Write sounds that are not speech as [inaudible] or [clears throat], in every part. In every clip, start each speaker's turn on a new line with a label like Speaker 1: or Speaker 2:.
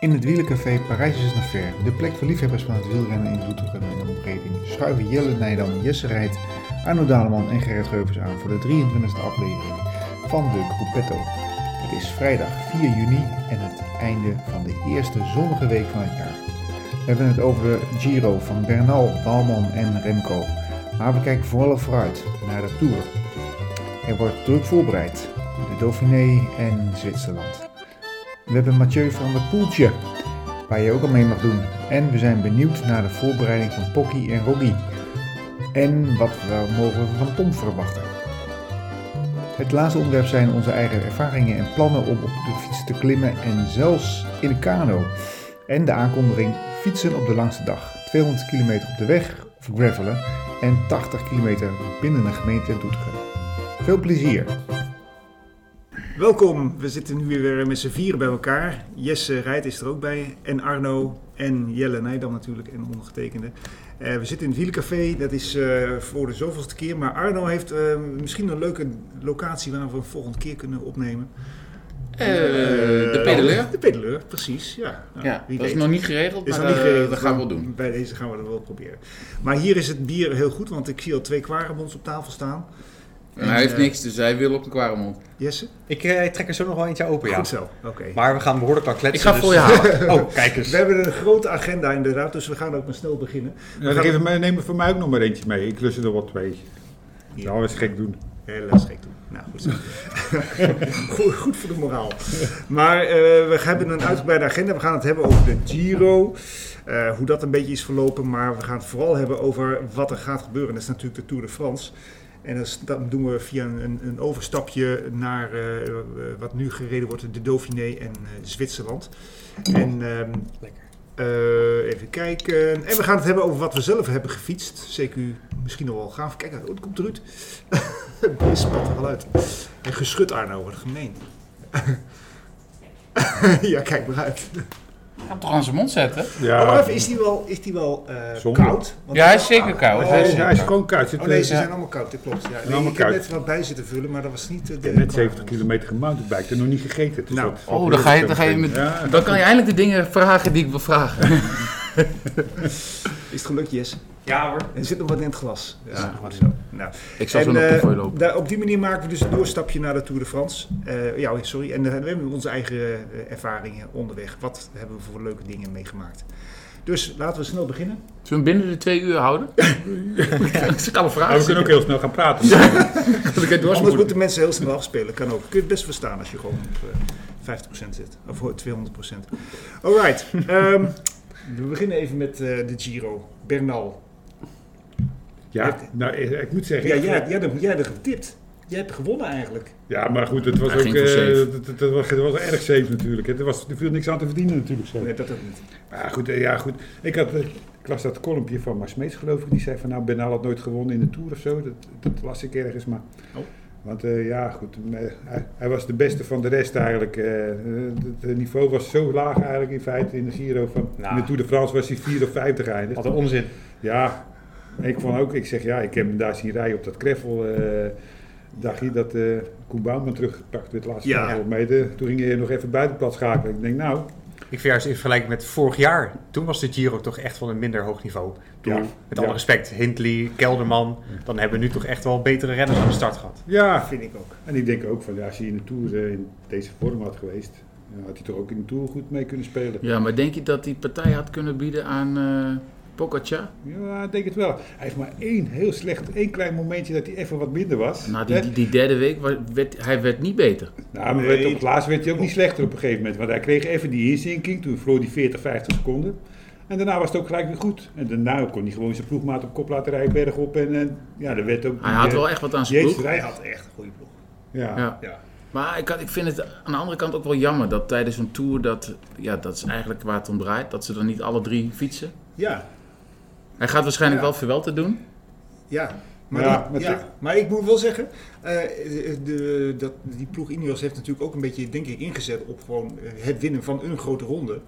Speaker 1: In het wielercafé Parijs is nog ver, de plek voor liefhebbers van het wielrennen in Doetinchem en de omgeving, schuiven Jelle Nijdam, Jesse Rijt, Arno Daleman en Gerrit Geuvers aan voor de 23e aflevering van de Gruppetto. Het is vrijdag 4 juni en het einde van de eerste zonnige week van het jaar. We hebben het over de Giro van Bernal, Bouwman en Remco. Maar we kijken vooral vooruit naar de Tour. Er wordt druk voorbereid. De Dauphiné en Zwitserland. We hebben Mathieu van der Poeltje, waar je ook al mee mag doen. En we zijn benieuwd naar de voorbereiding van Pocky en Rocky. En wat we mogen we van Tom verwachten. Het laatste onderwerp zijn onze eigen ervaringen en plannen om op de fiets te klimmen en zelfs in de kano. En de aankondiging fietsen op de langste dag. 200 kilometer op de weg of gravelen en 80 kilometer binnen de gemeente Doetinchem. Veel plezier!
Speaker 2: Welkom, we zitten nu weer met z'n vieren bij elkaar. Jesse Rijt is er ook bij en Arno en Jelle Nijdam natuurlijk en ondergetekende. Eh, we zitten in het Wielencafé, dat is eh, voor de zoveelste keer. Maar Arno heeft eh, misschien een leuke locatie waar we een volgende keer kunnen opnemen.
Speaker 3: Eh, de
Speaker 2: Eh,
Speaker 3: pedaleur.
Speaker 2: De pedaleur, precies. Ja, Nou,
Speaker 3: Ja,
Speaker 2: wie
Speaker 3: dat is
Speaker 2: weet.
Speaker 3: nog niet geregeld,
Speaker 2: Is
Speaker 3: maar
Speaker 2: nog niet
Speaker 3: eh,
Speaker 2: geregeld.
Speaker 3: dat gaan we wel
Speaker 2: maar
Speaker 3: doen.
Speaker 2: Bij deze gaan we dat wel proberen. Maar hier is het bier heel goed, want ik zie al twee kwarebonds op tafel staan.
Speaker 3: En hij heeft
Speaker 2: eh,
Speaker 3: niks, dus hij wil op een kware mond.
Speaker 2: Jesse?
Speaker 4: Ik eh, trek er zo nog wel eentje open, ja.
Speaker 2: Goed zo, oké.
Speaker 4: Maar we gaan behoorlijk wel
Speaker 3: Ik
Speaker 4: kletsen.
Speaker 3: ga voor je halen.
Speaker 4: dus... [laughs] Oh, kijk eens.
Speaker 2: We hebben een grote agenda inderdaad, dus we gaan ook maar snel beginnen.
Speaker 5: Ja, dan geef mij, neem er voor mij ook nog maar eentje mee. Ik lus er wat twee.
Speaker 2: Ja.
Speaker 5: Nou, dat is gek doen.
Speaker 2: Helaas gek doen. Nou, goed, zo. goed, goed voor de moraal. Maar eh, we hebben een uitgebreide agenda. We gaan het hebben over de Giro. eh, hoe dat een beetje is verlopen. Maar we gaan het vooral hebben over wat er gaat gebeuren. Dat is natuurlijk de Tour de France. En dat, is- dat doen we via een- een, een overstapje naar eh, eh, wat nu gereden wordt. De Dauphiné en eh, Zwitserland. En ehm, eh, even kijken. En we gaan het hebben over wat we zelf hebben gefietst. CQ misschien nog wel gaaf. Kijk, oh, het komt eruit. [laughs] Het spat er wel uit. En geschud Arno, wat gemeen. [laughs] ja, kijk maar uit.
Speaker 3: Ik ga hem toch aan zijn mond zetten?
Speaker 2: Oh, maar
Speaker 5: Ja,
Speaker 2: even, is die wel, is die wel eh,
Speaker 5: Zonde.
Speaker 2: koud? Want
Speaker 3: Ja, hij is zeker koud.
Speaker 2: Oh,
Speaker 5: hij, is,
Speaker 3: zeker
Speaker 5: hij is
Speaker 3: koud.
Speaker 5: gewoon koud. Zit,
Speaker 2: Oh nee,
Speaker 5: eh,
Speaker 2: ze
Speaker 3: Ja.
Speaker 2: zijn allemaal koud, dat klopt. Ja. Nee,
Speaker 5: allemaal
Speaker 2: ik heb
Speaker 5: koud.
Speaker 2: net wat bij zitten vullen, maar dat was niet eh, de...
Speaker 5: net 70 kilometer gemountainbiked en nog niet gegeten. Dus
Speaker 2: Nou.
Speaker 5: dat valt
Speaker 3: Oh, dan
Speaker 5: heel
Speaker 3: ga je,
Speaker 5: erg
Speaker 3: dan ga je
Speaker 5: tegen.
Speaker 3: met,
Speaker 5: Ja,
Speaker 3: dan kan je eindelijk de dingen vragen die ik wil
Speaker 2: [laughs]
Speaker 3: vragen.
Speaker 2: Is het gelukt, Jess?
Speaker 4: Ja hoor.
Speaker 2: Er zit nog wat in het glas. Ja,
Speaker 3: goed
Speaker 2: zo. Nou.
Speaker 3: Ik zal zo nog
Speaker 2: eh,
Speaker 3: de voor lopen.
Speaker 2: daar- op die manier maken we dus een doorstapje naar de Tour de France. Eh, ja, sorry. En eh, we hebben onze eigen eh, ervaringen onderweg. Wat hebben we voor leuke dingen meegemaakt? Dus laten we snel beginnen.
Speaker 3: Zullen we hem binnen de twee uur
Speaker 2: [laughs]
Speaker 3: houden? [laughs] Ik zit alle
Speaker 5: Maar
Speaker 3: vragen.
Speaker 5: we kunnen ook heel snel gaan praten.
Speaker 3: dat ik het door
Speaker 2: Anders
Speaker 3: moet.
Speaker 2: moeten mensen heel snel afspelen. Kan ook. Kun je het best verstaan als je gewoon op eh, 50% zit. Of ho- 200%. Alright. ehm, we beginnen even met eh, de Giro. Bernal.
Speaker 5: Ja, nou, ik, ik moet zeggen.
Speaker 2: Ja,
Speaker 5: ik-
Speaker 2: jij, jij, hebt- jij hebt getipt. Jij hebt gewonnen eigenlijk.
Speaker 5: ja, maar goed, het was
Speaker 3: Hij
Speaker 5: ook.
Speaker 3: ging voor
Speaker 5: eh,
Speaker 3: safe.
Speaker 5: dat, dat- dat was, dat was erg safe natuurlijk. hè. Er, was, er viel niks aan te verdienen natuurlijk. Zo.
Speaker 2: Nee, dat ook niet.
Speaker 5: Maar goed, eh, ja, goed. Ik, had, eh, ik las dat kolompje van Marsmeets, geloof ik. Die zei van, nou, Bernal had nooit gewonnen in de Tour of zo. Dat, dat las ik ergens, maar...
Speaker 2: Oh.
Speaker 5: Want eh, ja, goed, eh, hij, hij was de beste van de rest eigenlijk. eh. Eh, het het niveau was zo laag eigenlijk in feite in de Giro. Van,
Speaker 4: Nou.
Speaker 5: In de Tour de France was hij 4 of 50 eindig.
Speaker 4: Wat een onzin.
Speaker 5: Ja, ik vond ook, ik zeg ja, ik heb hem daar zien rijden op dat kreffel. eh dacht je dat eh Koen Bouwman teruggepakt werd de laatste
Speaker 2: Ja.
Speaker 5: 500 meter. Toen ging hij nog even buitenplat schakelen. Ik denk, nou,
Speaker 4: Ik vind juist in vergelijking met vorig jaar. Toen was de Giro toch echt van een minder hoog niveau. Toen,
Speaker 5: Ja.
Speaker 4: met alle
Speaker 5: Ja.
Speaker 4: respect, Hindley, Kelderman. Dan hebben we nu toch echt wel betere renners aan de start gehad.
Speaker 5: ja,
Speaker 2: Vind ik ook.
Speaker 5: En ik denk ook van, ja, als hij in de Tour eh, in deze vorm had geweest, eh, had hij toch ook in de Tour goed mee kunnen spelen.
Speaker 3: Ja, maar denk je dat die partij had kunnen bieden aan eh Pogacar?
Speaker 5: Ja, ik denk het wel. Hij heeft maar één heel slecht, één klein momentje dat hij even wat minder was.
Speaker 3: Na
Speaker 5: Hè?
Speaker 3: die, die, die derde week, wa- werd, hij werd niet beter.
Speaker 5: Nou, maar werd
Speaker 2: Nee.
Speaker 5: op het laatst werd hij ook niet slechter op een gegeven moment. Want hij kreeg even die inzinking, toen verloor hij 40, 50 seconden. En daarna was het ook gelijk weer goed. En daarna kon hij gewoon zijn ploegmaat op kop laten rijden bergop. En, en ja, er werd ook... eh,
Speaker 3: Hij had wel echt wat aan zijn
Speaker 5: Jezus,
Speaker 3: ploeg.
Speaker 2: Hij
Speaker 5: hij
Speaker 2: had echt een goede ploeg.
Speaker 5: Ja.
Speaker 3: Ja.
Speaker 2: Ja.
Speaker 3: Maar ik, had- ik vind het aan de andere kant ook wel jammer dat tijdens een tour, dat, ja, dat is eigenlijk waar het om draait, dat ze dan niet alle drie fietsen.
Speaker 2: Ja,
Speaker 3: Hij gaat waarschijnlijk
Speaker 2: Ja.
Speaker 3: wel Vuelta doen.
Speaker 2: Ja, maar,
Speaker 5: Ja,
Speaker 2: die-
Speaker 5: met
Speaker 2: ja, maar ik moet wel zeggen, eh, de, dat, die ploeg Ineos heeft natuurlijk ook een beetje, denk ik, ingezet op gewoon eh, het winnen van een grote ronde.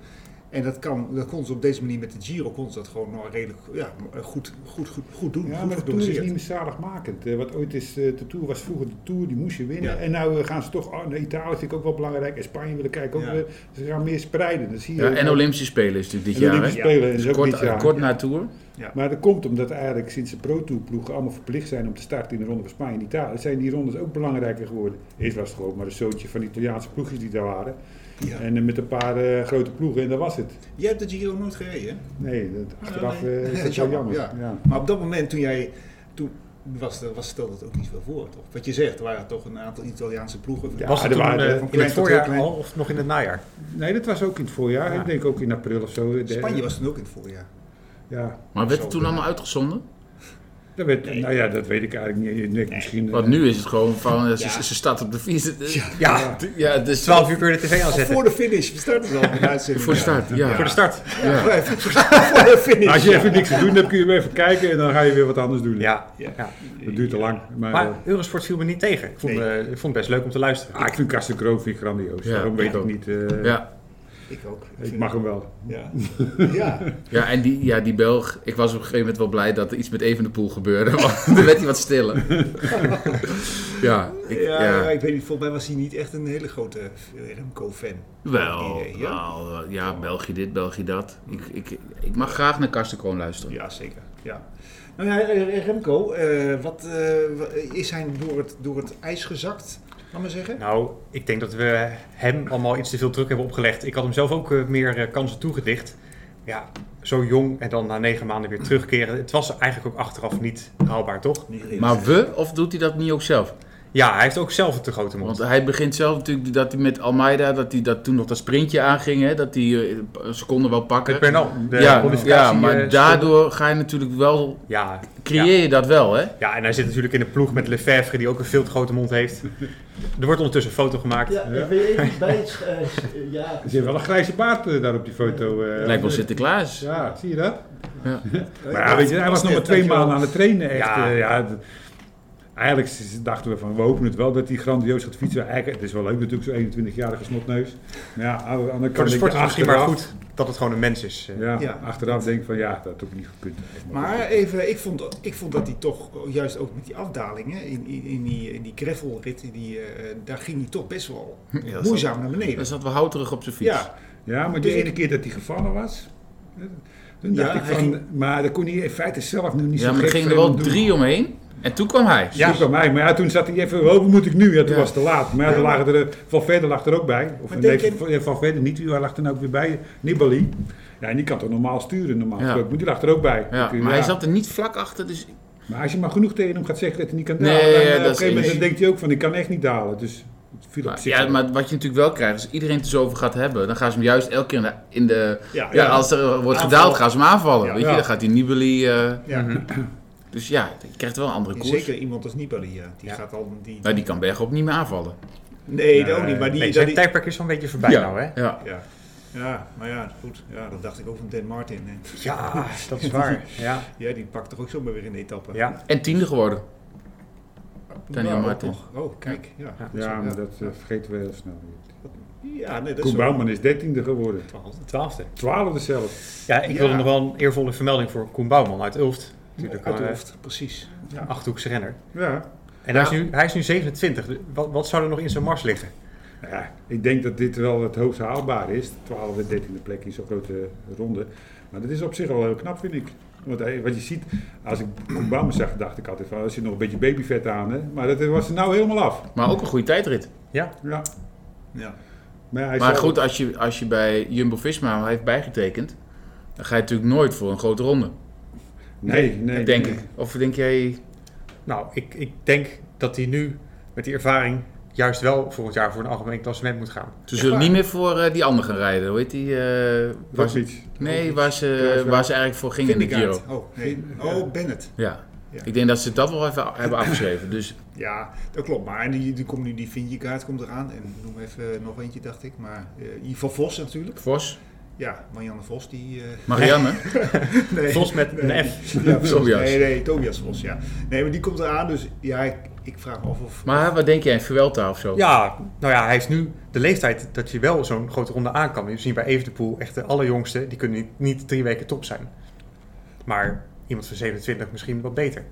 Speaker 2: En dat, kan, dat kon ze op deze manier met de Giro kon ze dat gewoon nou redelijk ja, goed, goed, goed, goed doen.
Speaker 5: Ja,
Speaker 2: goed
Speaker 5: maar de Tour is
Speaker 2: gedoseerd.
Speaker 5: niet meer zaligmakend. Eh, wat ooit is, eh, de Tour was vroeger de Tour, die moest je winnen.
Speaker 2: Ja.
Speaker 5: En nu gaan ze toch, oh, nee, Italië vind ik ook wel belangrijk. En Spanje wil ik kijken ook
Speaker 2: Ja.
Speaker 5: weer. Ze gaan meer spreiden. Dat zie je
Speaker 3: Ja,
Speaker 5: ook
Speaker 3: en
Speaker 5: wel.
Speaker 3: Olympische Spelen is natuurlijk dit
Speaker 5: En de
Speaker 3: jaar.
Speaker 5: Olympische
Speaker 3: hè?
Speaker 2: hè?
Speaker 5: Spelen is
Speaker 3: Dus
Speaker 5: ook
Speaker 3: kort,
Speaker 5: dit jaar.
Speaker 3: kort na Tour.
Speaker 5: Maar dat komt omdat eigenlijk sinds de Pro Tour ploegen allemaal verplicht zijn om te starten in de Ronde van Spanje en Italië, zijn die rondes ook belangrijker geworden. Eerst was het gewoon maar een zootje van die Italiaanse ploegjes die daar waren.
Speaker 2: Ja.
Speaker 5: En eh, met een paar eh, grote ploegen en dat was het.
Speaker 2: Jij hebt de Giro nooit gereden, hè? Ah,
Speaker 5: Nee, dat, achteraf
Speaker 2: nee.
Speaker 5: eh,
Speaker 2: Ja, [laughs]
Speaker 5: is
Speaker 2: dat
Speaker 5: dat
Speaker 2: is
Speaker 5: wel
Speaker 2: jammer,
Speaker 5: jammer.
Speaker 2: ja.
Speaker 5: Ja.
Speaker 2: Maar op dat moment toen jij, toen was, er- was stelde het ook niet veel voor, toch? Wat je zegt, er waren toch een aantal Italiaanse ploegen.
Speaker 5: Ja.
Speaker 4: was het
Speaker 5: er
Speaker 4: toen
Speaker 5: waren,
Speaker 4: eh,
Speaker 5: van
Speaker 4: in
Speaker 2: klein
Speaker 4: het
Speaker 2: tot heel
Speaker 4: voorjaar
Speaker 2: klein.
Speaker 4: al of nog in het najaar?
Speaker 5: Nee, dat was ook in het voorjaar.
Speaker 4: Ja.
Speaker 5: Ik denk ook in april of zo. eh, De-
Speaker 2: Spanje was toen ook in het voorjaar.
Speaker 5: Ja,
Speaker 3: Maar werd
Speaker 2: Zo
Speaker 3: het toen allemaal uitgezonden?
Speaker 5: dat werd,
Speaker 2: Nee.
Speaker 5: nou ja, dat weet ik eigenlijk niet. Ik denk Misschien,
Speaker 3: Want
Speaker 5: eh,
Speaker 3: nu is het gewoon van, eh, ze,
Speaker 2: Ja.
Speaker 3: ze staat op de vier. Ja,
Speaker 4: Ja,
Speaker 3: ja dus
Speaker 4: 12 uur kun je de tv
Speaker 2: Al
Speaker 4: aanzetten.
Speaker 2: voor de finish, we starten al
Speaker 3: [laughs]
Speaker 2: met de uitzending.
Speaker 3: voor de start. Ja.
Speaker 4: Voor de start.
Speaker 3: Ja.
Speaker 2: Ja, [laughs] voor de finish.
Speaker 5: Als je even niks te doen hebt, kun je weer even kijken en dan ga je weer wat anders doen.
Speaker 4: Ja.
Speaker 2: Ja.
Speaker 4: ja.
Speaker 5: Dat duurt te lang. Maar, eh,
Speaker 4: Maar Eurosport viel me niet tegen. Ik vond,
Speaker 2: Nee.
Speaker 4: eh, ik vond het best leuk om te luisteren.
Speaker 5: ah, ik vind Karsten Kroon vind ik grandioos.
Speaker 3: Ja,
Speaker 5: Daarom
Speaker 3: ik
Speaker 5: weet ik
Speaker 3: ook.
Speaker 5: niet. eh,
Speaker 3: Ja.
Speaker 2: Ik ook.
Speaker 5: Ik mag hem wel. [laughs]
Speaker 2: Ja. ja.
Speaker 3: Ja, en die, ja, die Belg, ik was op een gegeven moment wel blij dat er iets met Evenepoel gebeurde, [laughs] want dan werd hij wat stiller. ja, ik,
Speaker 2: Ja,
Speaker 3: ja.
Speaker 2: ik weet niet, volgens mij was hij niet echt een hele grote eh, Remco-fan.
Speaker 3: Wel,
Speaker 2: Idee, ja.
Speaker 3: wel, eh, ja, België dit, België dat. Ik, ik, ik mag graag naar Karsten Kroon luisteren.
Speaker 2: Ja, zeker. Ja. Nou ja, eh, Remco, eh, wat, eh, wa- is hij door het, door het ijs gezakt, laat maar zeggen?
Speaker 4: Nou, ik denk dat we hem allemaal iets te veel druk hebben opgelegd. Ik had hem zelf ook eh, meer eh, kansen toegedicht. Ja, zo jong en dan na negen maanden weer terugkeren. Het was eigenlijk ook achteraf niet haalbaar, toch?
Speaker 3: Maar we, of doet hij dat niet ook zelf?
Speaker 4: Ja, hij heeft ook zelf een te grote mond.
Speaker 3: Want hij begint zelf natuurlijk dat hij met Almeida, dat hij dat toen nog dat sprintje aanging, hè, dat hij eh, een seconde wel
Speaker 4: Met
Speaker 3: pakken.
Speaker 4: Bernal, nou, de
Speaker 3: ja,
Speaker 4: kwalificatie,
Speaker 3: ja, maar
Speaker 4: eh,
Speaker 3: daardoor ga je natuurlijk wel,
Speaker 4: Ja,
Speaker 3: creëer
Speaker 4: ja.
Speaker 3: je dat wel, hè?
Speaker 4: Ja, en hij zit natuurlijk in de ploeg met Lefebvre, die ook een veel te grote mond heeft. Er wordt ondertussen een foto gemaakt.
Speaker 6: Ja, ik weet even niet bij het. eh, s- eh, ja,
Speaker 5: Er zit wel een grijze baard eh, daar op die foto. eh.
Speaker 3: Lijkt wel Sinterklaas.
Speaker 5: Ja, zie je dat?
Speaker 3: Ja.
Speaker 5: Maar ja, weet je, hij was nog maar twee maanden aan het trainen. Echt.
Speaker 4: Ja.
Speaker 5: eh, ja, d- eigenlijk s- dachten we van, we hopen het wel dat hij grandioos gaat fietsen. Eigenlijk, het is wel leuk natuurlijk, zo'n 21-jarige snotneus. Maar ja, aan de andere
Speaker 4: Voor
Speaker 5: kant
Speaker 4: de
Speaker 5: denk je
Speaker 4: sport is het misschien maar
Speaker 5: achteraf,
Speaker 4: goed dat het gewoon een mens is. Eh,
Speaker 5: Ja,
Speaker 2: Ja.
Speaker 5: achteraf denk ik van, ja, dat had ook niet gekund.
Speaker 2: Maar even, ik vond, ik vond dat hij toch, juist ook met die afdalingen, in, in, in die, in die gravelrit, in die, eh, daar ging hij toch best
Speaker 3: [laughs]
Speaker 2: wel
Speaker 3: dat is
Speaker 2: moeizaam naar beneden.
Speaker 3: Dan zat wel houterig op zijn fiets.
Speaker 2: ja,
Speaker 5: Ja, maar
Speaker 2: Dus
Speaker 5: die
Speaker 2: ik-
Speaker 5: ene keer dat hij gevallen was... eh, Toen
Speaker 2: Ja,
Speaker 5: dacht ik
Speaker 2: hij
Speaker 5: van,
Speaker 2: ging-
Speaker 5: maar daar kon hij in feite zelf nu niet
Speaker 3: Ja,
Speaker 5: zo
Speaker 3: maar er
Speaker 5: gek
Speaker 3: gingen er
Speaker 5: veel
Speaker 3: wel
Speaker 5: aan doen.
Speaker 3: drie omheen. En toen kwam hij.
Speaker 5: Ja. Toen kwam hij, maar ja, toen zat hij even, hoe moet ik nu? Ja, toen
Speaker 3: Ja.
Speaker 5: was het te laat. Maar ja,
Speaker 2: Ja,
Speaker 5: toen
Speaker 2: maar-
Speaker 5: lagen er, eh, Van Verder lag er ook bij. Of
Speaker 2: Maar
Speaker 5: nee,
Speaker 2: denk
Speaker 5: Van- Van Verder niet, wie lag er nou ook weer bij? Nibali. Ja, en die kan toch normaal sturen, normaal
Speaker 3: Ja.
Speaker 5: gesproken. Maar die lag er ook bij.
Speaker 3: Ja,
Speaker 5: Ik, eh,
Speaker 3: maar hij
Speaker 5: ja.
Speaker 3: zat er niet vlak achter, dus
Speaker 5: Maar als je maar genoeg tegen hem gaat zeggen dat hij niet kan
Speaker 3: Nee,
Speaker 5: dalen, dan,
Speaker 3: ja,
Speaker 5: eh, op
Speaker 3: dat
Speaker 5: een
Speaker 3: is
Speaker 5: gegeven moment
Speaker 3: eens.
Speaker 5: denkt hij ook van, ik kan echt niet dalen. Dus het viel op
Speaker 3: Maar,
Speaker 5: zich.
Speaker 3: ja,
Speaker 5: wel.
Speaker 3: maar wat je natuurlijk wel krijgt, als iedereen het er zo over gaat hebben, dan gaan ze hem juist elke keer in de. In de ja,
Speaker 2: Ja,
Speaker 3: als er wordt gedaald, gaan ze hem aanvallen.
Speaker 2: Ja.
Speaker 3: weet je,
Speaker 5: Ja.
Speaker 3: dan gaat die Nibali. eh,
Speaker 2: ja.
Speaker 3: dus ja, je krijgt wel een andere
Speaker 2: En
Speaker 3: koers.
Speaker 2: zeker iemand als Nibali, ja. die gaat dan... Die,
Speaker 3: Nou, die kan bergop niet meer aanvallen.
Speaker 2: nee, dat ook niet, maar die...
Speaker 4: nee,
Speaker 2: dat
Speaker 4: zijn
Speaker 2: die-
Speaker 4: tijdperk is zo'n beetje voorbij nou, hè?
Speaker 3: Ja.
Speaker 2: ja. ja, maar ja, goed. Ja, dat dacht ik ook van Dan Martin. hè.
Speaker 4: Ja, dat is waar. Ja,
Speaker 2: Ja, die pakt toch ook zomaar weer in de etappe.
Speaker 4: ja.
Speaker 3: En tiende geworden. Daniel
Speaker 2: ook
Speaker 3: Martin.
Speaker 2: nog. Oh, kijk. Ja,
Speaker 5: Ja, maar dat eh, vergeten we heel snel.
Speaker 2: ja
Speaker 3: Dus-
Speaker 2: nee, dat is
Speaker 5: Koen
Speaker 2: zo.
Speaker 5: Bouwman is dertiende geworden.
Speaker 4: de twaalfde.
Speaker 5: Twaalfde zelfs.
Speaker 4: Ja, ik wilde
Speaker 2: Ja.
Speaker 4: nog wel een eervolle vermelding voor Koen Bouwman uit Ulft. Natuurlijk,
Speaker 2: Uit de
Speaker 4: eh,
Speaker 2: hoofd, precies.
Speaker 4: een Achthoekse renner.
Speaker 5: Ja.
Speaker 4: En hij, is nu, hij is nu 27. Dus Wat, wat zou er nog in zijn mars liggen?
Speaker 5: Nou Ja, ik denk dat dit wel het hoogst haalbaar is. 12e, 13e plek in zo'n grote ronde. Maar dat is op zich al heel knap, vind ik. Want hij- wat je ziet, als ik Obama zag, dacht ik altijd van, er zit nog een beetje babyvet aan. Hè? Maar dat was er nou helemaal af.
Speaker 3: Maar ook een goede tijdrit.
Speaker 5: Ja.
Speaker 2: Ja.
Speaker 5: Maar, hij
Speaker 3: Maar
Speaker 5: zal-
Speaker 3: goed, als je, als je bij Jumbo Visma heeft bijgetekend, dan ga je natuurlijk nooit voor een grote ronde.
Speaker 5: Nee, nee.
Speaker 3: denk
Speaker 5: nee.
Speaker 3: ik. Of denk jij.
Speaker 4: Nou, ik, ik denk dat hij nu met die ervaring juist wel volgend jaar voor een algemeen klassement moet gaan.
Speaker 3: Ze zullen niet meer voor eh, die ander gaan rijden. Hoe heet die? eh, waar
Speaker 5: Dat
Speaker 3: ze-
Speaker 5: iets.
Speaker 3: nee, waar ze,
Speaker 5: Kruiswijk.
Speaker 3: waar ze eigenlijk voor gingen in de Giro.
Speaker 2: Vindegaard. Oh, nee. Oh, Bennett.
Speaker 3: Ja.
Speaker 2: Ja.
Speaker 3: Ik denk dat ze dat wel even hebben afgeschreven. Dus
Speaker 2: Ja, dat klopt. Maar en die, die komt nu, die Vingegaard komt eraan. En noem even nog eentje, dacht ik. Maar eh Ivan Vos natuurlijk.
Speaker 3: Vos,
Speaker 2: Ja, Marianne Vos, die... eh, [laughs]
Speaker 3: Marianne.
Speaker 2: nee.
Speaker 4: Vos met een F.
Speaker 2: [laughs] Ja, Vos.
Speaker 3: Tobias.
Speaker 2: Nee, nee, Tobias Vos, ja. Nee, maar die komt eraan. Dus ja, ik, ik vraag me af of...
Speaker 3: Maar wat denk jij, Vuelta of zo?
Speaker 4: Ja, nou ja, hij heeft nu de leeftijd dat je wel zo'n grote ronde aan kan. We zien bij Evenepoel echt de allerjongste, die kunnen niet, niet drie weken top zijn. Maar iemand van 27 misschien wat beter.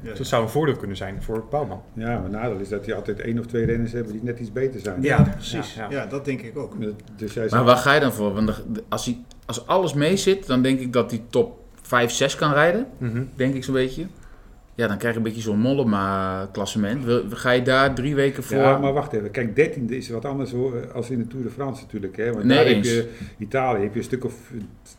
Speaker 2: Ja.
Speaker 4: Dus dat zou een voordeel kunnen zijn voor Bouwman.
Speaker 5: Ja, maar het nadeel is dat die altijd één of twee renners hebben die net iets beter zijn.
Speaker 2: Ja, precies. Ja,
Speaker 4: ja, ja.
Speaker 2: dat denk ik ook.
Speaker 5: Dus jij
Speaker 3: Maar
Speaker 5: zegt,
Speaker 3: waar ga je dan voor? Want de- als, hij, als alles mee zit, dan denk ik dat hij top 5, 6 kan rijden.
Speaker 4: Mhm.
Speaker 3: Denk ik zo'n beetje. Ja, dan krijg je een beetje zo'n Mollema-klassement. Wil- Ga je daar drie weken voor?
Speaker 5: ja, maar wacht even. Kijk, dertiende is wat anders hoor, als in de Tour de France natuurlijk. Hè? Want
Speaker 3: Nee,
Speaker 5: daar
Speaker 3: eens.
Speaker 5: heb je Italië, heb je een stuk of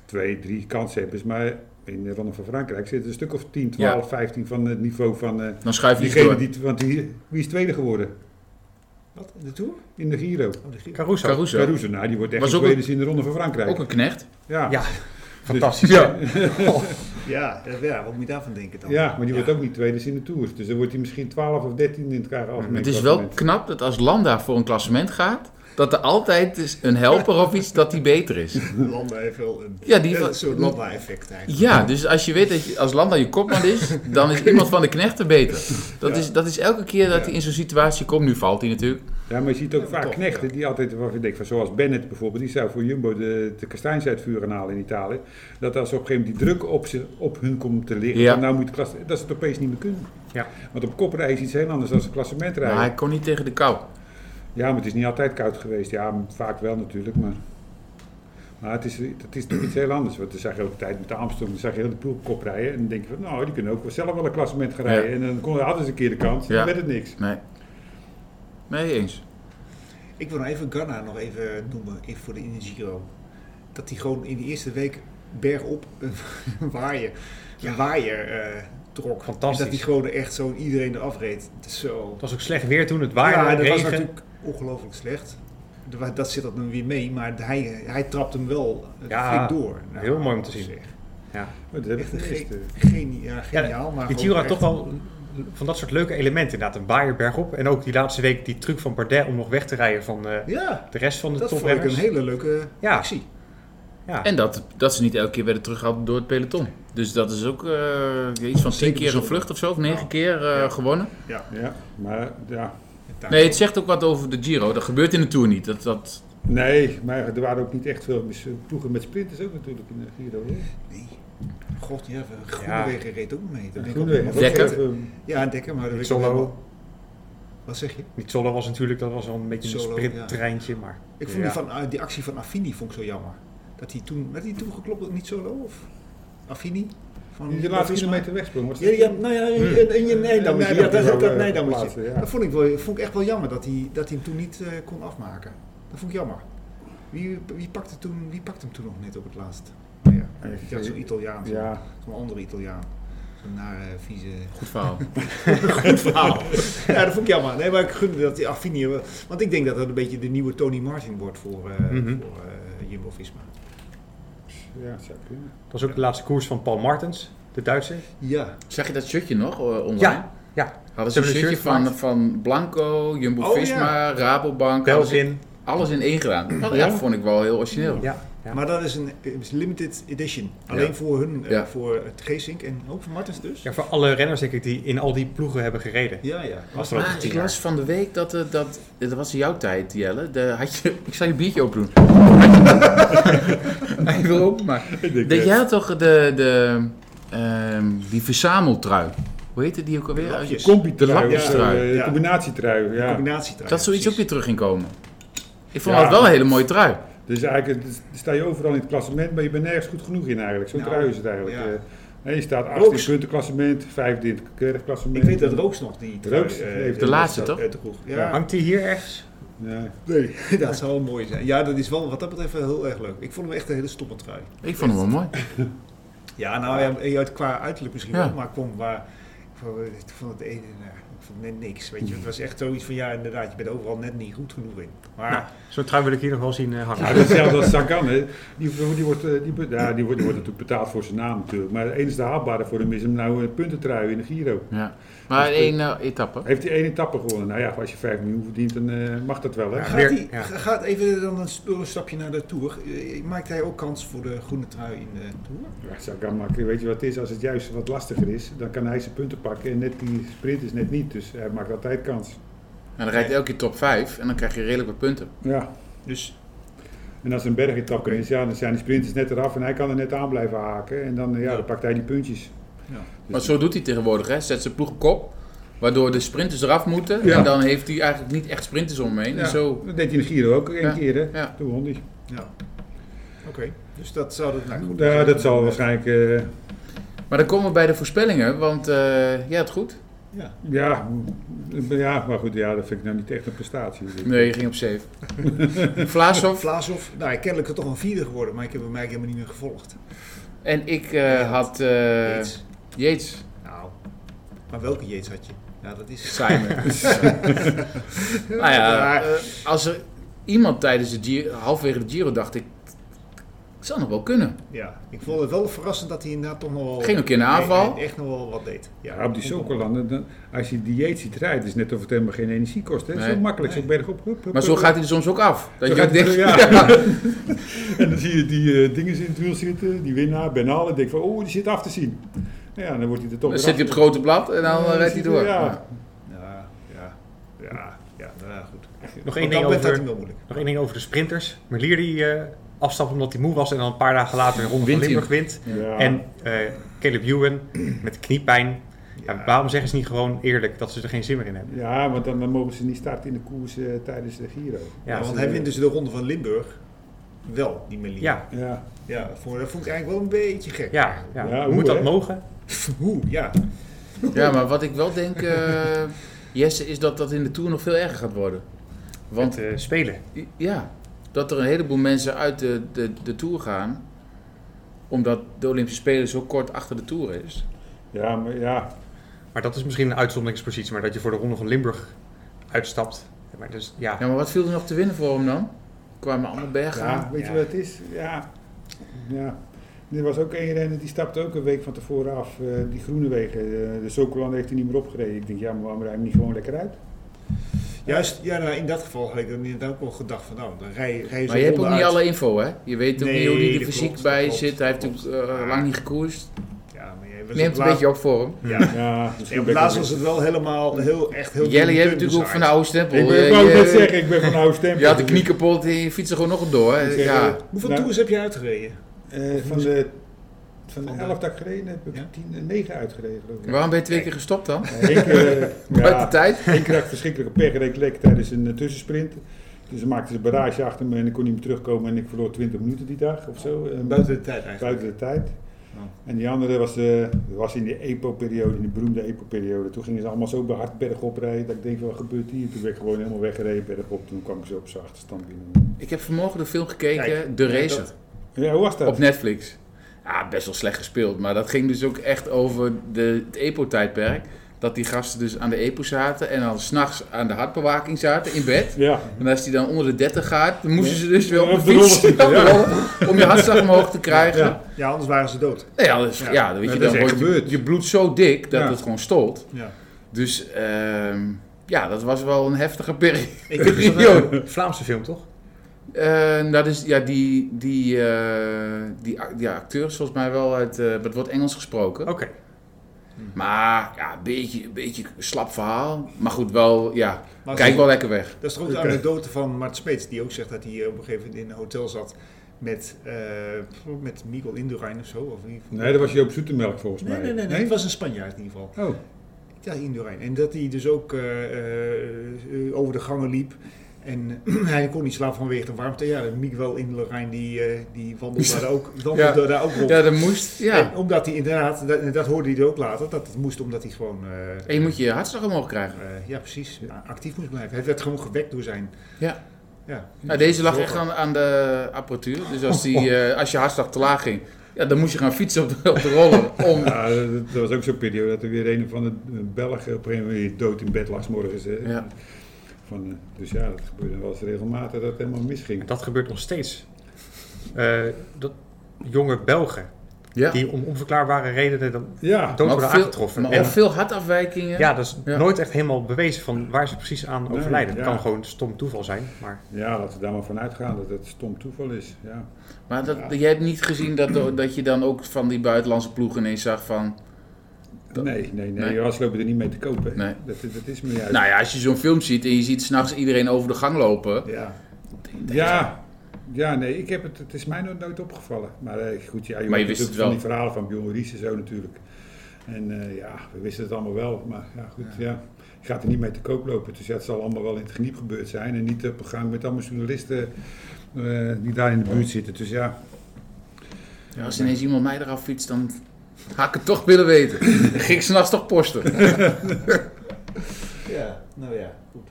Speaker 5: twee, drie kanshebbers. Maar in de Ronde van Frankrijk zitten een stuk of 10, 12, 15 van het niveau van eh,
Speaker 3: Dan schuif je iets
Speaker 5: diegene
Speaker 3: door.
Speaker 5: die... Want die, wie is tweede geworden
Speaker 2: Wat? De Tour?
Speaker 5: in de Giro?
Speaker 2: Oh, de Giro.
Speaker 4: Caruso.
Speaker 3: Caruso.
Speaker 5: Caruso, nou, die wordt echt
Speaker 3: Was
Speaker 5: een
Speaker 3: ook
Speaker 5: tweede in de Ronde van Frankrijk.
Speaker 3: Ook een knecht.
Speaker 5: ja.
Speaker 4: Ja, fantastisch.
Speaker 3: Ja.
Speaker 2: Ja, eh, ja, wat moet je daarvan denken dan?
Speaker 5: Ja, maar die
Speaker 2: Ja.
Speaker 5: wordt ook niet tweede in de Tour. Dus dan wordt hij misschien 12 of 13 in het algemeen.
Speaker 3: Het is wel
Speaker 5: klassement.
Speaker 3: knap dat als Landa voor een klassement gaat, dat er altijd is een helper of iets dat die beter is.
Speaker 2: [laughs] Landa heeft wel een,
Speaker 3: Ja, die-
Speaker 2: een soort Landa-effect eigenlijk.
Speaker 3: Ja, dus als je weet dat je, als Landa je kopman is, dan is iemand van de knechten beter. Dat, is, dat is elke keer dat hij in zo'n situatie komt. Nu valt hij natuurlijk.
Speaker 5: Ja, maar je ziet ook vaak
Speaker 2: toch,
Speaker 5: knechten die altijd, waarvan ik denk, van, zoals Bennett bijvoorbeeld, die zou voor Jumbo de, de kastanjes uit het vuur gaan halen in Italië. Dat als op een gegeven moment die druk op, ze, op hun komt te liggen,
Speaker 3: Ja.
Speaker 5: van, nou moet het klasse, dat ze het opeens niet meer kunnen.
Speaker 4: Ja.
Speaker 5: Want op koprijden is iets heel anders dan een klassement
Speaker 3: Maar
Speaker 5: rijden.
Speaker 3: hij kon niet tegen de kou.
Speaker 5: Ja, maar het is niet altijd koud geweest. Ja, vaak wel natuurlijk, maar... Maar het is, het is toch iets heel anders. Want dan zag je ook de tijd met de Amsterdam, dan zag je heel de ploeg kop rijden. En dan denk je van, nou, die kunnen ook wel zelf wel een klassement gaan rijden.
Speaker 3: Ja.
Speaker 5: En dan kon, hadden ze een keer de kans,
Speaker 3: Ja.
Speaker 5: dan werd het niks.
Speaker 3: Nee. Nee eens.
Speaker 2: Ik wil nog even Ghana nog even noemen even voor de in de Giro. Dat hij gewoon in de eerste week bergop een [laughs] waaier, een waaier eh, trok.
Speaker 4: Fantastisch.
Speaker 2: En dat hij gewoon echt zo iedereen eraf reed. Zo.
Speaker 4: Het was ook slecht weer toen, het waaide,
Speaker 2: ja, dat was
Speaker 4: regen.
Speaker 2: natuurlijk ongelooflijk slecht. Er wa- Dat zit dat nu weer mee, maar hij, hij trapt hem wel eh,
Speaker 4: Ja,
Speaker 2: flink door. Nou,
Speaker 4: heel mooi om te zien.
Speaker 2: zeg.
Speaker 5: Maar dat heb ik
Speaker 2: Echt een
Speaker 5: gemist,
Speaker 2: ge-
Speaker 5: eh.
Speaker 2: geni- ja, geniaal. maar
Speaker 4: Die
Speaker 2: gewoon
Speaker 4: Giro had
Speaker 2: echt-
Speaker 4: toch wel van dat soort leuke elementen. Inderdaad, een waaier bergop. En ook die laatste week die truc van Bardet om nog weg te rijden van eh,
Speaker 2: Ja,
Speaker 4: de rest van de
Speaker 2: dat vond ik een
Speaker 4: toprenners.
Speaker 2: hele leuke
Speaker 4: Ja.
Speaker 2: actie.
Speaker 4: Ja.
Speaker 3: En dat, dat ze niet elke keer werden teruggehaald door het peloton. Dus dat is ook eh, iets van tien
Speaker 2: Zeker
Speaker 3: keer een
Speaker 2: bijzonder.
Speaker 3: vlucht of zo, of negen keer eh,
Speaker 2: Ja.
Speaker 3: gewonnen.
Speaker 5: Ja, maar ja.
Speaker 2: Daar-
Speaker 3: Nee, het zegt ook wat over de Giro. Dat gebeurt in de Tour niet. Dat, dat...
Speaker 5: Nee, maar er waren ook niet echt veel mis- ploegen met sprinters ook natuurlijk in de Giro. hè?
Speaker 2: Nee. God, ja,
Speaker 4: Ja.
Speaker 2: Groenewegen reed ook mee. Dat ben ik ook
Speaker 5: Groenewegen.
Speaker 2: helemaal
Speaker 5: was
Speaker 3: Dekker.
Speaker 5: even-
Speaker 2: Ja, Dekker, maar dat weet ik
Speaker 4: Solo.
Speaker 2: nog helemaal- Wat zeg je?
Speaker 4: Niet Solo was natuurlijk, dat was wel een beetje
Speaker 2: Solo,
Speaker 4: een sprinttreintje. Maar
Speaker 2: Ik vond
Speaker 4: Ja.
Speaker 2: die, van, ah, die actie van Affini vond ik zo jammer. Dat hij toen, werd hij toen geklopt, niet solo of Affini? Van
Speaker 5: Die
Speaker 2: van
Speaker 5: laatste
Speaker 2: Visma?
Speaker 5: kilometer wegsprong was
Speaker 2: Ja, ja, nou ja, in, in, in je Nijdammetje.
Speaker 5: Ja,
Speaker 2: Ja, dat, dat, dat
Speaker 5: eh,
Speaker 2: Nijdammetje.
Speaker 5: plaatsen, ja.
Speaker 2: Dat vond ik, wel, vond ik echt wel jammer dat hij, dat hij hem toen niet eh, kon afmaken. Dat vond ik jammer. Wie, wie, pakte toen, wie pakte hem toen nog net op het laatst? Nou ja, ik had zo'n Italiaan, zo'n
Speaker 5: Ja,
Speaker 2: zo'n andere Italiaan. Zo'n nare, [laughs] vieze...
Speaker 3: Goed verhaal.
Speaker 2: Goed verhaal. ja, dat vond ik jammer. Nee, maar ik gunde dat die Affini... Want ik denk dat dat een beetje de nieuwe Tony Martin wordt voor, eh,
Speaker 4: Mhm.
Speaker 2: voor eh, Jumbo-Visma.
Speaker 5: ja, dat zou kunnen.
Speaker 4: dat was ook de laatste koers van Paul Martens, de Duitser.
Speaker 2: Ja.
Speaker 3: Zag je dat shirtje nog eh, online?
Speaker 4: Ja, Oh, ja.
Speaker 3: Hadden
Speaker 4: Ze
Speaker 3: ze een
Speaker 4: hebben een
Speaker 3: shirtje
Speaker 4: shirt gemaakt.
Speaker 3: van, van Blanco,
Speaker 2: Oh,
Speaker 3: Jumbo-Visma, Rabobank. hadden ze
Speaker 4: Belzin.
Speaker 3: Alles in één gedaan. Dat
Speaker 5: Ja?
Speaker 3: vond ik wel heel origineel.
Speaker 4: Ja, ja.
Speaker 2: Maar dat is een eh, is limited edition. Alleen voor hun, eh,
Speaker 3: Ja.
Speaker 2: voor het Geesink en ook voor Martens dus. Ja,
Speaker 4: ja, voor alle renners denk ik die in al die ploegen hebben gereden.
Speaker 2: ja. Ah, ja.
Speaker 4: Was er ook
Speaker 3: Maar
Speaker 4: tien
Speaker 3: ik
Speaker 4: jaar.
Speaker 3: las van de week dat, eh, dat dat was in jouw tijd, Jelle. De, had je, [laughs] ik zal je biertje open [laughs] doen. Hij wil open maar.
Speaker 2: eh,
Speaker 3: Dat jij had toch de, de ehm, die verzameltrui. Hoe heette die ook alweer?
Speaker 2: Lapjes.
Speaker 5: Combi-trui,
Speaker 3: Lapjes
Speaker 5: of,
Speaker 3: trui.
Speaker 5: eh,
Speaker 2: Ja.
Speaker 5: combinatietrui, ja.
Speaker 2: Combinatie
Speaker 3: Dat zoiets ook
Speaker 2: precies.
Speaker 3: weer terug ging komen. Ik vond
Speaker 5: Ja.
Speaker 3: dat wel een hele mooie trui.
Speaker 5: Dus eigenlijk dus sta je overal in het klassement, maar je bent nergens goed genoeg in eigenlijk. Zo'n
Speaker 2: Nou,
Speaker 5: trui is het eigenlijk.
Speaker 2: ja.
Speaker 5: eh. Nee, je staat 18
Speaker 2: Rooks.
Speaker 5: punten klassement, 5 in het keurig
Speaker 2: Ik weet dat Rooks nog die
Speaker 5: Rooks
Speaker 2: eh,
Speaker 5: heeft
Speaker 3: de laatste,
Speaker 2: dat,
Speaker 3: toch?
Speaker 2: eh, droeg. Ja,
Speaker 5: Ja.
Speaker 4: Hangt die hier ergens?
Speaker 5: Ja.
Speaker 2: [laughs] Nee, [laughs] dat zou wel mooi zijn. Ja, dat is wel wat dat betreft wel heel erg leuk. Ik vond hem echt een hele stomme trui.
Speaker 3: Ik vond hem wel mooi.
Speaker 2: Ja, nou ja, ja, qua uiterlijk misschien
Speaker 3: Ja.
Speaker 2: wel, maar kwam waar. Ik vond- ik vond het ene, eh, ik vond net niks. Weet je, het was echt zoiets van ja, inderdaad, je bent overal net niet goed genoeg in. Maar
Speaker 4: Nou, Zo'n trui wil ik hier nog wel zien eh, hangen.
Speaker 5: Ja, Nou, dat is hetzelfde als Sagan, hè. Die, die, wordt, eh, die, be- ja, die, wordt, die wordt natuurlijk betaald voor zijn naam natuurlijk. Maar het enige haalbare voor hem is hem nou een puntentrui in de Giro.
Speaker 3: Ja. Maar
Speaker 5: Dus,
Speaker 3: één eh, etappe.
Speaker 5: Heeft hij één etappe gewonnen? Nou ja, als je 5 miljoen verdient, dan eh, mag dat wel, hè?
Speaker 4: Ja.
Speaker 2: gaat,
Speaker 4: weer-
Speaker 2: hij, ga- gaat even dan een, s- door een stapje naar de tour. Eh, Maakt hij ook kans voor de groene trui in de tour?
Speaker 5: Ja, Sagan, maar weet je wat het is? Als het juist wat lastiger is, dan kan hij zijn punten pakken en net die sprinters net niet. Dus hij maakt altijd kans.
Speaker 3: En dan rijdt hij elke keer top 5 en dan krijg je redelijk wat punten.
Speaker 5: Ja.
Speaker 2: Dus
Speaker 5: En als een bergetap is, ja, dan zijn die sprinters net eraf en hij kan er net aan blijven haken. En dan, eh, ja,
Speaker 2: Ja.
Speaker 5: dan pakt hij die puntjes.
Speaker 3: Maar zo doet hij tegenwoordig, hè? Zet zijn ploeg op kop, waardoor de sprinters eraf moeten.
Speaker 5: Ja.
Speaker 3: En dan heeft hij eigenlijk niet echt sprinters om hem heen. En
Speaker 5: Ja,
Speaker 3: zo.
Speaker 5: Dat deed hij in de Giro ook één
Speaker 3: Ja.
Speaker 5: keer, hè?
Speaker 3: Ja.
Speaker 5: Toen won hij.
Speaker 2: Oké, dus dat zou dat nou goed
Speaker 5: Ja, dat zal waarschijnlijk... eh,
Speaker 3: Maar dan komen we bij de voorspellingen, want eh ja, het goed.
Speaker 5: ja, m- ja, maar goed, ja, dat vind ik nou niet echt een prestatie.
Speaker 3: Nee, je ging op
Speaker 5: [laughs]
Speaker 3: 7. Vlaashoff.
Speaker 2: Vlaashoff, nou, hij kennelijk er toch een vierde geworden, maar ik heb hem eigenlijk helemaal niet meer gevolgd.
Speaker 3: En ik eh, had eh,
Speaker 2: Jeets.
Speaker 3: Jeets.
Speaker 2: Nou, maar welke Jeets had je? Ja, dat is...
Speaker 5: [laughs]
Speaker 3: Simon. nou ja,
Speaker 2: Maar, eh,
Speaker 3: als er iemand tijdens de Giro, halverwege de Giro dacht ik, het zou nog wel kunnen.
Speaker 2: ja, ik vond het wel verrassend dat hij inderdaad toch nog wel...
Speaker 3: Ging ook in de aanval.
Speaker 2: Nee, echt nog wel wat deed.
Speaker 5: Ja, op die Sokolanden, dan- als je dieet ziet rijden, is het net of het helemaal geen energie kost. Hè?
Speaker 3: Nee.
Speaker 5: Zo makkelijk, zo bergop. Hup, hup,
Speaker 3: Maar zo
Speaker 5: hup,
Speaker 3: gaat hij er soms ook af. Dat
Speaker 5: Zo
Speaker 3: je
Speaker 5: gaat
Speaker 3: ook
Speaker 5: hij
Speaker 3: denkt,
Speaker 5: er-
Speaker 3: ja.
Speaker 5: [laughs] En dan zie je die eh dingen in het wiel zitten, die winnaar, Benal. En denk van, oh, die zit af te zien. Ja, dan wordt hij er toch
Speaker 3: [laughs] Dan
Speaker 5: weer
Speaker 3: zit hij op
Speaker 5: af.
Speaker 3: het grote blad en dan
Speaker 5: Ja,
Speaker 3: eh, rijdt hij
Speaker 5: zit
Speaker 3: door.
Speaker 5: Ja.
Speaker 2: Ja, ja, ja, ja, nou, goed.
Speaker 4: Nog één
Speaker 2: Want
Speaker 4: ding
Speaker 2: dan werd het
Speaker 4: over...
Speaker 2: hem wel moeilijk.
Speaker 4: Nog één ding over de sprinters. Merlier die eh, afstapt omdat hij moe was en dan een paar dagen later een ronde
Speaker 3: Wint
Speaker 4: van
Speaker 3: hij.
Speaker 4: Limburg wint.
Speaker 5: Ja.
Speaker 4: En eh, Caleb Ewan met kniepijn. Ja, waarom zeggen ze niet gewoon eerlijk dat ze er geen zin meer in hebben?
Speaker 5: ja, want dan, dan mogen ze niet starten in de koers eh, tijdens de Giro.
Speaker 2: Ja,
Speaker 4: ze-
Speaker 2: want hij wint dus de ronde van Limburg wel, die Melina.
Speaker 4: ja,
Speaker 5: Ja,
Speaker 2: ja dat vond, dat vond ik eigenlijk wel een beetje gek.
Speaker 4: ja, ja.
Speaker 5: Ja,
Speaker 4: moet
Speaker 5: hoe,
Speaker 4: dat
Speaker 5: hè?
Speaker 4: mogen?
Speaker 2: Hoe, ja.
Speaker 3: Ja, maar wat ik wel denk, eh, Jesse, is dat dat in de Tour nog veel erger gaat worden. Want
Speaker 4: Want eh, spelen.
Speaker 3: i- ja, dat er een heleboel mensen uit de, de, de Tour gaan, omdat de Olympische Spelen zo kort achter de Tour is.
Speaker 5: ja, maar ja.
Speaker 4: Maar dat is misschien een uitzonderingspositie. Maar dat je voor de ronde van Limburg uitstapt. Maar dus, ja.
Speaker 3: Ja, maar wat viel er nog te winnen voor hem dan? Kwamen allemaal bergen aan.
Speaker 5: ja, weet je wat het is? Ja, ja. Er was ook één renner die stapte ook een week van tevoren af. eh, die groene wegen, eh, de Sokolan heeft hij niet meer opgereden. Ik denk, ja, maar waarom rijdt hij niet gewoon lekker uit?
Speaker 2: Juist, ja, nou, in dat geval had ik dan inderdaad ook wel gedacht van, nou, dan rij, rij je
Speaker 3: Maar je hebt ook
Speaker 2: ronde
Speaker 3: niet
Speaker 2: uit.
Speaker 3: alle info, hè? Je weet ook
Speaker 2: Nee,
Speaker 3: niet hoe die er
Speaker 2: dat
Speaker 3: fysiek
Speaker 2: klopt,
Speaker 3: bij
Speaker 2: dat klopt,
Speaker 3: zit. Hij heeft
Speaker 2: dat
Speaker 3: ook eh, lang niet gekoerst.
Speaker 2: Ja, maar jij was
Speaker 3: Neemt
Speaker 2: op
Speaker 3: een
Speaker 2: laat-
Speaker 3: beetje op voor hem.
Speaker 2: [laughs] Ja.
Speaker 5: Ja,
Speaker 2: Ja, op het laatst was het wel helemaal, heel, echt heel
Speaker 3: Jelle,
Speaker 2: dun-
Speaker 3: je hebt
Speaker 2: dun
Speaker 3: natuurlijk ook van de
Speaker 2: bezaaid.
Speaker 3: oude stempel.
Speaker 5: Ik ben,
Speaker 3: Je-
Speaker 5: ik wou
Speaker 3: je-
Speaker 5: net zeggen, ik ben van oude stempel.
Speaker 3: Je had de knie kapot en je fietst er gewoon nog op door. hè?
Speaker 5: zeg,
Speaker 3: Ja.
Speaker 5: eh,
Speaker 2: Hoeveel
Speaker 5: Nou.
Speaker 2: tours heb je uitgereden?
Speaker 5: Eh, van de, van de
Speaker 2: Van de-
Speaker 5: 11 dat ik gereden heb, heb
Speaker 2: Ja?
Speaker 5: ik 10 en 9 uitgereden geloof ik.
Speaker 3: Waarom ben je twee keer gestopt dan?
Speaker 5: Eh, Ik, eh,
Speaker 3: Buiten
Speaker 5: ja,
Speaker 3: tijd?
Speaker 5: ik kreeg verschrikkelijke pech en ik lek tijdens een eh, tussensprint. Dus ze maakten ze een barrage achter me en ik kon niet meer terugkomen en ik verloor 20 minuten die dag of zo. eh,
Speaker 2: Buiten de tijd eigenlijk.
Speaker 5: buiten de tijd.
Speaker 2: Ja.
Speaker 5: En die andere was, eh, was in de EPO-periode, in de beroemde EPO-periode. Toen gingen ze allemaal zo hard bergop rijden dat ik denk, wat gebeurt hier? Toen ben ik gewoon helemaal weggereden bergop. Toen kwam ik zo op zijn achterstand binnen.
Speaker 3: Ik heb vanmorgen de film gekeken,
Speaker 2: Kijk,
Speaker 3: De
Speaker 2: ja,
Speaker 3: Racer,
Speaker 2: dat-
Speaker 5: Ja, hoe was dat?
Speaker 3: op Netflix. Ja, best wel slecht gespeeld. Maar dat ging dus ook echt over de, het EPO-tijdperk. Dat die gasten dus aan de EPO zaten en dan s'nachts aan de hartbewaking zaten in bed.
Speaker 5: Ja,
Speaker 3: En als die dan onder de 30 gaat, dan moesten ze dus weer op
Speaker 5: Ja,
Speaker 3: de
Speaker 5: op de rollen
Speaker 3: fiets
Speaker 5: zitten, ja.
Speaker 3: op de rollen, om je hartslag omhoog te krijgen.
Speaker 5: Ja.
Speaker 2: Ja, anders waren ze dood.
Speaker 3: Nou ja, dus, ja.
Speaker 2: Ja.
Speaker 3: weet je,
Speaker 5: dat is
Speaker 3: dan
Speaker 5: echt
Speaker 3: wordt je,
Speaker 5: gebeurd.
Speaker 3: je bloed zo dik dat
Speaker 5: Ja.
Speaker 3: het gewoon stolt.
Speaker 2: Ja.
Speaker 3: Dus ehm, ja, dat was wel een
Speaker 5: [laughs]
Speaker 3: heftige peri-
Speaker 2: Ik
Speaker 3: [laughs]
Speaker 2: heb dus wel-
Speaker 3: periode.
Speaker 4: Vlaamse film toch?
Speaker 3: Eh, dat is, ja, die, die, eh, die, ac- die acteur is volgens mij wel uit, eh, maar het wordt Engels gesproken.
Speaker 4: Oké.
Speaker 3: Maar ja, een beetje, een beetje een slap verhaal. Maar goed, wel, ja,
Speaker 2: maar
Speaker 3: kijk wel lekker weg.
Speaker 2: Dat is toch ook de
Speaker 5: Oké.
Speaker 2: anekdote van Mart Smeets, die ook zegt dat hij eh, op een gegeven moment in een hotel zat met, eh met Miguel Indurain of zo. Of in ieder geval-
Speaker 5: nee, dat was Joop Zoetemelk volgens
Speaker 2: nee,
Speaker 5: mij.
Speaker 2: nee, nee, nee, het was een Spanjaard in ieder geval.
Speaker 5: Oh,
Speaker 2: Ja, Indurain. En dat hij dus ook eh, eh, eh, over de gangen liep. En [clears throat] hij kon niet slapen vanwege de warmte. Ja, Miguel Indurain die, eh, die wandelde daar ook, wandelde daar ook rond.
Speaker 3: Ja, dat moest, ja.
Speaker 2: En omdat hij inderdaad, dat, en dat hoorde hij er ook later, dat het moest omdat hij gewoon... eh,
Speaker 3: En je moet je hartslag omhoog krijgen.
Speaker 2: eh, ja, precies. Actief moest blijven. Hij werd gewoon gewekt door zijn...
Speaker 3: Ja.
Speaker 2: Ja,
Speaker 3: Nou, deze lag echt aan, aan de apparatuur. Dus als, die,
Speaker 4: Oh.
Speaker 3: eh, als je hartslag te laag ging, ja, dan moest je gaan fietsen op de, op de rollen. Om...
Speaker 5: ja, dat, dat was ook zo'n periode dat er weer een van de Belgen op een gegeven moment dood in bed lag 's morgens. hè.
Speaker 3: Ja.
Speaker 5: Van, eh, dus ja, dat gebeurde wel eens regelmatig dat het helemaal misging.
Speaker 4: En dat gebeurt nog steeds. Eh, dat jonge Belgen
Speaker 3: Ja.
Speaker 4: die om onverklaarbare redenen dan
Speaker 5: Ja,
Speaker 4: dood
Speaker 3: Maar ook
Speaker 4: worden
Speaker 3: veel-
Speaker 4: aangetroffen.
Speaker 3: Maar
Speaker 4: En
Speaker 3: ook veel hartafwijkingen.
Speaker 4: ja, dat is
Speaker 3: Ja.
Speaker 4: nooit echt helemaal bewezen van waar ze precies aan
Speaker 5: Nee,
Speaker 4: overlijden. Het
Speaker 5: ja.
Speaker 4: kan gewoon stom toeval zijn, maar
Speaker 5: ja, laten we daar maar van uitgaan dat het stom toeval is. Ja.
Speaker 3: Maar dat, jij hebt niet gezien dat, dat je dan ook van die buitenlandse ploeg ineens zag van... Dat-
Speaker 5: Nee, nee, nee.
Speaker 3: Nee.
Speaker 5: Als lopen er niet mee te kopen.
Speaker 3: Nee.
Speaker 5: Dat, dat is me juist.
Speaker 3: Nou ja, als je zo'n film ziet en je ziet s'nachts iedereen over de gang lopen.
Speaker 5: Ja. Ja. Ja, nee, ik heb het, het is mij nooit, nooit opgevallen. Maar eh, goed, ja,
Speaker 3: Maar je
Speaker 5: hoort
Speaker 3: wist
Speaker 5: natuurlijk
Speaker 3: het wel.
Speaker 5: Van die verhalen van Bjorn Ries en zo natuurlijk. En eh, ja, we wisten het allemaal wel. Maar ja, goed, ja. Je gaat er niet mee te koop lopen. Dus ja, het zal allemaal wel in het geniep gebeurd zijn. En niet op een gang met allemaal journalisten eh, die daar in de buurt zitten. Dus ja,
Speaker 3: Ja, als ineens iemand mij eraf fietst, dan had ik het toch willen weten. Dan ging ik s'nachts toch posten.
Speaker 6: Ja, nou ja, goed.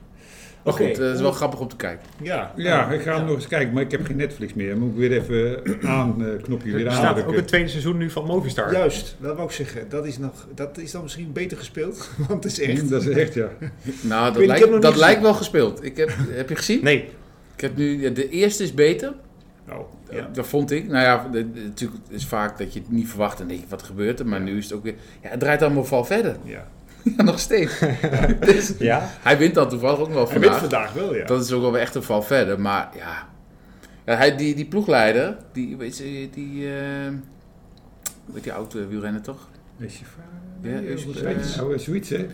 Speaker 3: Maar
Speaker 6: Oké.
Speaker 3: goed, eh, het is wel grappig om te kijken.
Speaker 6: Ja,
Speaker 5: ja
Speaker 3: Oh,
Speaker 5: ik ga hem nog eens kijken. Maar ik heb geen Netflix meer. Moet ik weer even aan eh, knopje weer
Speaker 4: Er staat ook
Speaker 5: aandrukken.
Speaker 4: het tweede seizoen nu van Movistar.
Speaker 2: Juist, dat wou ik zeggen. Dat is, nog, dat is dan misschien beter gespeeld, [laughs] want het is echt...
Speaker 5: Dat is echt, ja.
Speaker 3: Nou,
Speaker 2: Ik weet niet, ik heb nog
Speaker 3: dat, lijkt,
Speaker 2: niet
Speaker 3: dat
Speaker 2: gezien.
Speaker 3: lijkt wel gespeeld. Ik heb, heb je gezien?
Speaker 4: Nee,
Speaker 3: Ik heb nu, ja, de eerste is beter.
Speaker 5: Nou,
Speaker 3: Ja. Dat vond ik. Nou ja, de- de- natuurlijk is vaak dat je het niet verwacht en denk je, wat gebeurt er? Maar nu is het ook weer... Ja, het draait allemaal val verder. [laughs]
Speaker 2: Ja.
Speaker 3: Ja, nog steeds. Dus
Speaker 4: ja.
Speaker 3: hij wint dan toevallig ook wel
Speaker 2: Hij wint
Speaker 3: vandaag.
Speaker 2: vandaag wel, ja.
Speaker 3: Dat is ook wel echt een val verder. Maar ja, ja hij, die, die ploegleider, die, weet je, die, eh weet die oude wielrenner toch?
Speaker 5: Is je vader?
Speaker 3: Ja,
Speaker 5: Nee,
Speaker 3: is-
Speaker 5: of
Speaker 3: eh,
Speaker 5: zoiets. Oh, zoiets, hè?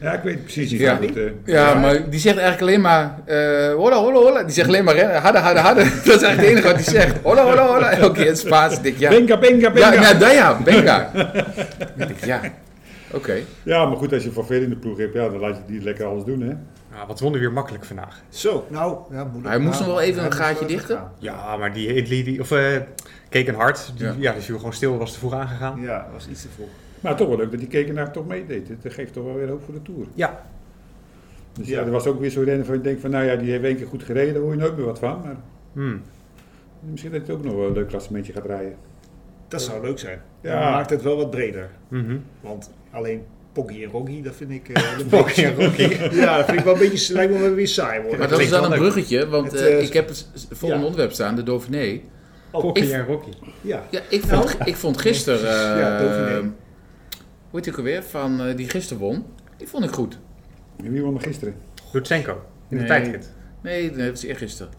Speaker 5: Ja, ik weet het precies niet.
Speaker 3: Ja.
Speaker 5: hoe het, eh,
Speaker 3: Ja, maar die zegt eigenlijk alleen maar, eh hola, hola, hola. Die zegt alleen maar, rennen, harder, harder, harder. [laughs] Dat is eigenlijk het enige wat hij zegt. Hola, hola, hola. [laughs] Elke keer in het Spaans. Ik denk, ja,
Speaker 5: Benga, benga, benga.
Speaker 3: ja,
Speaker 5: Ja,
Speaker 3: ja, daar ja, Benga. [laughs] Ik denk, ja, oké.
Speaker 5: maar goed, als je Van Veen in de ploeg hebt, ja, dan laat je die lekker alles doen, hè?
Speaker 4: Ah, wat wonnen weer makkelijk vandaag.
Speaker 2: Zo, nou... Ja, moeilijk.
Speaker 3: Hij moest nog wel even
Speaker 2: Hij
Speaker 3: een
Speaker 2: moest
Speaker 3: gaatje
Speaker 2: wel even
Speaker 3: dichten.
Speaker 2: gaan.
Speaker 4: Ja, maar die Idli, die, of eh Kekenhard, die,
Speaker 3: Ja.
Speaker 4: ja. die viel gewoon stil, was te vroeg aangegaan. Ja,
Speaker 2: Ja, was iets te vroeg.
Speaker 5: Maar toch wel leuk dat die kekenaar toch meedeed. Dat geeft toch wel weer hoop voor de Tour. Dus ja,
Speaker 2: Ja.
Speaker 5: er was ook weer zo'n renner van, je denkt van, nou ja, die heeft één keer goed gereden, daar hoor je nooit meer wat van. Maar
Speaker 4: Hmm.
Speaker 5: misschien dat hij ook nog wel een leuk klassementje gaat rijden.
Speaker 2: Dat zou leuk zijn.
Speaker 5: Ja.
Speaker 2: Ja. Maakt het wel wat breder.
Speaker 4: Mhm.
Speaker 2: Want alleen Poggy en Roggy, dat vind ik...
Speaker 5: [laughs]
Speaker 2: eh, een
Speaker 4: Poggy en
Speaker 2: beetje- [laughs] Ja, dat vind ik wel een beetje... lijkt me wel weer saai worden.
Speaker 3: Maar dat is
Speaker 4: klinkt
Speaker 3: dan een
Speaker 4: wel leuk.
Speaker 3: bruggetje, want
Speaker 2: Het,
Speaker 3: eh,
Speaker 2: eh,
Speaker 3: ik heb het s-
Speaker 2: ja.
Speaker 3: volgende onderwerp staan, de Dauphiné.
Speaker 4: Rocky
Speaker 3: ik-
Speaker 4: en Rocky.
Speaker 2: Ja.
Speaker 3: Ja, ik vond, ik vond gisteren... eh
Speaker 2: Ja, Dauphiné.
Speaker 3: Hoe heet die ook alweer? Van eh, die gisteren won. Die vond ik goed.
Speaker 5: En wie won er gisteren?
Speaker 4: Lutsenko, in de
Speaker 3: Nee.
Speaker 4: tijdrit.
Speaker 3: Nee, dat was eergisteren. Eh,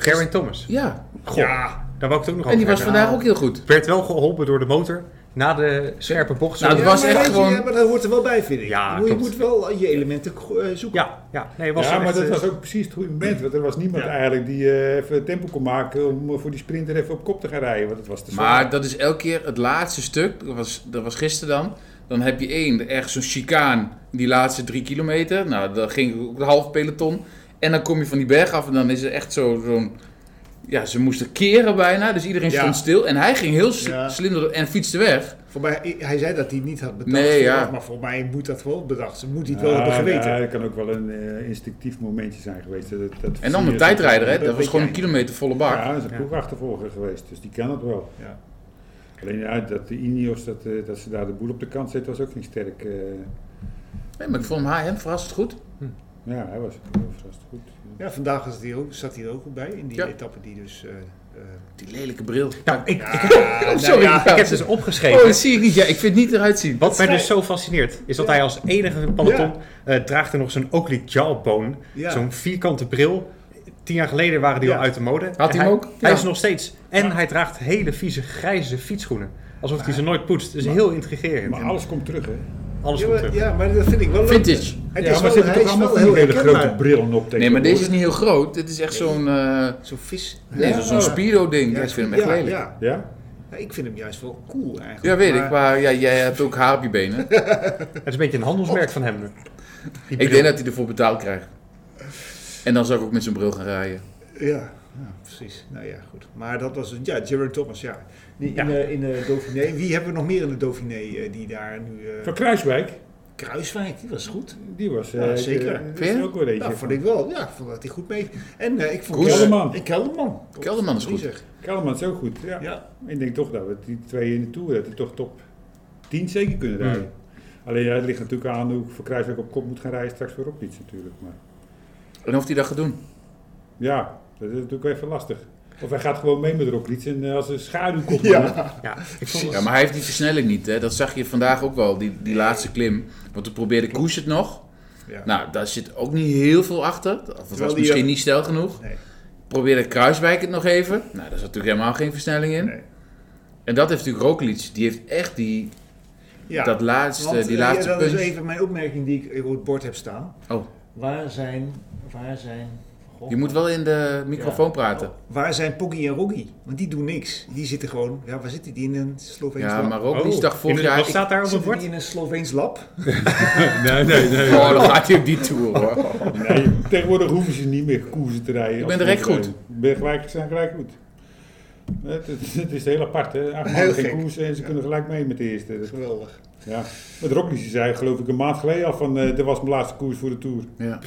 Speaker 3: gister-
Speaker 4: Gerwin Thomas.
Speaker 3: Ja,
Speaker 4: Goh,
Speaker 2: Ja.
Speaker 4: daar wou ik het ook nog
Speaker 2: Oh,
Speaker 3: en die
Speaker 4: over
Speaker 3: was
Speaker 4: hebben.
Speaker 3: vandaag ook heel goed.
Speaker 4: Werd wel geholpen door de motor na de scherpe bocht.
Speaker 3: Nou, het
Speaker 2: Ja,
Speaker 3: was
Speaker 2: maar
Speaker 3: echt
Speaker 2: weet je,
Speaker 3: gewoon-
Speaker 2: ja, maar dat hoort er wel bij, vind ik.
Speaker 4: Ja,
Speaker 2: je
Speaker 4: klopt.
Speaker 2: moet wel je elementen eh, zoeken.
Speaker 4: Ja, ja. Nee, het was
Speaker 5: ja,
Speaker 4: echt,
Speaker 5: maar dat
Speaker 4: eh,
Speaker 5: was ook precies het goede moment. Want er was niemand
Speaker 2: Ja.
Speaker 5: eigenlijk die eh, even tempo kon maken om voor die sprinter even op kop te gaan rijden. Want het was te zwaar.
Speaker 3: Maar dat is elke keer het laatste stuk, dat was, dat was gisteren dan. Dan heb je één, ergens zo'n chicaan, die laatste drie kilometer. Nou, dan ging ook de half peloton. En dan kom je van die berg af en dan is er echt zo- zo'n... ja, ze moesten keren bijna, dus iedereen
Speaker 2: Ja.
Speaker 3: stond stil. En hij ging heel s-
Speaker 2: Ja.
Speaker 3: slim door en fietste weg.
Speaker 2: Voor mij, hij zei dat hij het niet had bedacht.
Speaker 3: Nee,
Speaker 2: vooraf,
Speaker 3: ja.
Speaker 2: Maar voor mij moet dat wel bedacht. Ze moet hij het
Speaker 5: Ja,
Speaker 2: wel hebben geweten.
Speaker 5: ja, dat kan ook wel een eh, instinctief momentje zijn geweest. Dat, dat
Speaker 3: En dan
Speaker 5: zie
Speaker 3: een
Speaker 5: je-
Speaker 3: tijdrijder, hè. Dat
Speaker 2: weet
Speaker 3: was gewoon een
Speaker 2: jij.
Speaker 3: kilometer volle bak.
Speaker 5: Ja, dat is een ploegachtervolger geweest, dus die kan het wel.
Speaker 2: Ja.
Speaker 5: Alleen ja, dat de Ineos, dat, eh, dat ze daar de boel op de kant zetten, was ook niet sterk. eh.
Speaker 3: Nee, maar ik vond hem, hem verrassend goed.
Speaker 5: ja, hij was heel verrast goed.
Speaker 2: Ja, vandaag was het hier ook, zat hij er ook goed bij. In die
Speaker 3: Ja.
Speaker 2: etappe die dus...
Speaker 3: [laughs]
Speaker 2: eh, eh,
Speaker 3: Die lelijke bril.
Speaker 4: nou, ik, ik,
Speaker 2: ja,
Speaker 3: sorry.
Speaker 2: nou ja,
Speaker 4: ik heb dus
Speaker 3: Oh,
Speaker 4: opgeschreven.
Speaker 3: dat zie ik niet. Ja, ik vind het niet eruit zien.
Speaker 4: Wat mij dus zo fascineert, is dat hij als enige peloton eh, draagt er nog zo'n Oakley jawbone.
Speaker 2: Ja.
Speaker 4: Zo'n vierkante bril. Tien jaar geleden waren die
Speaker 2: Ja.
Speaker 4: al uit de mode. En
Speaker 3: hij hem ook?
Speaker 4: Hij
Speaker 3: Ja.
Speaker 4: is er nog steeds. En hij draagt hele vieze grijze fietsschoenen. Alsof hij ze nooit poetst. Dus heel intrigerend.
Speaker 5: Maar alles komt terug, hè?
Speaker 4: Alles
Speaker 2: ja,
Speaker 4: komt
Speaker 2: maar,
Speaker 4: terug.
Speaker 2: ja, maar dat vind ik wel leuk.
Speaker 3: Vintage.
Speaker 2: Het
Speaker 5: ja,
Speaker 2: is
Speaker 5: maar
Speaker 2: wel,
Speaker 5: ze hebben
Speaker 2: hij
Speaker 5: toch
Speaker 2: is
Speaker 5: allemaal
Speaker 2: wel
Speaker 5: van die
Speaker 2: heel
Speaker 5: hele grote
Speaker 2: herkenbaar.
Speaker 5: brillen op
Speaker 3: Nee, maar deze is
Speaker 5: tegenwoordig.
Speaker 3: niet heel groot. Dit is echt zo'n... eh,
Speaker 2: Zo'n vis.
Speaker 3: Nee, zo'n zo'n Spiro-ding. Ja, ik vind hem echt
Speaker 2: ja,
Speaker 3: lelijk. Ja,
Speaker 2: Ja.
Speaker 5: Ja?
Speaker 2: Ja, ik vind hem juist wel cool eigenlijk.
Speaker 3: weet ik, maar ja, jij hebt ook haar op je [laughs] benen.
Speaker 4: Het is een beetje een handelsmerk van hem. Die
Speaker 3: ik
Speaker 4: bril.
Speaker 3: denk dat hij ervoor betaald krijgt. En dan zou ik ook met zijn bril gaan rijden.
Speaker 2: Ja, ja, precies. Nou ja, goed. Maar dat was het. Ja, Jared Thomas, ja. Die in,
Speaker 4: Ja.
Speaker 2: eh, in de Dauphiné. Wie hebben we nog meer in de Dauphiné eh, die daar nu... eh,
Speaker 5: Van Kruiswijk,
Speaker 2: Kruiswijk, die was goed.
Speaker 5: die was...
Speaker 2: Ja,
Speaker 5: eh,
Speaker 2: zeker.
Speaker 5: eh,
Speaker 3: Vind je?
Speaker 5: ook weer eentje.
Speaker 2: Ja, vond ik wel. Ja, ik vond dat hij goed mee. En eh, ik vond
Speaker 3: Koes.
Speaker 5: Kelderman.
Speaker 2: En Kelderman.
Speaker 3: Kelderman is
Speaker 2: Die
Speaker 3: goed.
Speaker 2: zeg.
Speaker 5: Kelderman is ook goed, ja.
Speaker 2: Ja.
Speaker 5: Ik denk toch dat we die twee in de Tour, dat die toch top 10 zeker kunnen
Speaker 3: Hmm.
Speaker 5: rijden. Alleen ja, het ligt natuurlijk aan hoe Van Kruiswijk op kop moet gaan rijden straks voor Roglic natuurlijk. Maar
Speaker 3: En of hij dat gaat doen.
Speaker 5: ja, dat is natuurlijk even lastig. Of hij gaat gewoon mee met Roglic en eh, als een schaduw komt.
Speaker 2: Ja.
Speaker 4: Ja, ik vond het-
Speaker 3: Ja, maar hij heeft die versnelling niet. Hè. Dat zag je vandaag ook wel, die, die laatste klim. Want toen probeerde Koes het nog.
Speaker 2: Ja.
Speaker 3: Nou, daar zit ook niet heel veel achter. Dat was
Speaker 2: Terwijl die,
Speaker 3: misschien
Speaker 2: eh,
Speaker 3: niet snel genoeg.
Speaker 2: Nee.
Speaker 3: Probeerde Kruiswijk het nog even. Nou, daar zat natuurlijk helemaal geen versnelling in.
Speaker 2: Nee.
Speaker 3: En dat heeft natuurlijk Roglic. Die heeft echt die...
Speaker 2: Ja,
Speaker 3: dat laatste,
Speaker 2: want,
Speaker 3: die
Speaker 2: eh, ja,
Speaker 3: laatste
Speaker 2: dat
Speaker 3: punch.
Speaker 2: is even mijn opmerking die ik op het bord heb staan.
Speaker 3: Oh.
Speaker 6: Waar zijn, waar zijn, goh,
Speaker 3: Je moet wel in de microfoon praten.
Speaker 2: Waar zijn Poggi en Roggi? Want die doen niks. Die zitten gewoon, ja, waar zitten die in een Sloveens
Speaker 3: ja,
Speaker 2: lab?
Speaker 3: maar ook die
Speaker 4: Oh,
Speaker 3: dag vorig
Speaker 4: in het-
Speaker 3: jaar.
Speaker 4: Wat
Speaker 3: Ik,
Speaker 4: staat daar op het
Speaker 2: Zitten
Speaker 4: bord?
Speaker 2: die in een Sloveens lab?
Speaker 5: Nee, nee, nee.
Speaker 3: oh, dan gaat hij op die
Speaker 2: [laughs]
Speaker 3: tour hoor.
Speaker 5: nee. Tegenwoordig hoeven ze niet meer koersen te rijden.
Speaker 3: Ik
Speaker 5: als
Speaker 3: ben
Speaker 5: ze
Speaker 3: direct goed.
Speaker 5: rijden. Ik Ben gelijk, ze zijn gelijk goed. Het, het- het is heel apart, hè? Acht
Speaker 2: Heel
Speaker 5: maanden geen
Speaker 2: gek.
Speaker 5: koersen en ze kunnen gelijk mee met de eerste. Dat-
Speaker 2: Geweldig.
Speaker 5: Ja. Met Rocky ze zei geloof ik een maand geleden al van, eh dit was mijn laatste koers voor de Tour.
Speaker 3: Ja.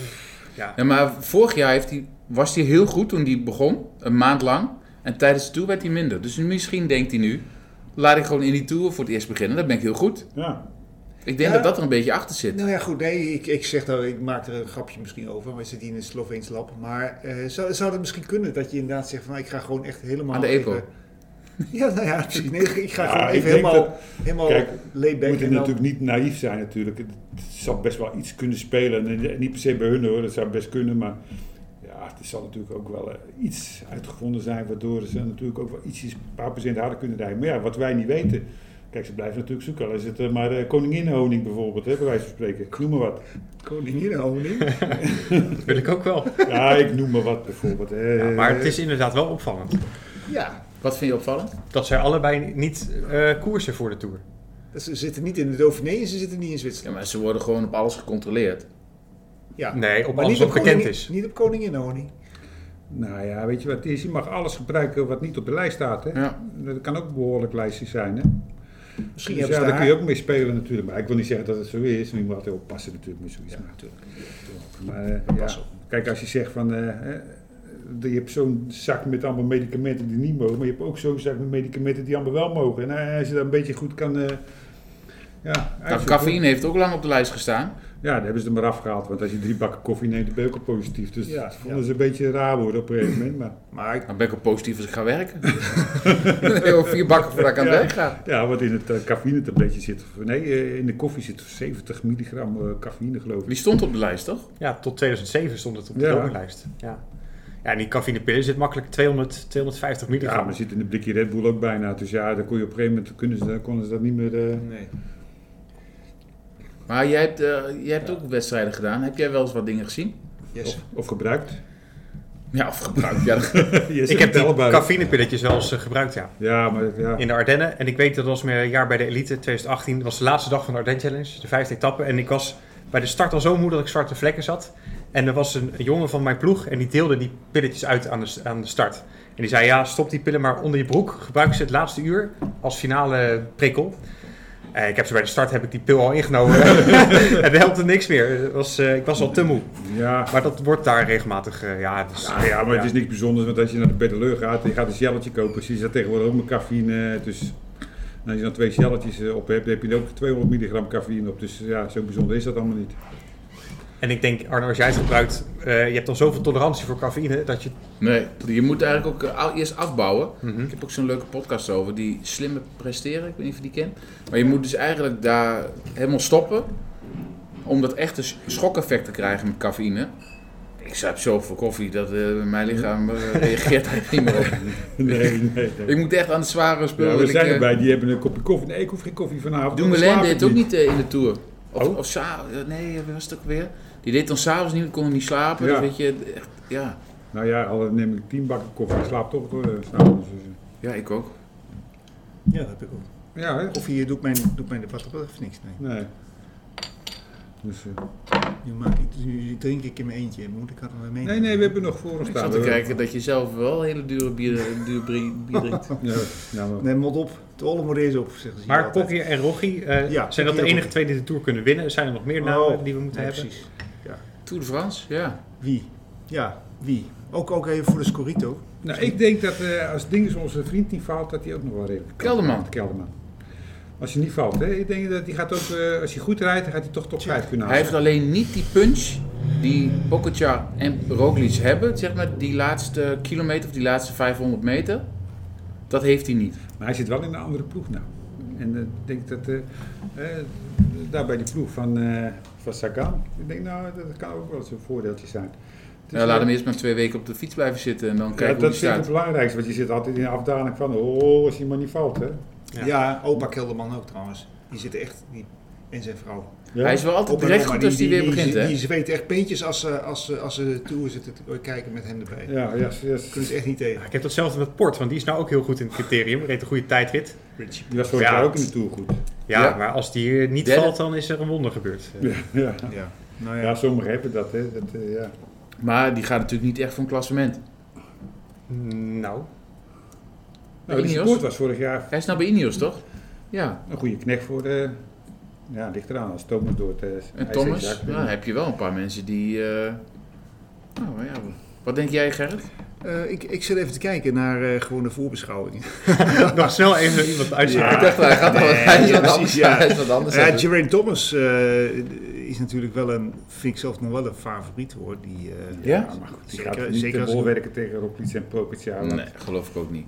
Speaker 4: Ja.
Speaker 3: Ja, maar vorig jaar heeft hij, was hij heel goed toen hij begon, een maand lang. En tijdens de Tour werd hij minder. Dus misschien denkt hij nu, laat ik gewoon in die Tour voor het eerst beginnen. Dan ben ik heel goed.
Speaker 5: Ja.
Speaker 3: Ik denk
Speaker 2: Ja.
Speaker 3: dat dat er een beetje achter zit.
Speaker 2: Nou ja, goed, nee, ik, ik zeg dat, ik maak er een grapje misschien over. Maar zit die in een Sloveens lab? Maar eh, zou, zou dat misschien kunnen dat je inderdaad zegt van, nou, ik ga gewoon echt helemaal...
Speaker 3: Aan de
Speaker 2: even- [laughs]
Speaker 3: EPO.
Speaker 2: Ja, nou ja, misschien. Nee, ik ga
Speaker 5: Ja,
Speaker 2: gewoon
Speaker 5: ik
Speaker 2: even
Speaker 5: denk
Speaker 2: helemaal,
Speaker 5: dat-
Speaker 2: helemaal
Speaker 5: Kijk,
Speaker 2: laid
Speaker 5: We
Speaker 2: back
Speaker 5: moeten
Speaker 2: en dan- [laughs]
Speaker 5: natuurlijk niet naïef zijn natuurlijk. Het het zal best wel iets kunnen spelen. En niet per se bij hun hoor, dat zou best kunnen. Maar ja, er zal natuurlijk ook wel eh, iets uitgevonden zijn... waardoor ze natuurlijk ook wel ietsjes, een paar procent harder kunnen rijden. Maar ja, wat wij niet weten... Kijk, ze blijven natuurlijk zoeken. Al is het eh, maar eh, koninginnenhoning bijvoorbeeld, hè, bij wijze van spreken. Ik noem maar wat. [laughs]
Speaker 2: Koninginnenhoning.
Speaker 4: Dat wil ik ook wel.
Speaker 5: Ja, ik noem maar wat bijvoorbeeld. hè.
Speaker 2: Eh.
Speaker 4: Ja, maar het is inderdaad wel opvallend.
Speaker 2: ja,
Speaker 3: Wat vind je opvallend?
Speaker 4: Dat zij allebei niet eh, koersen voor de Tour.
Speaker 2: ze zitten niet in de Dauphiné en ze zitten niet in
Speaker 3: Ja,
Speaker 2: Zwitserland.
Speaker 3: maar ze worden gewoon op alles gecontroleerd.
Speaker 2: Ja.
Speaker 4: Nee, op
Speaker 2: Maar
Speaker 4: alles
Speaker 2: niet
Speaker 4: wat
Speaker 2: op
Speaker 4: bekend
Speaker 2: koningin-
Speaker 4: is.
Speaker 2: Niet op koninginnenhoning.
Speaker 5: Nou ja, weet je wat het is? Je mag alles gebruiken wat niet op de lijst staat. Hè?
Speaker 3: Ja. Nou,
Speaker 5: Dat kan ook een behoorlijk lijstje zijn. Hè?
Speaker 2: Misschien
Speaker 5: Dus
Speaker 2: hebben
Speaker 5: ja,
Speaker 2: ze
Speaker 5: daar
Speaker 2: daar...
Speaker 5: kun je ook mee spelen natuurlijk. Maar ik wil niet zeggen dat het zo is. maar Je moet altijd oppassen natuurlijk met zoiets. maar maar eh, ja,
Speaker 2: Pas op.
Speaker 5: kijk, als je zegt van... eh, eh, je hebt zo'n zak met allemaal medicamenten die niet mogen. Maar je hebt ook zo'n zak met medicamenten die allemaal wel mogen. En eh, als je dat een beetje goed kan... eh, ja,
Speaker 3: Nou,
Speaker 5: uitzoeken.
Speaker 3: cafeïne heeft ook lang op de lijst gestaan.
Speaker 5: Ja, dat hebben ze er maar afgehaald. Want als je drie bakken koffie neemt, dan ben je ook al positief. Dus
Speaker 2: Ja,
Speaker 5: dat vonden ze een beetje raar worden op een gegeven moment. Maar
Speaker 2: [clears throat] Maar ik-
Speaker 3: Dan Nou, ben ik ook positief als ik ga werken. [laughs] nee, hoor, vier bakken voordat ik aan het
Speaker 5: Ja.
Speaker 3: werk ga.
Speaker 5: Ja, wat in het eh, cafeïnetabletje zit. Nee, eh, in de koffie zit 70 milligram eh, cafeïne, geloof ik.
Speaker 3: Die stond op de lijst, toch?
Speaker 4: Ja, tot 2007 stond het op de
Speaker 5: Ja.
Speaker 4: dodenlijst. Ja. ja, en die cafeïnepillen zit makkelijk 200, 250
Speaker 5: Ja,
Speaker 4: milligram.
Speaker 5: maar zit in een blikje Red Bull ook bijna. Dus ja, dan kon je op een gegeven moment kunnen ze, konden ze dat niet meer. eh,
Speaker 2: Nee.
Speaker 3: Maar jij hebt, eh, jij hebt ook wedstrijden gedaan. Heb jij wel eens wat dingen gezien?
Speaker 2: Yes.
Speaker 5: of gebruikt.
Speaker 3: Ja, of gebruikt. Ja, dat-
Speaker 5: Je
Speaker 4: ik
Speaker 5: zit
Speaker 4: heb
Speaker 5: er
Speaker 4: die
Speaker 5: allebei.
Speaker 4: cafeïnepilletjes wel eens eh, gebruikt, ja.
Speaker 5: Ja, maar ja.
Speaker 4: In de Ardennen. En ik weet dat was mijn jaar bij de Elite 2018. Dat was de laatste dag van de Ardennen Challenge. De vijfde etappe. En ik was bij de start al zo moe dat ik zwarte vlekken zat. En er was een jongen van mijn ploeg. En die deelde die pilletjes uit aan de, aan de start. En die zei, ja, stop die pillen maar onder je broek. Gebruik ze het laatste uur als finale prikkel. Eh, ik heb ze bij de start heb ik die pil al ingenomen. [laughs] en dat helpt er niks meer. Het Was, eh, ik was al te moe.
Speaker 5: Ja.
Speaker 4: Maar dat wordt daar regelmatig... eh, ja, dus,
Speaker 5: Ja, ja, maar het is niks bijzonders, want als je naar de pedeleur gaat, je gaat een shelletje kopen, zie je dat tegenwoordig ook met cafeïne. eh, Dus en als je dan twee shelletjes eh, op hebt, dan heb je er ook 200 milligram cafeïne op. Dus ja, zo bijzonder is dat allemaal niet. [laughs]
Speaker 4: En ik denk, Arno, als jij het gebruikt... eh, je hebt dan zoveel tolerantie voor cafeïne... dat je
Speaker 3: Nee, je moet eigenlijk ook eh, al- eerst afbouwen.
Speaker 5: Mhm.
Speaker 3: Ik heb ook zo'n leuke podcast over, die slimme presteren, ik weet niet of je die kent. Maar je moet dus eigenlijk daar helemaal stoppen, om dat echte sch- schokeffect te krijgen met cafeïne. Ik zuip zoveel koffie dat eh, mijn lichaam
Speaker 5: [laughs]
Speaker 3: eh, reageert eigenlijk niet meer op.
Speaker 5: Nee, nee, nee.
Speaker 3: Ik moet echt aan de zware spullen.
Speaker 5: Ja, we
Speaker 3: wil ik,
Speaker 5: zijn
Speaker 3: eh,
Speaker 5: erbij, die hebben een kopje koffie. Nee, ik hoef geen koffie vanavond.
Speaker 3: Doen
Speaker 5: we
Speaker 3: we
Speaker 5: slapen
Speaker 3: deed het ook niet eh, in de tour. Of,
Speaker 4: Oh.
Speaker 3: of sa- eh, nee, wie was het ook weer? Die deed dan s'avonds niet, kon niet slapen.
Speaker 5: Ja.
Speaker 3: Dus weet je, echt, ja.
Speaker 5: Nou ja, al neem ik tien bakken koffie, ik slaap toch door. eh, s'avonds. Dus, eh,
Speaker 3: ja, ik ook.
Speaker 2: Ja, dat heb ik ook.
Speaker 5: Ja, hè?
Speaker 2: Of hier doet mijn, doet mijn debat op even niks. Nee.
Speaker 5: Nee. Dus, eh,
Speaker 2: Nu, maak ik, nu drink ik in mijn eentje. Moet ik dat nog mee?
Speaker 5: nee, nee, we hebben nog voor ons
Speaker 3: Ik
Speaker 5: staan.
Speaker 3: zat te
Speaker 5: Nou, We-
Speaker 3: kijken dat je zelf wel hele dure bier, duur bier, bier drinkt.
Speaker 5: [laughs] Ja, ja, maar-
Speaker 2: Nee, mot op. De olle moet deze op, zeggen ze
Speaker 4: Maar Kokkie en Rogi eh,
Speaker 2: Ja,
Speaker 4: zijn dat
Speaker 2: Kokkie
Speaker 4: de
Speaker 2: en
Speaker 4: enige twee die de Tour kunnen winnen? Zijn er nog meer namen
Speaker 5: Oh,
Speaker 2: Oh.
Speaker 4: die we moeten hebben?
Speaker 2: Precies.
Speaker 3: Tour de France, ja.
Speaker 2: Wie? Ja, wie? Ook, ook even voor de Scorito.
Speaker 5: Nou, ik denk dat eh, als Dinges onze vriend niet faalt, dat hij ook nog wel redelijk kan.
Speaker 3: Kelderman.
Speaker 5: Kelderman. Als je niet valt, hè? ik denk dat die gaat ook, eh, als je goed rijdt, dan gaat hij toch top 5 kunnen
Speaker 3: Hij
Speaker 5: halen.
Speaker 3: heeft alleen niet die punch die Pogacar en Roglic hebben. Zeg maar die laatste kilometer of die laatste 500 meter. Dat heeft hij niet.
Speaker 5: Maar hij zit wel in een andere ploeg nou. En eh, ik denk dat, eh, eh, daar bij die ploeg van, eh, van Sagan, ik denk nou, dat kan ook wel eens een voordeeltje zijn. Het is
Speaker 3: Ja,
Speaker 5: wel-
Speaker 3: Nou, laat hem eerst maar twee weken op de fiets blijven zitten en dan
Speaker 5: Ja,
Speaker 3: kijken hoe
Speaker 5: dat
Speaker 3: hij
Speaker 5: is het
Speaker 3: staat.
Speaker 5: belangrijkste, want je zit altijd in de afdaling van, oh, als je maar niet valt, hè.
Speaker 4: Ja.
Speaker 2: Ja, opa Kelderman ook trouwens. die zitten echt, die, en zijn vrouw.
Speaker 5: Ja?
Speaker 3: Hij is wel altijd direct goed als hij weer begint,
Speaker 2: dus Die,
Speaker 3: hè?
Speaker 2: die zweet echt peentjes als ze, als ze, als ze toe zitten te kijken met hem erbij.
Speaker 5: Ja, yes, yes.
Speaker 2: Kunnen ze echt niet tegen.
Speaker 4: Ik heb datzelfde met Port, want die is nou ook heel goed in het criterium. Reed een goede tijdrit.
Speaker 2: Richie.
Speaker 5: Die was vorig
Speaker 4: Ja.
Speaker 5: jaar ook in de Tour goed.
Speaker 4: Ja,
Speaker 3: Ja.
Speaker 4: maar als die hier niet
Speaker 3: Derde.
Speaker 4: valt, dan is er een wonder gebeurd. Eh,
Speaker 5: Ja, ja.
Speaker 2: Ja. Nou ja.
Speaker 5: ja sommigen hebben dat, hè. Dat, eh, ja.
Speaker 3: Maar die gaat natuurlijk niet echt voor een klassement.
Speaker 4: Nou, [laughs]
Speaker 5: Nou, die
Speaker 3: Ineos?
Speaker 5: support was vorig jaar
Speaker 3: Hij is nou bij Ineos, toch? Ja.
Speaker 5: een goede knecht voor... eh ja, ligt eraan als Thomas door het... eh,
Speaker 3: En
Speaker 5: ijs
Speaker 3: Thomas,
Speaker 5: heen
Speaker 3: nou,
Speaker 5: zakt.
Speaker 3: dan heb je wel een paar mensen die... eh, Nou maar ja, wat denk jij, Gerrit?
Speaker 2: Eh, ik, ik zit even te kijken naar eh, gewoon de voorbeschouwing.
Speaker 4: nog snel even iemand uitzien.
Speaker 3: Ik dacht, hij gaat wel- hij is
Speaker 2: ja,
Speaker 3: wat
Speaker 2: precies,
Speaker 3: anders.
Speaker 2: ja.
Speaker 3: Hij is wat anders.
Speaker 2: Ja, Geraint Thomas eh, is natuurlijk wel een, vind ik zelf nog wel een favoriet hoor. Die, eh,
Speaker 3: Ja?
Speaker 5: maar goed, die
Speaker 2: Zeker-
Speaker 5: gaat niet
Speaker 2: zeker
Speaker 5: te
Speaker 2: als-
Speaker 5: bol werken tegen Roglic en Pogacar. want
Speaker 3: Nee, geloof ik ook niet.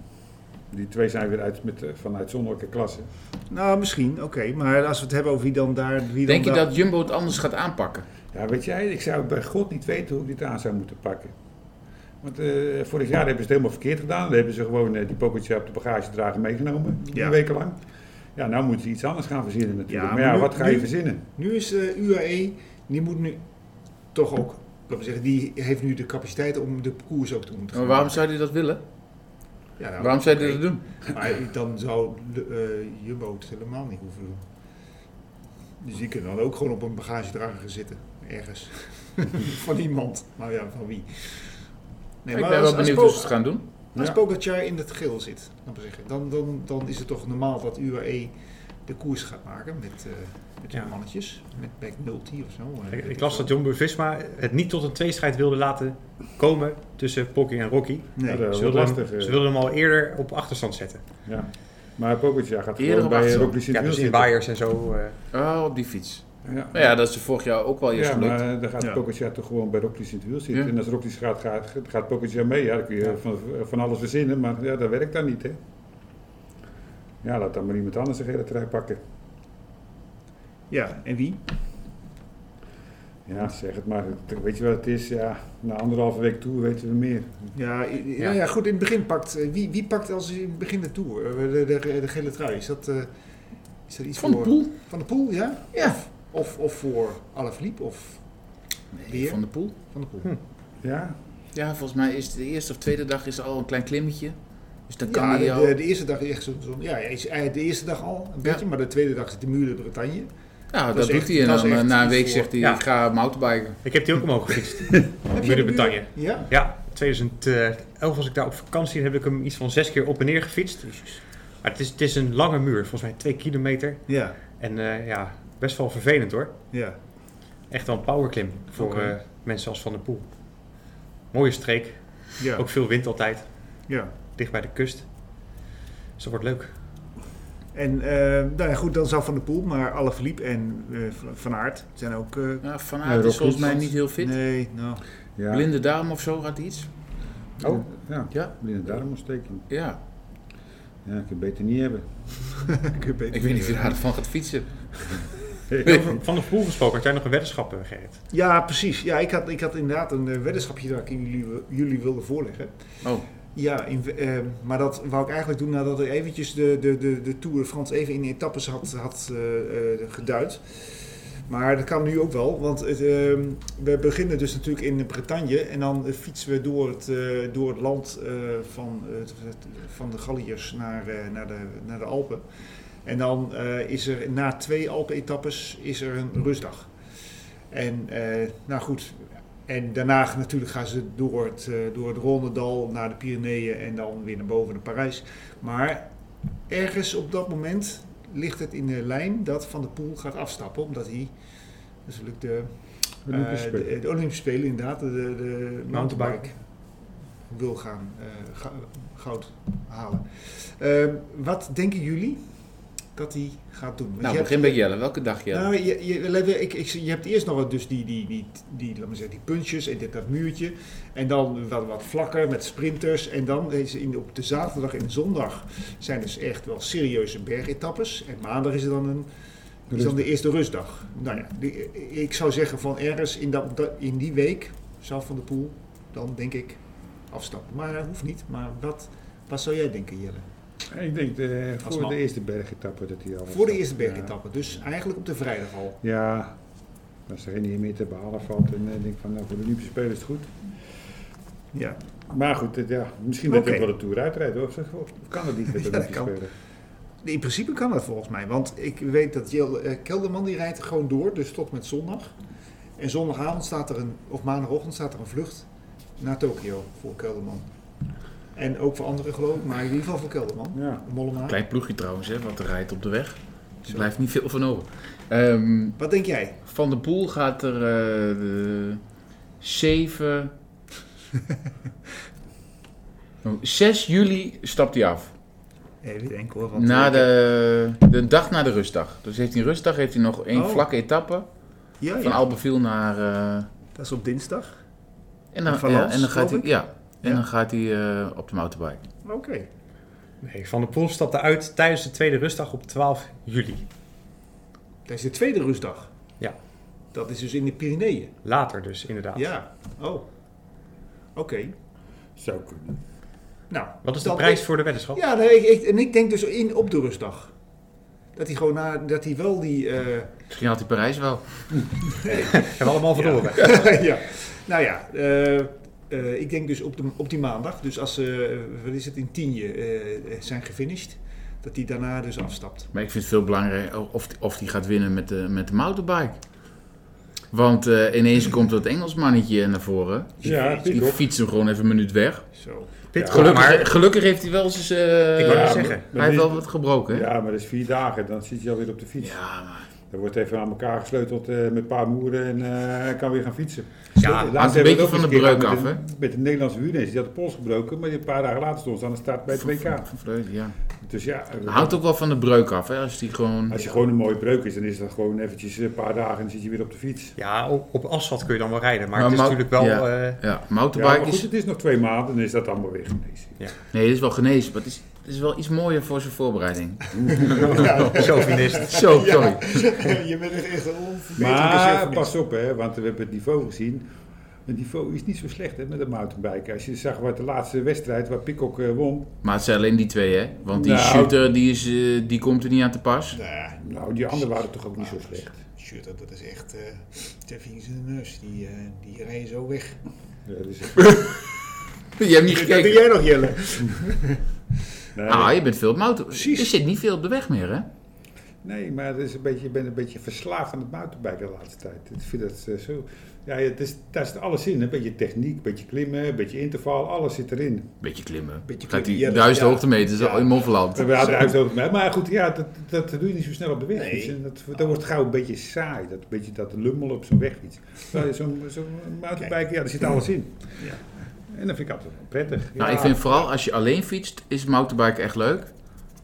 Speaker 5: Die twee zijn weer uit, met, eh, van uitzonderlijke klassen.
Speaker 2: Nou, misschien, oké. Maar als we het hebben over wie dan daar... Wie
Speaker 3: Denk je
Speaker 2: dan daar-
Speaker 3: dat Jumbo het anders gaat aanpakken?
Speaker 5: Ja, weet jij, ik zou bij God niet weten hoe ik dit aan zou moeten pakken. Want eh, vorig jaar hebben ze het helemaal verkeerd gedaan. Dan hebben ze gewoon eh, die poppetje op de bagagedrager meegenomen,
Speaker 2: Ja.
Speaker 5: een week lang. Ja, nou moeten ze iets anders gaan verzinnen natuurlijk.
Speaker 2: Ja,
Speaker 5: maar ja,
Speaker 2: maar nu-
Speaker 5: wat ga je
Speaker 2: nu-
Speaker 5: verzinnen?
Speaker 2: Nu is eh, de UAE, E, die moet nu toch ook... Laten we zeggen, die heeft nu de capaciteit om de koers ook te doen.
Speaker 3: Maar waarom zou hij dat willen?
Speaker 2: ja, nou,
Speaker 3: Waarom zou hij
Speaker 2: oké.
Speaker 3: dat doen?
Speaker 2: Maar dan zou de, eh, Jumbo het helemaal niet hoeven doen. Dus die kunnen dan ook gewoon op een bagagedrager gaan zitten. Ergens. [laughs] van iemand. Maar ja, van wie? Nee,
Speaker 3: ik ben wel benieuwd hoe
Speaker 2: Pog-
Speaker 3: ze het gaan doen.
Speaker 2: als
Speaker 5: Ja.
Speaker 2: Pogacar in het geel zit, laten we zeggen, dan, dan, dan is het toch normaal dat UAE de koers gaat maken met, eh met hun
Speaker 4: Ja.
Speaker 2: mannetjes. Met McNulty of zo. eh,
Speaker 4: Ik,
Speaker 2: weet
Speaker 4: ik las
Speaker 2: veel.
Speaker 4: dat Jumbo Visma het niet tot een tweestrijd wilde laten komen tussen Pocky en Rocky.
Speaker 5: Ja,
Speaker 2: Nee,
Speaker 5: dat
Speaker 4: Ze
Speaker 5: wordt
Speaker 4: wilden,
Speaker 5: lastig,
Speaker 4: hem,
Speaker 5: eh.
Speaker 4: ze wilden hem al eerder op achterstand zetten.
Speaker 5: Ja. Maar Pogacar gaat
Speaker 3: Eerder
Speaker 5: gewoon
Speaker 3: op
Speaker 5: bij eh,
Speaker 3: achterstand.
Speaker 5: Roglic in
Speaker 4: Ja,
Speaker 5: het wiel
Speaker 4: dus in
Speaker 5: zitten.
Speaker 4: waaiers en zo. eh.
Speaker 3: Oh, op die fiets.
Speaker 5: Ja.
Speaker 3: Nou ja, dat is vorig jaar ook wel eerst
Speaker 5: Ja,
Speaker 3: gelukt.
Speaker 5: maar eh, dan gaat
Speaker 2: Ja.
Speaker 5: Pogacar toch gewoon bij Roglic in het wiel zitten.
Speaker 3: Ja.
Speaker 5: En als Roglic gaat, gaat, gaat Pogacar mee. Ja, dan kun je van, van alles verzinnen, maar ja, dat werkt dan niet, hè. Ja, laat dan maar iemand anders een hele trui pakken.
Speaker 2: ja, en wie?
Speaker 5: Ja, zeg het maar. Het- Weet je wat het is? Ja, na anderhalve week toe weten we meer.
Speaker 2: Ja, i- i- Nou ja, goed, in het begin pakt... eh, Wie, wie pakt als in het begin de Tour? Eh, De, de, de gele trui, is dat, eh, is dat iets
Speaker 3: Van de
Speaker 2: voor...
Speaker 3: Poel?
Speaker 2: Van de Poel, ja?
Speaker 3: Ja.
Speaker 2: Of, of voor Alaphilippe of
Speaker 3: Nee,
Speaker 2: Weer?
Speaker 3: van de Poel.
Speaker 2: Van de Poel?
Speaker 3: Hm,
Speaker 5: Ja?
Speaker 3: Ja, volgens mij is de eerste of tweede dag is er al een klein klimmetje. Dus dan kan
Speaker 2: Ja,
Speaker 3: hij
Speaker 2: de,
Speaker 3: al...
Speaker 2: de, de eerste dag is echt zo'n... zo'n- ja, is eigenlijk de eerste dag al een beetje, maar de tweede dag is de muur de Bretagne.
Speaker 3: ja, dat,
Speaker 2: dat is
Speaker 3: doet
Speaker 2: echt-
Speaker 3: hij. En
Speaker 2: dat is
Speaker 3: dan, eh,
Speaker 2: echt
Speaker 3: na een week
Speaker 2: voor-
Speaker 3: zegt hij,
Speaker 4: Ja.
Speaker 3: ik ga mountainbiken.
Speaker 4: Ik heb die ook omhoog gefietst.
Speaker 2: Heb
Speaker 4: Muur de
Speaker 2: hem nu-
Speaker 4: Bretagne.
Speaker 2: Ja?
Speaker 4: Ja, 2011 was ik daar op vakantie en heb ik hem iets van zes keer op en neer gefietst. Maar het is, het is een lange muur, volgens mij twee kilometer.
Speaker 2: Ja,
Speaker 4: En eh, ja, best wel vervelend hoor.
Speaker 2: ja.
Speaker 4: Echt wel een powerklim voor
Speaker 2: Oké.
Speaker 4: eh, mensen als Van der Poel. Mooie streek,
Speaker 2: Ja,
Speaker 4: ook veel wind altijd,
Speaker 2: ja.
Speaker 4: dicht bij de kust. Dus dat wordt leuk.
Speaker 2: En eh, nou ja, goed, dan zou Van der Poel, maar Alaphilippe en eh, Van Aert zijn ook... eh,
Speaker 3: Ja, van
Speaker 5: Nee,
Speaker 3: Aert
Speaker 5: Rob
Speaker 3: is volgens mij
Speaker 5: Hoefland.
Speaker 3: niet heel fit.
Speaker 2: nee, nou... [laughs]
Speaker 5: Ja.
Speaker 3: Blinde darm of zo had hij iets.
Speaker 5: Oh. Ja,
Speaker 3: Ja,
Speaker 5: blinde darmontsteking.
Speaker 3: ja.
Speaker 5: Ja, ik kan beter niet hebben.
Speaker 2: Ik, weet
Speaker 3: Ik weet niet wie daar van gaat fietsen.
Speaker 4: Over Van der Poel gesproken, had jij nog een weddenschap, eh, Gerrit?
Speaker 2: Ja, precies. Ja, ik had, ik had inderdaad een eh, weddenschapje dat ik in jullie, jullie wilde voorleggen.
Speaker 3: Oh,
Speaker 2: Ja, in, eh, maar dat wou ik eigenlijk doen nadat ik eventjes de, de, de, de Tour de France even in etappes had, had eh, eh, geduid. Maar dat kan nu ook wel, want het, eh, we beginnen dus natuurlijk in Bretagne en dan eh, fietsen we door het, eh, door het land eh, van, het- het- van de Galliërs naar, eh, naar, de, naar de Alpen. En dan eh, is er na twee Alpen-etappes is er een rustdag. En eh, nou goed, en daarna natuurlijk gaan ze door het, eh, door het Rondendal naar de Pyreneeën en dan weer naar boven naar Parijs. Maar ergens op dat moment ligt het in de lijn dat Van der Poel gaat afstappen, omdat hij natuurlijk de
Speaker 5: Olympische
Speaker 2: eh,
Speaker 5: Spelen.
Speaker 2: de, de Olympische Spelen inderdaad, de, de mountainbike
Speaker 4: Mountainbike.
Speaker 2: wil gaan eh, ga- goud halen. Eh, wat denken jullie dat hij gaat doen? Want
Speaker 3: nou
Speaker 2: je hebt-
Speaker 3: begin bij Jelle. Welke dag Jelle?
Speaker 2: nou, je, je, let wel, ik, ik, je hebt eerst nog wat dus die, die, die, die, laat maar zeggen, die puntjes en dit dat muurtje. En dan wat, wat vlakker met sprinters. En dan deze in, op de zaterdag en zondag zijn dus echt wel serieuze bergetappes. En maandag is er dan, een, is dan de eerste rustdag. Nou ja, die- ik zou zeggen van ergens in, dat, dat- in die week zou Van der Poel dan denk ik afstappen. Maar dat hoeft niet. Maar wat, wat zou jij denken Jelle?
Speaker 5: Ik denk eh, voor
Speaker 2: man.
Speaker 5: de eerste bergetappe dat hij al was.
Speaker 2: Voor de eerste
Speaker 5: Ja.
Speaker 2: bergetappe, dus eigenlijk op de vrijdag al.
Speaker 5: Ja, als er geen hier meer te behalen valt en eh, denk van nou, voor de Olympische Spelen is het goed.
Speaker 2: Ja.
Speaker 5: Maar goed, dit- ja, misschien dat
Speaker 2: Oké.
Speaker 5: hij ook wel de Tour uitrijdt hoor. Zeg, of kan [laughs] dat niet met de
Speaker 2: Ja, dat
Speaker 5: Olympische
Speaker 2: kan.
Speaker 5: Spelen?
Speaker 2: In principe kan dat volgens mij, want ik weet dat Jel, eh, Kelderman die rijdt gewoon door, dus tot met zondag. En zondagavond staat er een, of maandagochtend staat er een vlucht naar Tokio voor Kelderman. En ook voor anderen geloof ik, maar in ieder geval voor Kelderman.
Speaker 5: Ja.
Speaker 2: Mollema.
Speaker 3: Klein ploegje trouwens, hè, want er rijdt op de weg. Dus er blijft niet veel van over. Ehm,
Speaker 2: Wat denk jij?
Speaker 3: van de Poel gaat er eh, de
Speaker 2: [laughs]
Speaker 3: zeven... 6 Oh, juli stapt hij af.
Speaker 2: Even niet enkel hoor.
Speaker 3: Na de, de dag na de rustdag. Dus heeft hij een rustdag, heeft hij nog één
Speaker 2: Oh.
Speaker 3: vlakke etappe.
Speaker 2: Ja,
Speaker 3: Van
Speaker 2: ja.
Speaker 3: Albeville naar... eh,
Speaker 2: Dat is op dinsdag.
Speaker 3: en dan,
Speaker 2: En Valence,
Speaker 3: ja, en dan gaat
Speaker 2: geloof
Speaker 3: hij,
Speaker 2: ik?
Speaker 3: ja, en
Speaker 2: Ja.
Speaker 3: dan gaat hij eh, op de motorbike.
Speaker 2: Oké.
Speaker 4: Nee, Van der Poel stapte uit tijdens de tweede rustdag op 12 juli.
Speaker 2: Dat is de tweede rustdag.
Speaker 4: Ja.
Speaker 2: Dat is dus in de Pyreneeën.
Speaker 4: Later dus, inderdaad.
Speaker 2: Ja. Oh. Oké.
Speaker 5: Zou kunnen.
Speaker 2: Nou.
Speaker 4: Wat is de
Speaker 2: dat-
Speaker 4: prijs voor de weddenschap?
Speaker 2: Ja, nee, ik, ik- en ik denk dus in op de rustdag. Dat hij gewoon na, dat hij wel die. eh, [laughs]
Speaker 3: Misschien had hij Parijs wel.
Speaker 4: Hebben we allemaal verloren.
Speaker 2: ja. Nou ja, eh, eh, ik denk dus op, de, op die maandag, dus als ze, eh, wat is het, in tienje eh, zijn gefinished, dat hij daarna dus afstapt.
Speaker 3: Maar ik vind het veel belangrijker of, of hij gaat winnen met de, met de motorbike. Want eh, ineens komt dat Engels mannetje naar voren.
Speaker 5: Ja,
Speaker 3: Die
Speaker 5: Pitcock.
Speaker 3: fietst hem gewoon even een minuut weg.
Speaker 2: Zo.
Speaker 4: Pitcock,
Speaker 3: Gelukkig,
Speaker 4: maar
Speaker 3: gelukkig heeft hij wel eens... eh,
Speaker 4: Ik wou net
Speaker 5: Ja,
Speaker 4: zeggen.
Speaker 5: maar-
Speaker 3: Hij heeft wel
Speaker 5: maar-
Speaker 3: wat gebroken, hè?
Speaker 5: Ja, maar dat is vier dagen, dan zit je alweer op de fiets.
Speaker 3: Ja, maar
Speaker 5: Dan wordt even aan elkaar gesleuteld eh, met een paar moeren en eh, hij kan weer gaan fietsen.
Speaker 4: Ja,
Speaker 5: Laatst
Speaker 3: hangt een
Speaker 5: hebben we
Speaker 3: beetje
Speaker 5: ook
Speaker 3: van
Speaker 5: eens
Speaker 3: de
Speaker 5: een keer
Speaker 3: breuk
Speaker 5: gehad
Speaker 3: af,
Speaker 5: met een- Met de Nederlandse huurnees, die had de pols gebroken, maar die een paar dagen later stond ze aan de start bij het WK.
Speaker 3: van Vleuten, ja.
Speaker 5: Dus ja,
Speaker 3: Het Hangt ook wel van de breuk af, hè? Als hij gewoon...
Speaker 5: als je gewoon een mooie breuk is, dan is dat gewoon eventjes een paar dagen en dan zit je weer op de fiets.
Speaker 4: ja, op, op asfalt kun je dan wel rijden. Maar,
Speaker 3: Maar
Speaker 4: het is
Speaker 3: Mau-
Speaker 4: natuurlijk wel...
Speaker 3: ja.
Speaker 4: eh,
Speaker 3: Ja,
Speaker 5: Ja, maar
Speaker 3: motorbike
Speaker 5: goed,
Speaker 3: is...
Speaker 5: het is nog twee maanden en is dat allemaal weer genezen.
Speaker 3: Nee, dit is wel genezen, maar het is, het is wel iets mooier voor zijn voorbereiding.
Speaker 4: chauvinist.
Speaker 3: Zo, sorry.
Speaker 2: [laughs] je bent echt
Speaker 5: Maar pas op, hè, want we hebben het niveau gezien. Het niveau is niet zo slecht hè, met een mountainbiken. Als je zag wat de laatste wedstrijd waar Pikok eh, won,
Speaker 3: Maar het zijn alleen die twee, hè? Want die
Speaker 5: Nou.
Speaker 3: shooter, die, is, eh, die komt er niet aan te pas.
Speaker 2: Ja,
Speaker 5: nou die anderen waren toch ook niet
Speaker 3: Ah,
Speaker 5: zo slecht.
Speaker 2: shit, dat- dat is echt. eh ter vingers in de neus. Die, eh die rijden zo weg.
Speaker 5: Ja,
Speaker 3: [laughs] [laughs]
Speaker 5: dus,
Speaker 3: Je hebt niet
Speaker 2: Dat doe
Speaker 3: gekeken.
Speaker 2: jij nog, Jelle.
Speaker 5: nee,
Speaker 3: Ah, je bent veel op motor.
Speaker 2: Precies.
Speaker 3: Je zit niet veel op de weg meer, hè?
Speaker 5: nee, maar het is een beetje, je bent een beetje verslaafd aan het mountainbiken de laatste tijd. Ik vind dat eh, zo. Ja, het is, daar zit alles in. Een beetje techniek, een beetje klimmen, een beetje interval, alles zit erin.
Speaker 3: Beetje klimmen.
Speaker 2: Beetje
Speaker 3: Gaat die
Speaker 2: klimmen, ja,
Speaker 3: duizend
Speaker 2: ja.
Speaker 3: hoogtemeters
Speaker 2: Ja.
Speaker 3: al in Moffeland.
Speaker 5: We hadden uitgenodigd mij. Maar goed, ja, dat, dat doe je niet zo snel op de weg.
Speaker 2: Nee.
Speaker 5: En dat, dat wordt gauw een beetje saai. Dat, beetje dat lummel op zo'n weg. Zo'n zo mountainbike, ja, daar zit alles in. En dat vind ik altijd wel prettig.
Speaker 3: Nou,
Speaker 5: Ja.
Speaker 3: ik vind vooral als je alleen fietst, is mountainbiken echt leuk.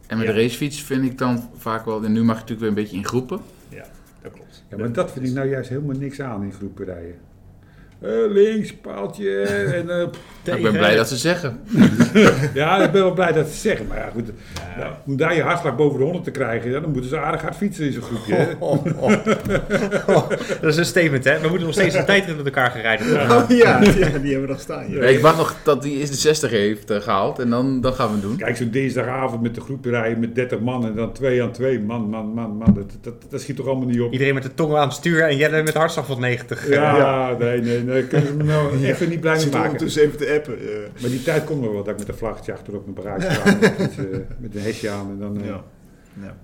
Speaker 3: En met
Speaker 2: Ja.
Speaker 3: de racefiets vind ik dan vaak wel... En nu mag je natuurlijk weer een beetje in groepen.
Speaker 2: Ja, dat klopt.
Speaker 5: Ja, maar dat vind ik nou juist helemaal niks aan in groepen rijden. Eh, links, paaltje. en, eh, pff.
Speaker 3: Maar [laughs] ik ben blij dat ze zeggen.
Speaker 5: ja, ik ben wel blij dat ze het zeggen. Maar ja, goed. nou, om daar je hartslag boven de 100 te krijgen, ja, dan moeten ze aardig hard fietsen in zo'n groepje. hè.
Speaker 4: [laughs] Oh, oh. Oh, dat is een statement, hè? We moeten nog steeds een tijdrit met elkaar gaan rijden.
Speaker 2: Oh, ja, ja, die hebben we nog staan. Ja.
Speaker 3: ik wacht nog dat hij eerst de 60 heeft eh, gehaald. En dan, dan gaan we het doen.
Speaker 5: Kijk, zo'n dinsdagavond met de groep rijden met 30 man en dan twee aan twee. Man, man, man, man. Dat, dat, dat schiet toch allemaal niet op.
Speaker 4: Iedereen met de tong aan het stuur en Jelle met de hartslag van 90.
Speaker 5: Ja, nee, nee, nee. Kunnen we me
Speaker 2: [laughs]
Speaker 5: nou even niet blij mee
Speaker 2: Zit er
Speaker 5: maken.
Speaker 2: ondertussen even te appen. eh.
Speaker 5: Maar die tijd komt nog wel dat ik met een vlaggetje achter op mijn bagage ga. met, eh, met een hesje aan en dan... eh,
Speaker 2: Ja. ja.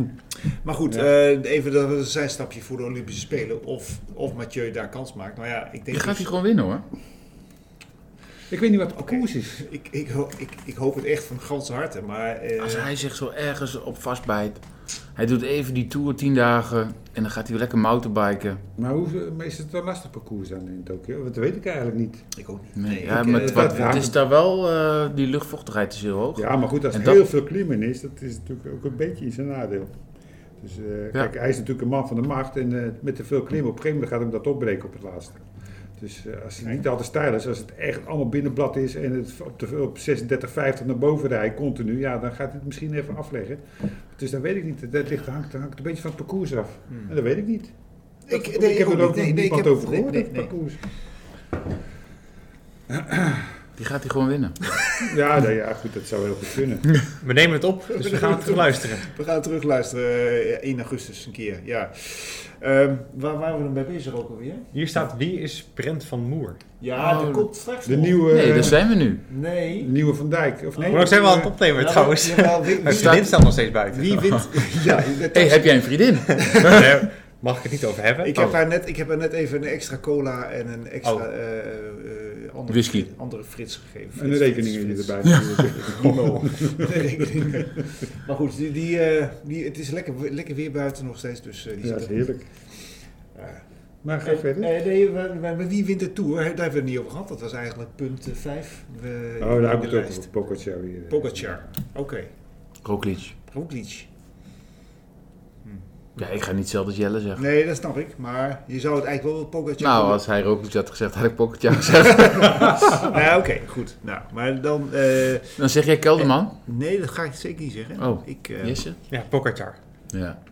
Speaker 2: [laughs] maar goed,
Speaker 5: Ja.
Speaker 2: eh, even dat een zijstapje voor de Olympische Spelen. Of, of Mathieu daar kans maakt. Nou ja, ik
Speaker 3: Je
Speaker 2: denk.
Speaker 3: gaat
Speaker 2: dus-
Speaker 3: hij gewoon winnen, hoor.
Speaker 5: Ik weet niet wat de
Speaker 2: Oké.
Speaker 5: koers is.
Speaker 2: ik, ik, ho- ik, ik hoop het echt van ganse harte. Maar eh,
Speaker 3: Als hij zich zo ergens op vastbijt. Hij doet even die tour 10 dagen. En dan gaat hij weer lekker mountainbiken.
Speaker 5: Maar hoe maar is het dan lastig parcours dan in Tokio? Want dat weet ik eigenlijk niet.
Speaker 2: ik ook niet.
Speaker 3: Nee,
Speaker 2: Nee,
Speaker 3: ja,
Speaker 2: ik,
Speaker 3: maar
Speaker 2: eh,
Speaker 3: het,
Speaker 5: dat
Speaker 3: wat- het
Speaker 5: raakt
Speaker 3: is
Speaker 5: me.
Speaker 3: daar wel... eh, die luchtvochtigheid is heel hoog.
Speaker 5: Ja, maar goed, als
Speaker 3: En
Speaker 5: er
Speaker 3: dat-
Speaker 5: heel veel klimmen is, dat is natuurlijk ook een beetje in zijn nadeel. Dus eh, kijk, hij is natuurlijk een man van de macht en eh, met te veel klimmen op een gegeven moment gaat hem dat opbreken op het laatste. Dus eh, als het niet altijd stijl is, als het echt allemaal binnenblad is en het op, de, op 36, 50 naar boven rijdt continu, ja, dan gaat hij het misschien even afleggen. Dus dat weet ik niet. Dat ligt, hangt, hangt een beetje van het parcours af. En dat weet ik niet. Dat-
Speaker 2: ik, Hmm. nee,
Speaker 5: heb
Speaker 2: ook
Speaker 5: er
Speaker 2: niet.
Speaker 5: ook
Speaker 2: Nee,
Speaker 5: nog
Speaker 2: nee, ik
Speaker 5: niemand
Speaker 2: heb-
Speaker 5: over
Speaker 2: nee,
Speaker 5: gehoord,
Speaker 2: nee,
Speaker 5: dat
Speaker 2: nee.
Speaker 5: parcours.
Speaker 3: Die gaat hij gewoon [laughs] winnen.
Speaker 5: Ja, nee, ja, goed, dat zou heel goed kunnen.
Speaker 4: We nemen het op, dus we gaan het terug luisteren.
Speaker 2: We gaan terug luisteren eh, 1 augustus een keer, ja. Ehm, waar waren we dan bij bezig ook alweer?
Speaker 4: Hier staat wie is Brent van Moer?
Speaker 2: Ja,
Speaker 3: Oh,
Speaker 2: dat komt straks
Speaker 5: De
Speaker 2: nog.
Speaker 5: nieuwe,
Speaker 3: Nee, dus- daar zijn we nu.
Speaker 2: Nee.
Speaker 5: de nieuwe Van Dijk. Of nee,
Speaker 4: Hoe lang zijn we al aan
Speaker 5: eh,
Speaker 4: het opnemen
Speaker 2: Ja,
Speaker 4: trouwens? [laughs]
Speaker 2: jawel, wie,
Speaker 4: Mijn
Speaker 2: wie,
Speaker 3: staat-
Speaker 4: vriendin staat nog steeds buiten.
Speaker 2: wie wint? Ja, dat-
Speaker 3: hey, heb jij een vriendin?
Speaker 4: [laughs] Nee, Mag ik het niet over hebben?
Speaker 2: ik,
Speaker 3: Oh.
Speaker 2: heb haar net, ik heb haar net even een extra cola en een extra
Speaker 4: Oh.
Speaker 2: eh, eh, andere,
Speaker 3: Whisky.
Speaker 2: andere frits gegeven.
Speaker 5: En de
Speaker 2: Frits,
Speaker 5: rekeningen die
Speaker 2: Frits,
Speaker 5: erbij.
Speaker 3: [laughs]
Speaker 2: Primo.
Speaker 3: Oh,
Speaker 2: maar goed, die, die, eh, die, het is lekker, lekker weer buiten nog steeds. Dus, eh, die
Speaker 5: Ja,
Speaker 2: zit
Speaker 5: dat is
Speaker 2: er-
Speaker 5: heerlijk. Maar ga
Speaker 2: Eh,
Speaker 5: verder.
Speaker 2: nee, nee, maar, maar- maar wie wint de Tour? Daar hebben we het niet over gehad. Dat was eigenlijk punt eh, 5.
Speaker 5: Oh, daar heb ik het ook over. Pogacar hier.
Speaker 2: Pogacar. Oké.
Speaker 3: [laughs] Roglic.
Speaker 2: Roglic.
Speaker 3: Ja, ik ga niet hetzelfde als Jelle zeggen.
Speaker 2: Nee, dat snap ik. Maar je zou het eigenlijk wel Pogacar...
Speaker 3: Nou, als hij Roglic had gezegd, had ik Pocketje gezegd. [laughs]
Speaker 2: Nou, oké, goed. Nou, maar dan... eh,
Speaker 3: Dan zeg jij Kelderman.
Speaker 2: nee, dat ga ik zeker niet zeggen.
Speaker 3: Oh.
Speaker 2: Ik, eh,
Speaker 3: Jesse?
Speaker 4: Ja, Pokertar.
Speaker 3: Ja.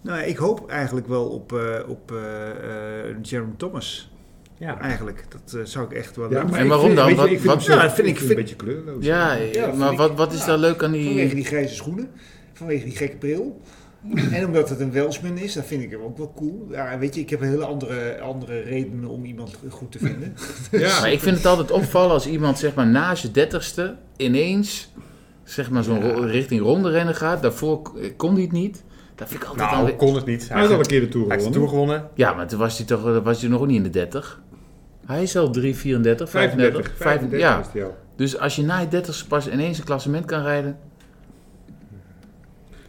Speaker 2: Nou, ik hoop eigenlijk wel op, eh, op eh, eh, Jeremy Thomas.
Speaker 4: Ja.
Speaker 2: Eigenlijk. Dat eh, zou ik echt wel...
Speaker 5: Ja, maar
Speaker 3: En
Speaker 5: ik
Speaker 3: waarom
Speaker 5: vind-
Speaker 3: dan?
Speaker 5: weet je,
Speaker 3: Wat-
Speaker 5: ik vind
Speaker 3: wat-
Speaker 5: hem zo-
Speaker 2: Ja, dat vind ik-
Speaker 5: een beetje kleurloos.
Speaker 3: Ja, eh,
Speaker 2: Ja, vind
Speaker 3: maar
Speaker 2: ik-
Speaker 3: wat, wat is
Speaker 2: ja.
Speaker 3: daar leuk aan
Speaker 2: Vanwege
Speaker 3: die...
Speaker 2: die grijze schoenen, vanwege die gekke bril. En omdat het een Welsman is, dat vind ik hem ook wel cool. Ja, weet je, ik heb een hele andere, andere redenen om iemand goed te vinden.
Speaker 3: Maar ik vind het altijd opvallen als iemand zeg maar na zijn dertigste ineens zeg maar zo'n ro- richting ronde rennen gaat. Daarvoor k- eh, kon hij het niet. Dat vind ik altijd aan
Speaker 4: Nou, kon het niet.
Speaker 5: Hij
Speaker 4: Hij
Speaker 5: heeft al
Speaker 4: hij
Speaker 5: een keer de Tour
Speaker 4: heeft de
Speaker 5: gewonnen.
Speaker 4: Tour gewonnen.
Speaker 3: Ja, maar toen was hij toch eh, was hij nog niet in de 30. Hij is al 3, 34, 35.
Speaker 5: 35,
Speaker 3: 35
Speaker 5: 35
Speaker 3: ja.
Speaker 5: is hij al.
Speaker 3: Dus als je na je 30 pas ineens een klassement kan rijden.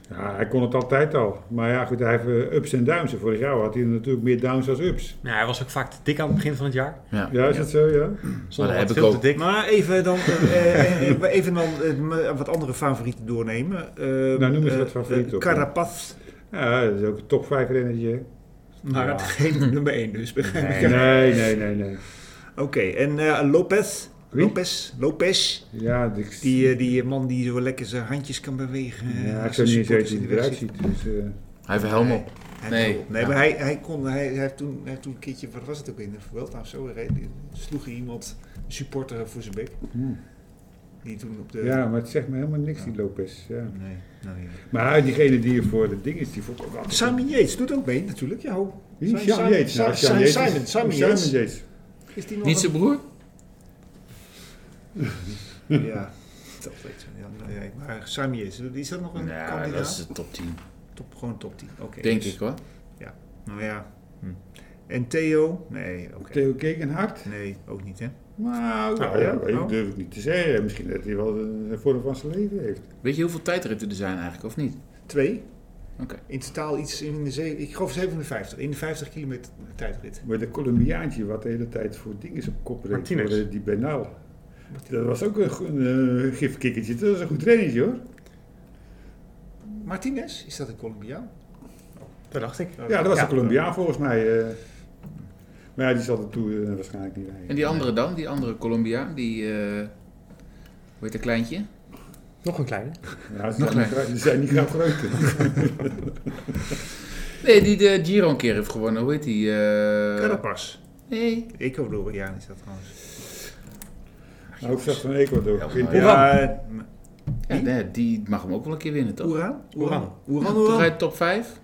Speaker 5: Ja, hij kon het altijd al. Maar ja, goed, hij heeft eh, ups en downs. En Vorig jaar had hij natuurlijk meer downs als ups.
Speaker 4: Nou, hij was ook vaak te dik aan het begin van het jaar.
Speaker 3: Ja.
Speaker 5: Ja, is dat zo, ja?
Speaker 4: Zonder
Speaker 3: heb
Speaker 4: wat
Speaker 3: ik
Speaker 4: veel te
Speaker 3: ook.
Speaker 4: dik.
Speaker 2: [laughs] Maar even dan, eh, eh, even dan eh, m- wat andere favorieten doornemen. Eh,
Speaker 5: Nou, noem eens
Speaker 2: eh,
Speaker 5: wat favorieten
Speaker 2: eh,
Speaker 5: op, ja.
Speaker 2: Carapaz,
Speaker 5: Ja, dat is ook een top 5 rennertje.
Speaker 2: maar het Nou, geen nummer 1 dus, begrijp ik.
Speaker 5: Nee, nee, nee, nee.
Speaker 2: [laughs] Oké, en eh, Lopez.
Speaker 5: Wie?
Speaker 2: Lopez, Lopez,
Speaker 5: Ja, ik,
Speaker 2: die, eh, die man die zo lekker zijn handjes kan bewegen. eh,
Speaker 5: ja, ik
Speaker 2: als
Speaker 5: zou
Speaker 2: de
Speaker 5: niet eens
Speaker 2: supporters in
Speaker 5: weten hoe
Speaker 2: de
Speaker 5: hij
Speaker 2: weg
Speaker 5: eruit
Speaker 2: zitten.
Speaker 5: ziet. Dus, eh,
Speaker 3: Hij heeft een helm op.
Speaker 2: Hij
Speaker 3: Nee.
Speaker 2: wil- nee maar hij, hij, kon, hij, hij, heeft toen, hij heeft toen een keertje, wat was het ook in de Vuelta of zo, hij reed- sloeg hij iemand, een supporter voor zijn bek.
Speaker 5: hmm.
Speaker 2: Die toen op de...
Speaker 5: Ja, maar het zegt me helemaal niks, die Lopez. Ja.
Speaker 2: Nee, nou ja.
Speaker 5: Maar diegene die voor het ding is, die vond ik ook altijd-
Speaker 2: Simon Yates doet ook mee natuurlijk, ja. ho.
Speaker 5: Wie?
Speaker 2: Simon-
Speaker 5: Sean Yates.
Speaker 2: Simon-
Speaker 5: Nou, Sean Yates
Speaker 2: Simon-
Speaker 5: is-
Speaker 2: Simon
Speaker 5: Simon
Speaker 2: Yates.
Speaker 5: Yates.
Speaker 2: Is die nog
Speaker 3: Niet zijn broer?
Speaker 2: een- Ja, dat weet ik. Ja, nou ja, maar Simon Yates, is dat nog een
Speaker 3: Nee,
Speaker 2: kandidaat?
Speaker 3: dat is de top 10.
Speaker 2: Top, gewoon top 10, oké.
Speaker 3: Denk
Speaker 2: dus-
Speaker 3: ik hoor.
Speaker 2: Nou ja. Hm. En Theo? Nee, oké.
Speaker 5: Theo Kekenhard.
Speaker 2: Nee, ook niet hè.
Speaker 5: Nou,
Speaker 2: Nou,
Speaker 5: ja,
Speaker 2: ja.
Speaker 5: weet ik durf ik niet te zeggen. Misschien dat hij wel een vorm van zijn leven heeft.
Speaker 3: Weet je hoeveel tijdritten er zijn eigenlijk, of niet?
Speaker 2: Twee.
Speaker 3: Oké.
Speaker 2: In totaal iets in de zeven, ik geloof 57, in de 50 kilometer tijdrit.
Speaker 5: Maar de Colombiaantje wat de hele tijd voor dingen op kop reed,
Speaker 4: Martinez.
Speaker 5: voor eh, die Bernal. Dat was ook een, go- een eh, gifkikkertje. Dat was een goed trainetje hoor.
Speaker 2: Martinez, is dat een Colombiaan?
Speaker 4: Dat dacht ik.
Speaker 5: Ja, dat was
Speaker 4: Ja.
Speaker 5: een Colombiaan volgens mij. eh. maar ja, die zal er toe eh, waarschijnlijk niet bij.
Speaker 3: En die andere dan, die andere Colombiaan, die. eh, hoe heet dat kleintje?
Speaker 4: Nog een kleine.
Speaker 5: Ja, ze
Speaker 3: Nog
Speaker 5: zijn niet
Speaker 3: meer.
Speaker 5: gra- ze zijn niet graag groot.
Speaker 3: Nee, die de Giro een keer heeft gewonnen. Hoe heet die? eh,
Speaker 2: Carapaz.
Speaker 3: Nee.
Speaker 2: Ecuadoriaan is dat trouwens.
Speaker 5: Maar ook straks van Ecuador.
Speaker 3: Ja,
Speaker 5: Quinten.
Speaker 3: maar-
Speaker 2: Ja,
Speaker 3: Ja, nee, die mag hem ook wel een keer winnen, toch?
Speaker 2: Oeran? Oeran, Oeran,
Speaker 3: Toch
Speaker 2: Oeran.
Speaker 3: uit top 5?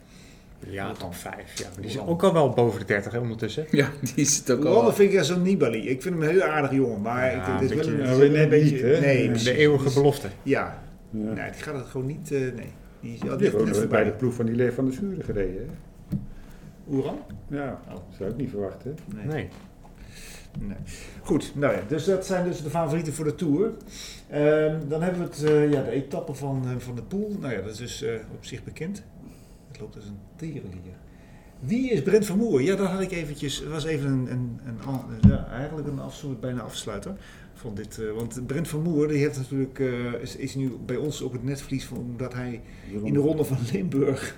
Speaker 4: Ja, top 5. Ja, maar die is ook al wel boven de 30 hè, ondertussen.
Speaker 3: [laughs] Ja, die is het ook
Speaker 2: Oeran
Speaker 3: al.
Speaker 2: vind ik ja zo'n Nibali. Ik vind hem een heel aardig jongen, maar ik
Speaker 4: Ja,
Speaker 2: het is
Speaker 4: een
Speaker 2: wel een,
Speaker 5: beetje-
Speaker 2: het is wel
Speaker 5: net
Speaker 2: een beetje...
Speaker 5: niet, hè?
Speaker 2: Nee,
Speaker 5: De
Speaker 2: precies.
Speaker 4: De eeuwige belofte.
Speaker 2: Ja,
Speaker 5: Ja.
Speaker 2: nee, die gaat het gewoon niet... eh, nee. Die is al
Speaker 5: Die heeft ook
Speaker 2: net
Speaker 5: nog bij de
Speaker 2: voorbij.
Speaker 5: ploeg van die Leef van de Schuren gereden. hè?
Speaker 2: Oeran?
Speaker 5: Ja,
Speaker 2: Oh.
Speaker 5: zou ik niet verwachten.
Speaker 2: Nee.
Speaker 4: Nee.
Speaker 2: Nee. Goed, nou ja, dus dat zijn dus de favorieten voor de Tour. Ehm, dan hebben we het, eh, ja, de etappe van, eh, van de pool. Nou ja, dat is dus eh, op zich bekend. Het loopt als een teren hier. Wie is Brent Vermoer? Ja, dat had ik eventjes. Het was even een, een, een an- ja, eigenlijk een afsluit, bijna afsluiter van dit. eh, want Brent Vermoer die heeft natuurlijk, eh, is, is nu bij ons op het netvlies van, omdat hij in de ronde van Limburg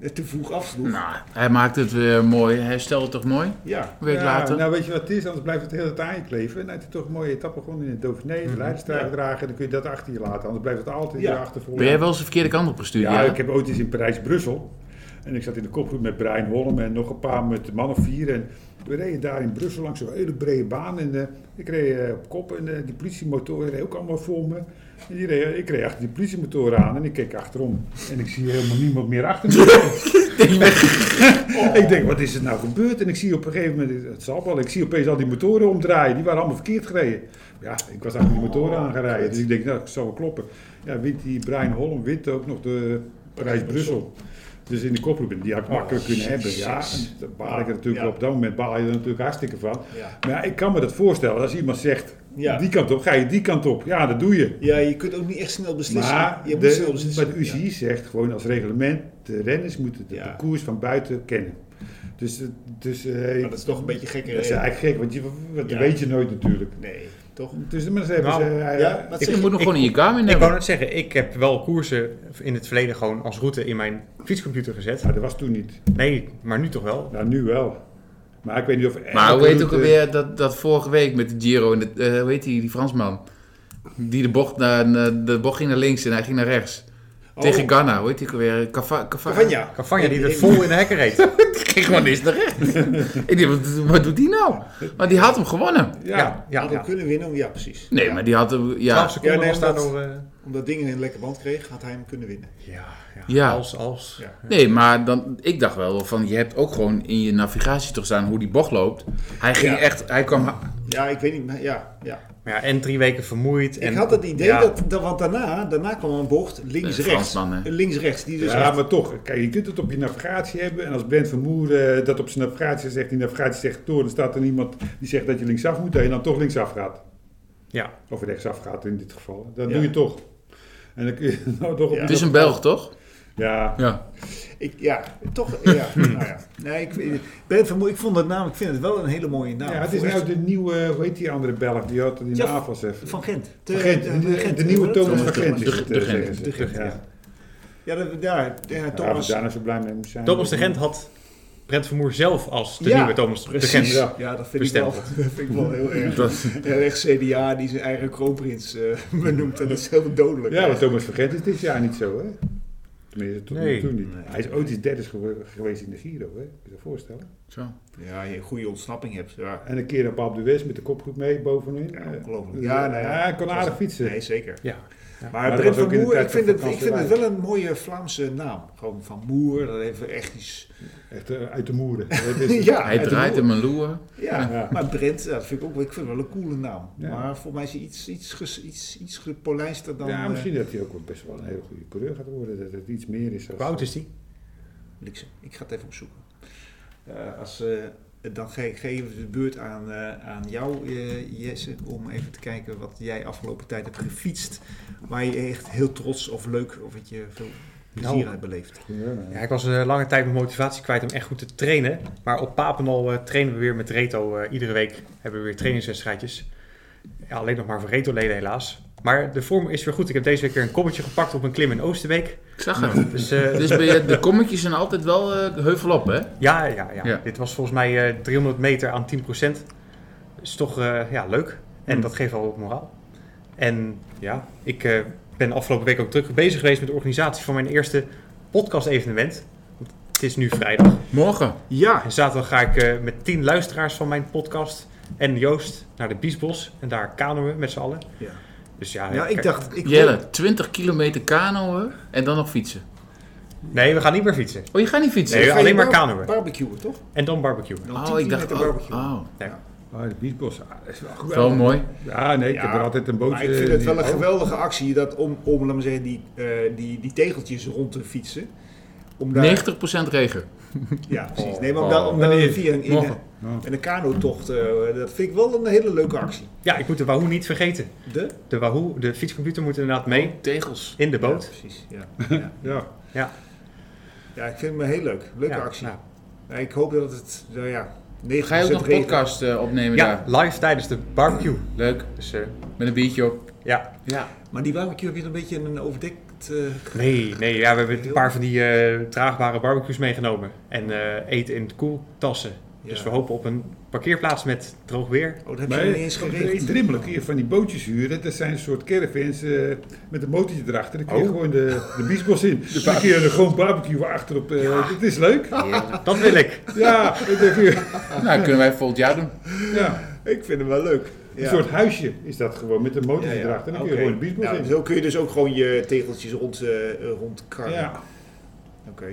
Speaker 2: eh, te vroeg afsloeg.
Speaker 3: Nou, hij maakt het weer mooi. Hij stelt het toch mooi?
Speaker 2: Ja,
Speaker 3: Een week
Speaker 5: Ja,
Speaker 3: later.
Speaker 5: Nou, weet je wat het is? Anders blijft het de hele tijd aan je kleven. En dan heb je toch een mooie etappe gewonnen in het Dauphiné, de Leidensdraag
Speaker 2: Ja.
Speaker 5: dragen. En dan kun je dat achter je laten. Anders blijft het altijd
Speaker 2: Ja.
Speaker 5: je achtervolgen.
Speaker 3: ben jij wel eens de verkeerde kant op gestuurd?
Speaker 5: Ja,
Speaker 3: Ja,
Speaker 5: ik heb ooit eens in Parijs-Brussel. En ik zat in de kopgroep met Brian Holm en nog een paar met de man of vier. En we reden daar in Brussel langs zo'n hele brede baan. En eh, ik reed eh, op kop en eh, die politiemotoren reden ook allemaal voor me. En die reed, ik reed achter die politiemotoren aan en ik keek achterom. En ik zie helemaal niemand meer achter me. [laughs] Ik denk, wat is er nou gebeurd? En ik zie op een gegeven moment, het zal wel, ik zie opeens al die motoren omdraaien. Die waren allemaal verkeerd gereden. Ja, ik was achter die
Speaker 2: Oh,
Speaker 5: motoren aangereden. Dus ik denk, nou, dat zal wel kloppen. Ja, wint die Brian Holm, wint ook nog de Parijs-Brussel. Dus in de koproep, die had ik makkelijk kunnen hebben. Ja, en daar baal ik er natuurlijk
Speaker 2: Oh, Ja.
Speaker 5: op dat moment baal je er natuurlijk hartstikke van.
Speaker 2: Ja.
Speaker 5: Maar ja, ik kan me dat voorstellen, als iemand zegt,
Speaker 2: Ja.
Speaker 5: die kant op, ga je die kant op. Ja, dat doe je.
Speaker 2: Ja, je kunt ook niet echt snel beslissen.
Speaker 5: Maar
Speaker 2: je moet
Speaker 5: de,
Speaker 2: snel beslissen.
Speaker 5: maar de UCI zegt gewoon als reglement, de renners moeten de
Speaker 2: Ja.
Speaker 5: parcours van buiten kennen. Dus, eh, dus eh,
Speaker 2: Ja. Maar dat is toch een beetje gekker.
Speaker 5: dat is eigenlijk gek, want je, dat
Speaker 2: Ja.
Speaker 5: weet je nooit natuurlijk.
Speaker 2: Nee, toch?
Speaker 5: Dus maar ze hebben
Speaker 4: Nou,
Speaker 5: ze, eh,
Speaker 2: Ja, wat
Speaker 3: Dus
Speaker 2: zeg
Speaker 3: je
Speaker 2: je?
Speaker 3: moet nog gewoon in je Garmin
Speaker 4: Ik wou
Speaker 3: hebben.
Speaker 4: net zeggen, ik heb wel koersen in het verleden gewoon als route in mijn fietscomputer gezet.
Speaker 5: nou, dat was toen niet.
Speaker 4: Nee, maar nu toch wel.
Speaker 5: Nou, nu wel. Maar ik weet niet of...
Speaker 3: Maar
Speaker 5: elke
Speaker 3: hoe heet ook
Speaker 5: route-
Speaker 3: alweer dat, dat vorige week met de Giro en de, eh, hoe heet die, die Fransman? Die de bocht, naar, naar- de bocht ging naar links en hij ging naar rechts. Tegen Ghana, hoe heet die ook alweer? Cava- Cava- [laughs]
Speaker 2: Cavagna.
Speaker 4: Cavagna die er vol in de
Speaker 2: [laughs]
Speaker 4: hekken reed.
Speaker 3: Die ging gewoon eens naar rechts. [laughs] ik dacht, wat, wat doet die nou? Maar die had hem gewonnen.
Speaker 5: Ja,
Speaker 4: Ja, ja,
Speaker 2: Had
Speaker 4: ja.
Speaker 2: hem kunnen winnen, ja precies.
Speaker 3: Nee,
Speaker 2: Ja.
Speaker 3: maar die had hem, ja.
Speaker 4: 12 seconden
Speaker 2: Ja, nee,
Speaker 4: was daar
Speaker 2: omdat-
Speaker 4: nog... eh,
Speaker 2: Omdat Dingen een lekker band kreeg, had hij hem kunnen winnen.
Speaker 4: ja, ja,
Speaker 3: Ja.
Speaker 4: als, als.
Speaker 2: Ja.
Speaker 3: Nee, maar dan, ik dacht wel van, je hebt ook gewoon in je navigatie toch staan hoe die bocht loopt. Hij ging
Speaker 2: Ja.
Speaker 3: echt, hij kwam, ha-
Speaker 2: Ja, ik weet niet, maar ja. ja.
Speaker 4: Maar ja, en drie weken vermoeid. En,
Speaker 2: ik had het idee
Speaker 4: ja.
Speaker 2: dat, dat, want daarna, daarna kwam een bocht
Speaker 3: Eh,
Speaker 2: links-rechts.
Speaker 3: Fransman, hè?
Speaker 2: links-rechts, die dus
Speaker 5: ja,
Speaker 2: echt-
Speaker 5: maar toch. Kijk, je kunt het op je navigatie hebben. En als Brent Vermoer eh, dat op zijn navigatie zegt, die navigatie zegt door, dan staat er iemand die zegt dat je linksaf moet, dat je dan toch linksaf gaat.
Speaker 4: Ja,
Speaker 5: Of rechtsaf gaat in dit geval. Dat
Speaker 2: Ja.
Speaker 5: doe je toch. En dan kun je [laughs] nou toch op-
Speaker 2: Ja.
Speaker 3: het is een Belg toch?
Speaker 5: Ja,
Speaker 3: Ja.
Speaker 2: Ik, ja, toch.
Speaker 5: [laughs]
Speaker 2: Ja, nou ja. Nee, ik, weet- ben vermoe, ik vond het naam, ik vind het wel een hele mooie naam.
Speaker 5: ja, het is
Speaker 2: Voor
Speaker 5: nou
Speaker 2: echt-
Speaker 5: de nieuwe, hoe heet die andere Belg? Die had het in de
Speaker 2: Ja,
Speaker 5: AFAS even.
Speaker 2: van Gent.
Speaker 5: Van Gent,
Speaker 2: eh,
Speaker 5: de, de-
Speaker 2: Gent,
Speaker 5: de nieuwe
Speaker 2: hoe heet dat?
Speaker 5: Thomas van
Speaker 3: Thomas
Speaker 5: Gent
Speaker 3: de-
Speaker 5: is het,
Speaker 3: de
Speaker 5: eh,
Speaker 3: Gent.
Speaker 5: zeggen ze.
Speaker 2: De Gent, ja.
Speaker 5: Ja,
Speaker 2: Ja, dat- daar, ja,
Speaker 5: Daar we
Speaker 2: Thomas.
Speaker 5: daarna zo blij mee moeten zijn.
Speaker 4: Thomas de Gent had Brent Vermoer zelf als de
Speaker 2: Ja,
Speaker 4: nieuwe Thomas de Gent.
Speaker 2: Precies.
Speaker 5: Ja.
Speaker 2: Ja, dat vind, ik wel, [laughs] dat vind ik wel
Speaker 5: [laughs]
Speaker 2: heel erg. Ja, echt CDA die zijn eigen kroonprins eh, [laughs] benoemt. En dat is heel dodelijk.
Speaker 5: Ja, want Thomas van Gent is dit jaar niet zo, hè? Tenminste, tot
Speaker 4: Nee.
Speaker 5: nu toe niet. Hij is ooit eens derde gewe- geweest in de Giro, hè? Kun je je voorstellen?
Speaker 3: Zo.
Speaker 2: Ja, je een goede ontsnapping hebt. Ja,
Speaker 5: En een keer op Paap de West met de kopgroep mee bovenin. Ja,
Speaker 2: ongelooflijk. Ja, nou ja.
Speaker 5: hij kon aardig fietsen.
Speaker 2: nee, zeker.
Speaker 4: Ja.
Speaker 2: Maar
Speaker 5: dat
Speaker 2: Brent van
Speaker 5: was ook in de
Speaker 2: Moer,
Speaker 5: tijd
Speaker 2: ik vind,
Speaker 5: van
Speaker 2: het, ik vind het wel een mooie Vlaamse naam. Gewoon van Moer, dat heeft echt
Speaker 5: [laughs]
Speaker 2: iets...
Speaker 5: Echt eh, uit de
Speaker 2: [laughs]
Speaker 5: moeren.
Speaker 2: Ja,
Speaker 3: Hij
Speaker 2: uit de
Speaker 3: draait
Speaker 2: Moer.
Speaker 3: hem een loer.
Speaker 2: Ja,
Speaker 5: Ja.
Speaker 2: maar Brent, ja, dat vind ik ook wel- ik vind het wel een coole naam.
Speaker 5: Ja.
Speaker 2: Maar voor mij is hij iets, iets, ges- iets, iets gepolijster dan...
Speaker 5: Ja,
Speaker 2: eh,
Speaker 5: misschien dat hij ook wel best wel een hele goede coureur gaat worden. Dat het iets meer is. als-
Speaker 4: Hoe oud is die?
Speaker 2: Bliksem. Ik ga het even opzoeken. Eh, als, eh, dan ge geven we de beurt aan, eh, aan jou, eh, Jesse, om even te kijken wat jij afgelopen tijd hebt gefietst. Waar je echt heel trots of leuk of wat je veel plezier
Speaker 4: Nou.
Speaker 2: aan hebt beleefd.
Speaker 5: Ja,
Speaker 4: Ja, ik was een lange tijd mijn motivatie kwijt om echt goed te trainen. Maar op Papendal eh, trainen we weer met Reto. eh, iedere week hebben we weer trainingswedstrijdjes. Ja, alleen nog maar voor Reto-leden helaas. Maar de vorm is weer goed. Ik heb deze week weer een kommetje gepakt op een klim in Oosterbeek.
Speaker 3: Ik zag hem.
Speaker 4: Dus
Speaker 3: [laughs]
Speaker 4: eh,
Speaker 3: Dus ben je, de kommetjes zijn altijd wel eh, heuvel op, hè?
Speaker 4: ja, ja, ja,
Speaker 3: Ja.
Speaker 4: dit was volgens mij eh, 300 meter aan 10%. is toch eh, ja, leuk. En dat geeft wel wat moraal. En ja, ik eh, ben afgelopen week ook druk bezig geweest met de organisatie van mijn eerste podcast-evenement. Want Het is nu vrijdag.
Speaker 3: Morgen.
Speaker 2: Ja,
Speaker 4: En zaterdag ga ik eh, met tien luisteraars van mijn podcast en Joost naar de Biesbos. En daar kanoën we met z'n allen.
Speaker 2: Ja.
Speaker 4: Dus ja,
Speaker 2: ja Nou, ik
Speaker 4: kijk-
Speaker 2: dacht... Ik
Speaker 3: Ah, Jelle, 20 kilometer kanoën en dan nog fietsen.
Speaker 4: Nee, we gaan niet meer fietsen.
Speaker 3: Oh, je gaat niet fietsen?
Speaker 4: Nee,
Speaker 2: Ga je
Speaker 4: alleen maar
Speaker 2: bar-
Speaker 4: kanoën.
Speaker 2: Barbecuen, toch?
Speaker 4: En dan barbecuen.
Speaker 2: Dan 10
Speaker 3: Oh, ik dacht...
Speaker 2: kilometer
Speaker 3: Oh,
Speaker 2: barbecuen.
Speaker 3: oh.
Speaker 5: Ah, de biesbos. ah, dat is wel geweldig.
Speaker 3: Wel mooi.
Speaker 5: Ja, nee, ik
Speaker 2: Ja,
Speaker 5: heb er altijd een bootje.
Speaker 2: Maar ik vind het
Speaker 5: die-
Speaker 2: wel een
Speaker 3: oh.
Speaker 2: geweldige actie dat om, om laat maar zeggen, die, eh, die, die tegeltjes rond te fietsen. Om
Speaker 3: 90% regen.
Speaker 2: Ja, precies. Nee, maar
Speaker 3: Oh.
Speaker 2: om daar, om daar
Speaker 3: Wanneer?
Speaker 2: via een, in,
Speaker 3: Morgen.
Speaker 5: Ja.
Speaker 2: en een kanotocht, eh, dat vind ik wel een hele leuke actie.
Speaker 4: Ja, ik moet de Wahoo niet vergeten.
Speaker 2: De?
Speaker 4: De Wahoo, de fietscomputer moet inderdaad mee
Speaker 3: Tegels.
Speaker 4: in de boot.
Speaker 2: Ja, precies, ja. ja.
Speaker 5: Ja,
Speaker 2: Ja, ik vind hem heel leuk. Leuke
Speaker 4: Ja,
Speaker 2: actie.
Speaker 4: nou.
Speaker 2: Ja, ik hoop dat het, nou ja, 90%
Speaker 3: Ga je ook nog een
Speaker 2: regen-
Speaker 3: podcast eh, opnemen
Speaker 4: Ja,
Speaker 3: daar?
Speaker 4: live tijdens de barbecue.
Speaker 3: Leuk.
Speaker 4: Dus eh,
Speaker 3: Met een biertje op.
Speaker 4: ja.
Speaker 3: Ja.
Speaker 2: Maar die barbecue heb je een beetje een overdekt... eh,
Speaker 4: Nee, nee ja, we hebben een paar van die eh, draagbare barbecues meegenomen. En eh, eten in koeltassen.
Speaker 2: ja.
Speaker 4: Dus we hopen op een parkeerplaats met droog weer.
Speaker 2: Oh, dat heb je
Speaker 5: Maar
Speaker 2: niet eens geregeld.
Speaker 5: drimmelen kun je van die bootjes huren. Dat zijn een soort caravans eh, met een motortje erachter. Dan kun je
Speaker 2: Oh.
Speaker 5: gewoon de, de
Speaker 2: [laughs]
Speaker 5: biesbos in. Dan kun je er gewoon barbecue achter op. eh Het is leuk.
Speaker 4: Dat wil ik.
Speaker 5: Ja, dat heb je-
Speaker 3: Nou, kunnen wij volgend jaar doen.
Speaker 5: ja,
Speaker 2: Ik vind hem wel leuk.
Speaker 5: een
Speaker 2: Ja.
Speaker 5: soort huisje is dat gewoon met een motortje
Speaker 2: Ja, ja.
Speaker 5: erachter. Dan kun je
Speaker 2: Oké.
Speaker 5: gewoon de biesbos
Speaker 2: Nou,
Speaker 5: in.
Speaker 2: Zo kun je dus ook gewoon je tegeltjes rond, eh, eh, rondkarren.
Speaker 5: Ja,
Speaker 2: Oké.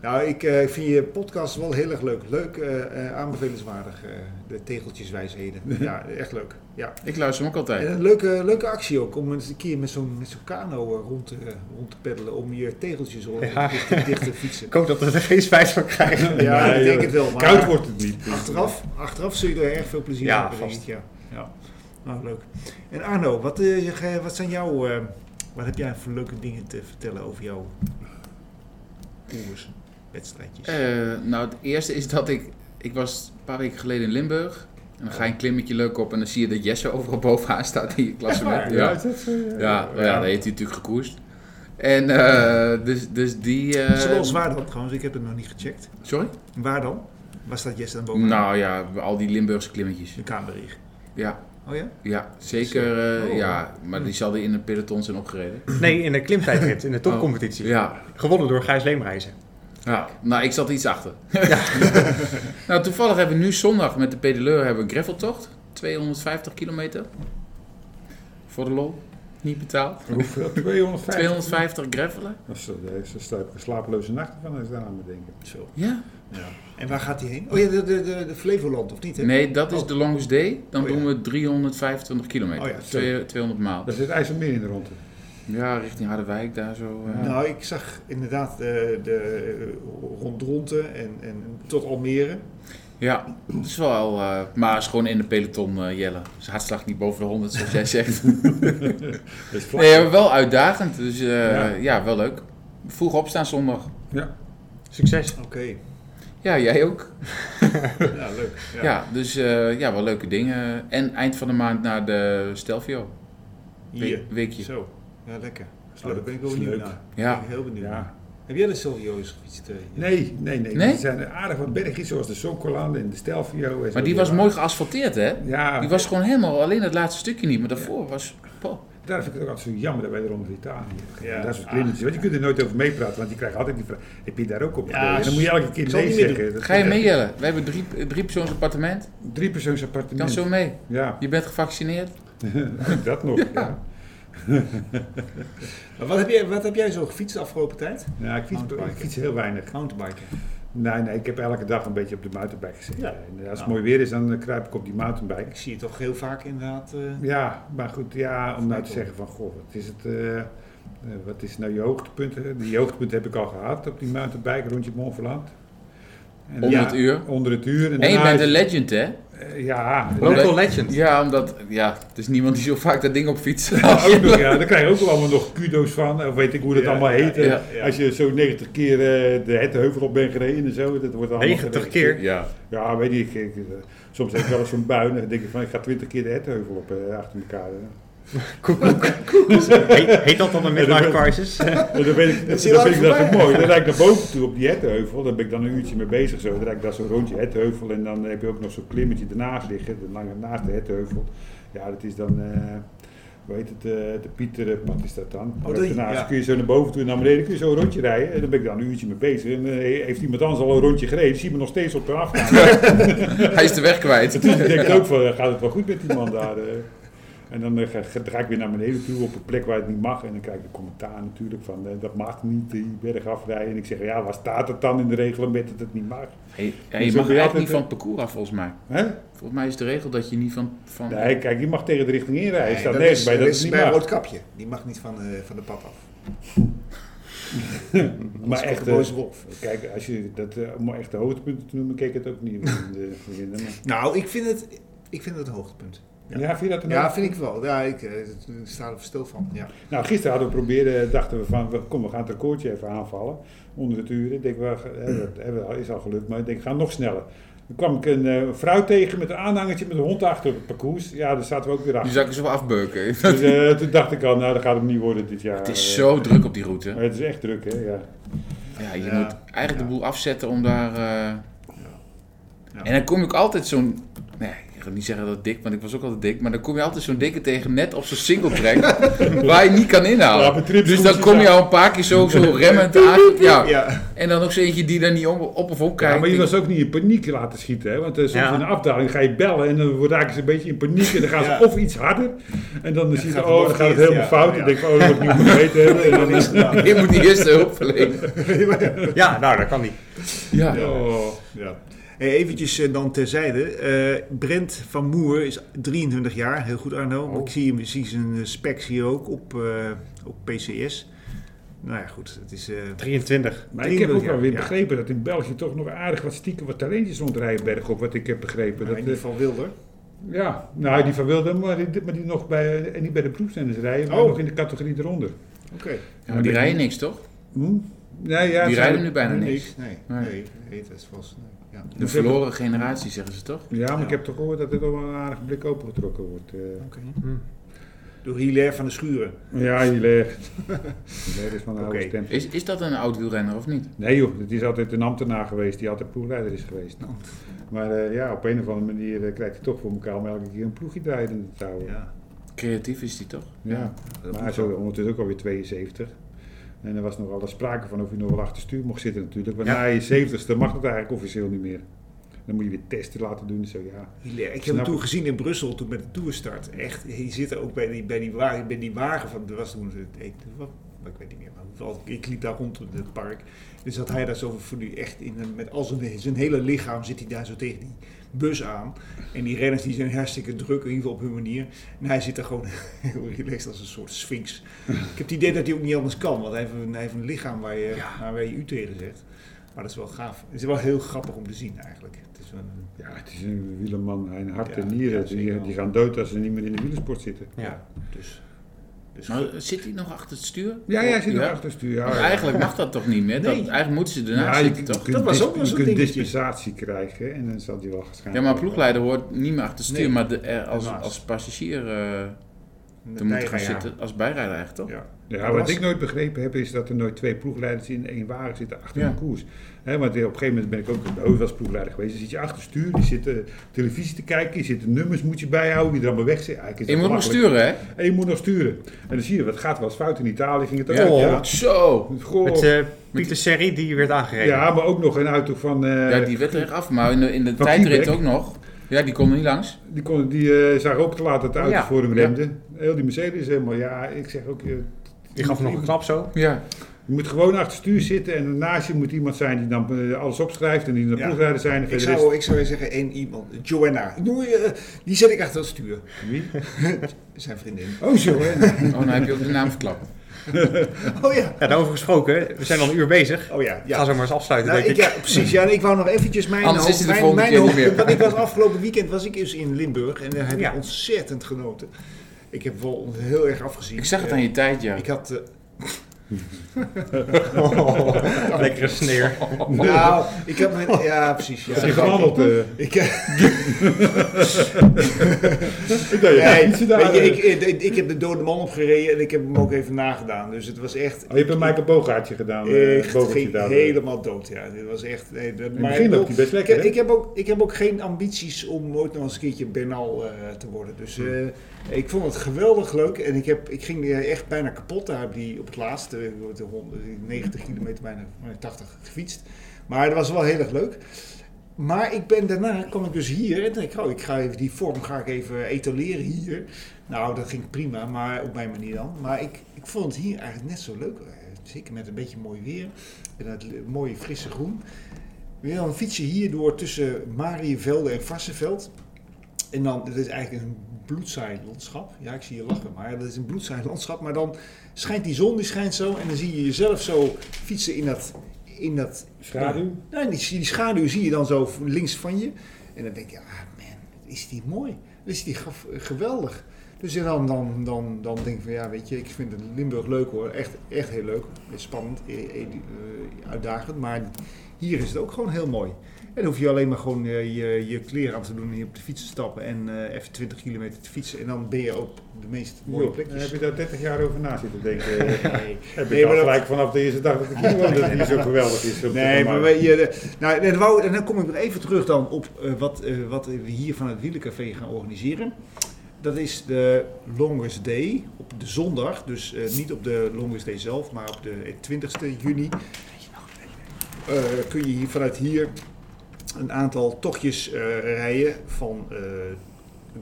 Speaker 2: Nou, ik eh, vind je podcast wel heel erg leuk. Leuk, eh, eh, aanbevelenswaardig. eh, de tegeltjeswijsheden. [laughs] ja, echt leuk. Ja.
Speaker 3: Ik luister hem ook altijd.
Speaker 2: En een leuke, leuke actie ook, om eens een keer met zo'n met zo'n kano eh, rond, te, rond te peddelen. Om je tegeltjes rond
Speaker 4: Ja.
Speaker 2: dicht, te- dicht te fietsen.
Speaker 4: [laughs] Ik hoop dat we er geen spijt van krijgen.
Speaker 2: Ja,
Speaker 5: Nee,
Speaker 2: ik denk
Speaker 5: joh.
Speaker 2: het wel. Maar
Speaker 5: koud wordt het niet.
Speaker 2: achteraf, achteraf zul je er erg veel plezier
Speaker 4: Ja,
Speaker 2: aan hebben, denk
Speaker 4: vast.
Speaker 2: ik, Ja, ja. Nou, leuk. En Arno, wat, eh, je ge- wat zijn jouw... eh, wat heb jij voor leuke dingen te vertellen over jouw koers, wedstrijdjes?
Speaker 3: Eh, nou, het eerste is dat ik... Ik was een paar weken geleden in Limburg. En dan ga je een klimmetje leuk op en dan zie je dat Jesse overal bovenaan staat [laughs] in je klassement.
Speaker 5: Ja,
Speaker 3: Ja,
Speaker 5: is dat zo? Ja.
Speaker 3: ja, ja, dat heeft hij natuurlijk gekoerst. En eh, dus, dus die... eh,
Speaker 2: Het is wel zwaar dan trouwens, ik heb het nog niet gecheckt.
Speaker 3: Sorry?
Speaker 2: Waar dan? Waar staat Jesse dan bovenaan?
Speaker 3: Nou ja, al die Limburgse klimmetjes.
Speaker 2: De Kamerig.
Speaker 3: Ja,
Speaker 2: Oh ja?
Speaker 3: ja zeker. eh,
Speaker 2: Oh.
Speaker 3: Ja, maar die zal in een peloton zijn
Speaker 2: [laughs]
Speaker 3: opgereden.
Speaker 4: Nee, in de klimtijdrit, in de topcompetitie.
Speaker 3: Ja,
Speaker 4: Gewonnen door Gijs Leemreizen.
Speaker 3: Ja, nou, ik zat iets achter. [laughs] nou, toevallig hebben we nu zondag met de pedeleur hebben we een graveltocht. 250 kilometer. Voor de lol. Niet betaald.
Speaker 5: Hoeveel? 250?
Speaker 3: 250 gravelen.
Speaker 5: Dat is- Daar heeft ze sluip- slapeloze nachten van als ik daaraan bedenken.
Speaker 2: Zo.
Speaker 3: Ja.
Speaker 2: En waar gaat hij heen? Oh ja, de, de, de, de Flevoland, of niet? hè?
Speaker 3: Nee, dat is de longest day. Dan
Speaker 2: Oh, ja.
Speaker 3: doen we 325 kilometer.
Speaker 2: Oh, ja, zo.
Speaker 3: Twee- 200 maal.
Speaker 5: Daar zit IJsselmeer in de ronde.
Speaker 3: Ja, richting Harderwijk daar zo. eh.
Speaker 2: Nou, ik zag inderdaad eh, de, de eh, rond Dronten en, en tot Almere.
Speaker 3: Ja, dat is wel... eh maar is gewoon in de peloton eh, Jelle. Zijn hartslag niet boven de 100 zoals
Speaker 2: [laughs]
Speaker 3: jij zegt.
Speaker 5: Dat is vlak.
Speaker 3: nee, maar wel uitdagend. Dus eh,
Speaker 5: Ja.
Speaker 3: ja. wel leuk. Vroeg opstaan zondag.
Speaker 4: Succes.
Speaker 2: Oké,
Speaker 3: Ja, jij ook.
Speaker 2: [laughs] ja, leuk. Ja.
Speaker 3: Ja, dus eh, ja, wel leuke dingen. En eind van de maand naar de Stelvio. We-
Speaker 2: Hier.
Speaker 3: Weekje.
Speaker 2: Zo, ja, lekker. Zo,
Speaker 5: Oh,
Speaker 2: daar ben ik
Speaker 5: dat
Speaker 2: wel
Speaker 5: is
Speaker 2: benieuwd
Speaker 5: leuk.
Speaker 2: naar. Ben
Speaker 3: Ja.
Speaker 2: ik heel benieuwd.
Speaker 5: Ja.
Speaker 2: Heb jij de Silvio's gefietst? eh?
Speaker 5: Nee, nee, nee.
Speaker 3: Nee?
Speaker 5: Er zijn er aardig wat bergjes, zoals de Sokolande en de Stelvio. en zo.
Speaker 3: Maar die was mooi geasfalteerd, hè?
Speaker 5: Ja,
Speaker 3: Die was gewoon helemaal, alleen het laatste stukje niet, maar daarvoor was... Poh.
Speaker 5: daar vind ik het ook altijd zo jammer dat wij er onder Italië
Speaker 2: Ja.
Speaker 5: ja. Dat soort klimmetjes. Want je kunt er nooit over meepraten, want die krijgen altijd die vraag. Heb je daar ook op
Speaker 2: Ja,
Speaker 5: gereden? En dan moet je elke
Speaker 2: ik
Speaker 5: keer
Speaker 2: zal
Speaker 5: nee
Speaker 2: het niet meer
Speaker 5: zeggen. Dat
Speaker 3: Ga je
Speaker 5: vind
Speaker 3: mee,
Speaker 5: ik
Speaker 3: Jelle? We hebben drie, drie persoons appartement.
Speaker 5: echt- Drie persoons
Speaker 3: Kan
Speaker 5: appartement.
Speaker 3: zo mee.
Speaker 5: Ja, [laughs]
Speaker 3: Je bent gevaccineerd.
Speaker 5: dat nog. Ja.
Speaker 2: [laughs]
Speaker 5: Ja.
Speaker 2: Maar wat heb, jij, wat heb jij zo gefietst de afgelopen tijd?
Speaker 5: ik, fiets, ik fiets heel weinig.
Speaker 2: Mountainbiken.
Speaker 5: Nee, nee, ik heb elke dag een beetje op de mountainbike gezeten.
Speaker 2: Ja.
Speaker 5: En als het
Speaker 2: Nou.
Speaker 5: mooi weer is, dan eh, kruip ik op die mountainbike.
Speaker 2: Ik zie je toch heel vaak inderdaad. eh,
Speaker 5: Ja, maar goed, ja, om nou te zeggen van, goh, wat is het, eh, eh, wat is nou je hoogtepunt? Die hoogtepunt heb ik al gehad op die mountainbike rondje Mont Verland. En
Speaker 3: Onder
Speaker 5: ja,
Speaker 3: het uur.
Speaker 5: Onder het uur.
Speaker 3: En je
Speaker 5: daarna
Speaker 3: bent
Speaker 5: is-
Speaker 3: een legend, hè?
Speaker 5: eh, ja,
Speaker 4: Local
Speaker 3: Le-
Speaker 4: legend.
Speaker 3: Ja, omdat... Ja, er is niemand die zo vaak dat ding op
Speaker 4: [laughs]
Speaker 3: fiets.
Speaker 5: Ja, ook nog, ja, daar krijg je ook wel allemaal nog kudo's van, of weet ik hoe dat
Speaker 2: Ja,
Speaker 5: allemaal heet. eh,
Speaker 3: ja,
Speaker 2: ja.
Speaker 5: Als je zo 90 keer eh, de Hetheuvel op bent gereden en zo, dat wordt allemaal...
Speaker 4: 90 keer.
Speaker 3: ja.
Speaker 5: Ja, weet ik. ik, eh, soms heb ik wel eens zo'n bui en dan denk ik van, ik ga 20 keer de Hetheuvel op eh, achter elkaar. hè.
Speaker 4: Koek, koek. Heet, heet dat dan een midlife crisis?
Speaker 5: En dan weet ik,
Speaker 2: Dat
Speaker 5: dat,
Speaker 2: zie je
Speaker 5: dat
Speaker 2: wel
Speaker 5: vind ik dat
Speaker 2: voorbij.
Speaker 5: zo mooi. Dan rijd ik naar boven toe op die hetheuvel. Daar ben ik dan een uurtje mee bezig. Zo. Dan rijd ik daar zo'n rondje hetheuvel. En dan heb je ook nog zo'n klimmetje ernaast liggen. De lange naast de hetheuvel. Ja, dat is dan... eh hoe heet het? eh, de Pieterpad is dat dan.
Speaker 2: Oh, die,
Speaker 5: daarnaast
Speaker 2: ja.
Speaker 5: kun je zo naar boven toe en naar beneden. Kun je zo een rondje rijden. En dan ben ik dan een uurtje mee bezig. En eh, heeft iemand anders al een rondje gereden. Zie je me nog steeds op de
Speaker 2: [laughs]
Speaker 5: afgaan.
Speaker 3: Hij is de weg
Speaker 4: [laughs]
Speaker 3: kwijt.
Speaker 5: Dus ik denk ook van, eh, gaat het wel goed met die man daar? eh? En dan eh, ga, ga- ga ik weer naar beneden toe op een plek waar het niet mag. En dan krijg ik de commentaar natuurlijk van, eh, dat mag niet, die berg afrijden. En ik zeg, ja, waar staat het dan in de reglement dat het niet mag?
Speaker 3: Hey, ja,
Speaker 5: Dus
Speaker 3: je mag
Speaker 5: dan ben je
Speaker 3: eigenlijk
Speaker 5: altijd,
Speaker 3: niet
Speaker 5: eh,
Speaker 3: van het parcours af, volgens mij.
Speaker 5: Hè?
Speaker 3: Volgens mij is de regel dat je niet van... van
Speaker 5: Nee, kijk, je mag tegen de richting in rijden.
Speaker 2: nee,
Speaker 5: Er staat
Speaker 2: dat
Speaker 5: nergens
Speaker 2: is-
Speaker 5: bij dat
Speaker 2: dat
Speaker 5: het
Speaker 2: is
Speaker 5: niet
Speaker 2: bij een
Speaker 5: mag.
Speaker 2: rood kapje. Die mag niet van, eh, van de pad af.
Speaker 5: Maar echt,
Speaker 2: de
Speaker 5: eh,
Speaker 2: boze wolf.
Speaker 5: kijk, als je dat, eh, om echt de hoogtepunten te noemen, keek het ook niet
Speaker 2: [laughs]
Speaker 5: in de vrienden.
Speaker 2: Nou, ik vind het, ik vind het een hoogtepunt.
Speaker 5: Ja. ja, vind je dat een
Speaker 2: Ja, vind ik wel. Ja, ik eh, ik sta er stil van. Ja.
Speaker 5: Nou, gisteren hadden we proberen, dachten we van, we- kom, we gaan het akkoordje even aanvallen. Onder het uur. Ik denk, we, eh, dat hebben we- is al gelukt, maar ik denk, we gaan nog sneller. Toen kwam ik een eh, vrouw tegen met een aanhangertje met een hond achter op het parcours. Ja, daar zaten we ook weer
Speaker 3: Die
Speaker 5: achter.
Speaker 3: zou ik eens wel afbeuken.
Speaker 5: Dus, eh, toen dacht ik al, nou, dat gaat hem niet worden dit jaar.
Speaker 3: [laughs]
Speaker 5: Eh,
Speaker 3: Het is zo druk op die route.
Speaker 5: Maar het is echt druk, hè? Ja.
Speaker 3: Ja, je
Speaker 2: Ja.
Speaker 3: moet eigenlijk de boel afzetten om daar. eh,
Speaker 2: Ja.
Speaker 3: En dan kom ik altijd zo'n Nee, ik ga niet zeggen dat het dik, want ik was ook altijd dik. Maar dan kom je altijd zo'n dikke tegen, net op zo'n single track,
Speaker 5: [laughs]
Speaker 3: waar je niet kan
Speaker 5: Ja,
Speaker 3: inhouden.
Speaker 5: op een trip
Speaker 3: dus
Speaker 5: moet
Speaker 3: dan
Speaker 5: je
Speaker 3: kom je
Speaker 5: daar.
Speaker 3: al een paar keer zo, zo
Speaker 5: [laughs]
Speaker 3: remmend aan.
Speaker 2: [laughs]
Speaker 3: Ja.
Speaker 2: Ja.
Speaker 3: En dan ook zo eentje die daar niet om- op of op kijkt.
Speaker 5: Ja, maar je
Speaker 3: Ik-
Speaker 5: was ook niet in paniek laten schieten, hè? Want eh, soms
Speaker 4: Ja.
Speaker 5: in de afdaling ga je bellen en dan raken ze een beetje in paniek. En dan gaan ze
Speaker 2: Ja.
Speaker 5: of iets harder. En dan zie je,
Speaker 2: gaat
Speaker 5: oh,
Speaker 2: nog
Speaker 5: dan gaat het
Speaker 2: iets,
Speaker 5: helemaal
Speaker 2: ja.
Speaker 5: fout.
Speaker 2: Ja.
Speaker 5: En denk ik, oh, dat moet ik niet beter hebben. En dan is het...
Speaker 3: Ik moet [laughs] die eerste hulp verlenen.
Speaker 4: Ja, nou, dat kan niet.
Speaker 3: Ja.
Speaker 5: Oh.
Speaker 2: Ja. Hey, eventjes eh, dan terzijde. Eh, Brent van Moer is 23 jaar, heel goed Arno. Maar Ik zie hem, ik zie zijn eh, specs hier ook op, eh, op PCS. Nou ja, goed. Het is, eh,
Speaker 4: 23.
Speaker 5: Maar ik heb ook wel weer
Speaker 2: Ja.
Speaker 5: begrepen dat in België toch nog aardig wat stiekem wat talentjes rondrijden bergop, wat ik heb begrepen.
Speaker 2: in
Speaker 5: Dat,
Speaker 2: ieder
Speaker 5: eh,
Speaker 2: geval Wilder.
Speaker 5: ja, nou die van Wilde, maar die, maar die nog bij, en niet bij de proefstenders rijden, maar
Speaker 2: Oh.
Speaker 5: nog in de categorie eronder.
Speaker 2: Oké.
Speaker 3: Ja, maar die rijden niks, toch?
Speaker 5: Hm? Nee, ja,
Speaker 3: Die
Speaker 5: ze-
Speaker 3: rijden nu bijna
Speaker 2: Nee,
Speaker 3: niks.
Speaker 2: Nee,
Speaker 3: Nee.
Speaker 2: nee. nee, dat is vast. nee, Ja.
Speaker 3: De verloren generatie, zeggen ze toch?
Speaker 5: Ja, maar
Speaker 2: Ja.
Speaker 5: ik heb toch gehoord dat er toch wel een aardig blik opengetrokken wordt. eh.
Speaker 2: Door Hilaire van de Schuren.
Speaker 5: Ja, [laughs] Hilaire. Hilaire is van een oude
Speaker 2: Oké.
Speaker 5: stem.
Speaker 3: Is, is dat een oud wielrenner of niet?
Speaker 5: Nee joh, het is altijd een ambtenaar geweest die altijd ploegleider is geweest. Maar eh, ja, op een of andere manier eh, krijgt hij toch voor elkaar om elke keer een ploegje draaiende te houden.
Speaker 2: Ja.
Speaker 3: Creatief is die toch?
Speaker 5: Ja, maar hij is ook ondertussen ook alweer 72. En er was nog altijd sprake van of hij nog wel achter stuur mocht zitten natuurlijk. Want
Speaker 4: Ja.
Speaker 5: na je 70ste mag dat eigenlijk officieel niet meer. Dan moet je weer testen laten doen en zo, ja.
Speaker 2: Hilaire. Ik heb
Speaker 5: Snap
Speaker 2: hem toen
Speaker 5: ik.
Speaker 2: gezien in Brussel, toen met de toerstart. Echt, hij zit er ook bij die, bij die, wagen, bij die wagen van, er was toen, het- ik, wat, maar ik weet niet meer, maar wel, ik liep daar rond in het park. Dus dat hij daar zo voor nu echt in, een- met al zijn, zijn hele lichaam zit hij daar zo tegen die bus aan. En die renners die zijn hartstikke druk, in ieder geval op hun manier. En hij zit daar gewoon [laughs] heel relaxed als een soort sphinx. ik heb het idee dat hij ook niet anders kan, want hij heeft een, hij heeft een lichaam waar je, waar je u tegen zegt. Maar dat is wel gaaf. Het is wel heel grappig om te zien eigenlijk. Het is een,
Speaker 5: Ja, het is een wielerman. Hij hart
Speaker 2: Ja,
Speaker 5: en
Speaker 2: ja,
Speaker 5: nieren,
Speaker 2: zeker
Speaker 5: die,
Speaker 2: wel.
Speaker 5: die gaan dood als ze niet meer in de wielersport zitten.
Speaker 4: Ja.
Speaker 2: Dus, dus
Speaker 3: Maar zit hij nog achter het stuur?
Speaker 5: Ja, ja, hij zit nog
Speaker 3: Ja.
Speaker 5: achter stuur. Ja,
Speaker 3: Want
Speaker 5: ja.
Speaker 3: eigenlijk mag dat toch niet meer? Dat,
Speaker 2: Nee.
Speaker 3: eigenlijk moeten ze
Speaker 5: Ja,
Speaker 3: ernaast
Speaker 5: je
Speaker 3: zitten
Speaker 5: kunt
Speaker 3: toch?
Speaker 5: dis-
Speaker 2: Dat was ook wel zo'n
Speaker 5: Je kunt
Speaker 2: dingetje.
Speaker 5: dispensatie krijgen en dan zal hij wel
Speaker 3: Ja,
Speaker 5: waarschijnlijk...
Speaker 3: maar ploegleider hoort niet meer achter het stuur,
Speaker 2: Nee.
Speaker 3: maar de, eh, als,
Speaker 2: Ernaast.
Speaker 3: als passagier eh te moeten gaan zitten. Als bijrijder eigenlijk toch?
Speaker 2: Ja.
Speaker 5: Ja, wat ik nooit begrepen heb, is dat er nooit twee ploegleiders in één wagen zitten achter
Speaker 3: Ja.
Speaker 5: een koers. Hè, want op een gegeven moment ben ik ook bij als ploegleider geweest. Dan zit je achter stuur, die zit eh, televisie te kijken, je zit de nummers moet je bijhouden, wie er allemaal weg zit. Eigenlijk is
Speaker 3: Je moet
Speaker 5: dat
Speaker 3: nog
Speaker 5: belachelijk.
Speaker 3: sturen, hè?
Speaker 5: En je moet nog sturen. En dan zie je, wat gaat wel eens fout in Italië, ging het ook.
Speaker 3: Ja.
Speaker 5: ja.
Speaker 3: Zo!
Speaker 5: Goh.
Speaker 4: Met eh, Pieter Serri, die werd aangereden.
Speaker 5: Oh. ja, maar ook nog een auto van... eh,
Speaker 3: eh, Ja, die werd er echt af, maar in de, in de
Speaker 5: Van
Speaker 3: tijdrit
Speaker 5: Kiebeek.
Speaker 3: ook nog. Ja, die kon er niet langs.
Speaker 5: Die, kon, die eh, zag ook te laat dat de auto
Speaker 3: Ja.
Speaker 5: voor hem
Speaker 3: Ja.
Speaker 5: remde. Heel die Mercedes helemaal. Ja, ik zeg ook... eh,
Speaker 4: Die gaf nog een knap zo.
Speaker 3: Ja.
Speaker 5: je moet gewoon achter stuur zitten en naast je moet iemand zijn die dan eh, alles opschrijft en die dan
Speaker 2: Ja.
Speaker 5: ploegleider zijn. Eh, En
Speaker 2: Ik
Speaker 5: verder is-
Speaker 2: zou, ik zou je zeggen, één iemand, Joanna, noem je, eh, die zet ik achter het stuur.
Speaker 5: Wie?
Speaker 2: [laughs] Zijn vriendin.
Speaker 5: Oh, zo hè.
Speaker 3: Oh, dan heb je ook de naam verklapt.
Speaker 2: Oh ja,
Speaker 3: nou-
Speaker 4: Ja, daarover gesproken, we zijn al een uur bezig.
Speaker 2: oh ja.
Speaker 4: Ga
Speaker 2: ja.
Speaker 4: zo maar eens afsluiten,
Speaker 2: Nou,
Speaker 4: denk
Speaker 2: ik,
Speaker 4: ik.
Speaker 2: ja, precies. Ja, en ik wou nog eventjes mijn
Speaker 3: Anders is
Speaker 2: hoofd-
Speaker 3: hij de
Speaker 2: mijn,
Speaker 3: volgende
Speaker 2: mijn
Speaker 3: keer niet
Speaker 2: hoofd-
Speaker 3: meer.
Speaker 2: Want ik was afgelopen weekend was ik dus in Limburg en daar heb
Speaker 4: Ja.
Speaker 2: ik ontzettend genoten. Ik heb wel heel erg afgezien.
Speaker 3: Ik zag het
Speaker 2: Eh,
Speaker 3: aan je tijd, ja.
Speaker 2: Ik had, eh,
Speaker 4: Oh, [laughs] lekkere sneer.
Speaker 3: Oh.
Speaker 2: nou, ik had mijn, ja precies. Ja.
Speaker 5: Ze gewandeld. eh.
Speaker 2: [laughs] Ik, eh,
Speaker 5: Ik dacht, ja,
Speaker 2: Nee,
Speaker 5: niet zo daar,
Speaker 2: weet je,
Speaker 5: eh.
Speaker 2: ik, ik, ik heb de dode man opgereden en ik heb hem ook even nagedaan. Dus het was echt.
Speaker 5: Oh, je hebt een Michael Bogaartje gedaan. eh,
Speaker 2: Echt
Speaker 5: Bogaertje
Speaker 2: ging
Speaker 5: daar.
Speaker 2: helemaal dood, ja. Dit was echt... Nee, dat-
Speaker 5: het begin loopt hij best
Speaker 2: ik,
Speaker 5: lekker,
Speaker 2: heb-
Speaker 5: hè?
Speaker 2: ik, heb ook, ik heb ook geen ambities om ooit nog eens een keertje Bernal eh, te worden. Dus
Speaker 5: Hmm.
Speaker 2: eh, ik vond het geweldig leuk. En ik, heb, ik ging eh, echt bijna kapot daar op, die, op het laatste. eh, de hond- 90 kilometer, bijna bijna 80 gefietst. Maar dat was wel heel erg leuk. Maar ik ben daarna, kwam ik dus hier en denk ik, oh, ik ga even die vorm ga ik even etaleren hier. Nou, dat ging prima, maar op mijn manier dan. Maar ik, ik vond het hier eigenlijk net zo leuk. Eh, Zeker met een beetje mooi weer en dat le- mooie frisse groen. Weer dan fiets je hier door tussen Mariëvelde en Vassenveld. En dan, dat is eigenlijk een bloedzaai landschap. Ja, ik zie je lachen, maar dat is een bloedzaai landschap. Maar dan schijnt die zon, die schijnt zo. En dan zie je jezelf zo fietsen in dat... In dat
Speaker 5: Schaduw?
Speaker 2: nou, die, die schaduw zie je dan zo v- links van je. En dan denk je, ah man, is die mooi. Is die gaf- geweldig. Dus ja, dan, dan, dan, dan denk ik van ja, weet je, ik vind het Limburg leuk hoor. Echt, echt heel leuk. Het is Spannend, eh, eh, eh, uitdagend. Maar hier is het ook gewoon heel mooi. En dan hoef je alleen maar gewoon eh, je, je kleren aan te doen en hier op de fiets te stappen. En eh, even 20 kilometer te fietsen. En dan ben je op de meest mooie
Speaker 5: Joh, daar
Speaker 2: plekjes.
Speaker 5: heb je daar 30 jaar over na zitten denken. eh.
Speaker 2: [laughs] Nee.
Speaker 5: heb
Speaker 2: Nee,
Speaker 5: ik
Speaker 2: maar
Speaker 5: al
Speaker 2: dat-
Speaker 5: gelijk vanaf de eerste dag dat ik hier woon dat het niet zo geweldig is. op de
Speaker 2: Nee, maar
Speaker 5: markt.
Speaker 2: weet je, de- nou, en, wou, en dan kom ik nog even terug dan op eh, wat, eh, wat we hier van het Wielencafé gaan organiseren. Dat is de Longest Day op de zondag. Dus eh, niet op de Longest Day zelf, maar op de 20ste juni. eh, kun je hier vanuit hier een aantal tochtjes eh, rijden van eh,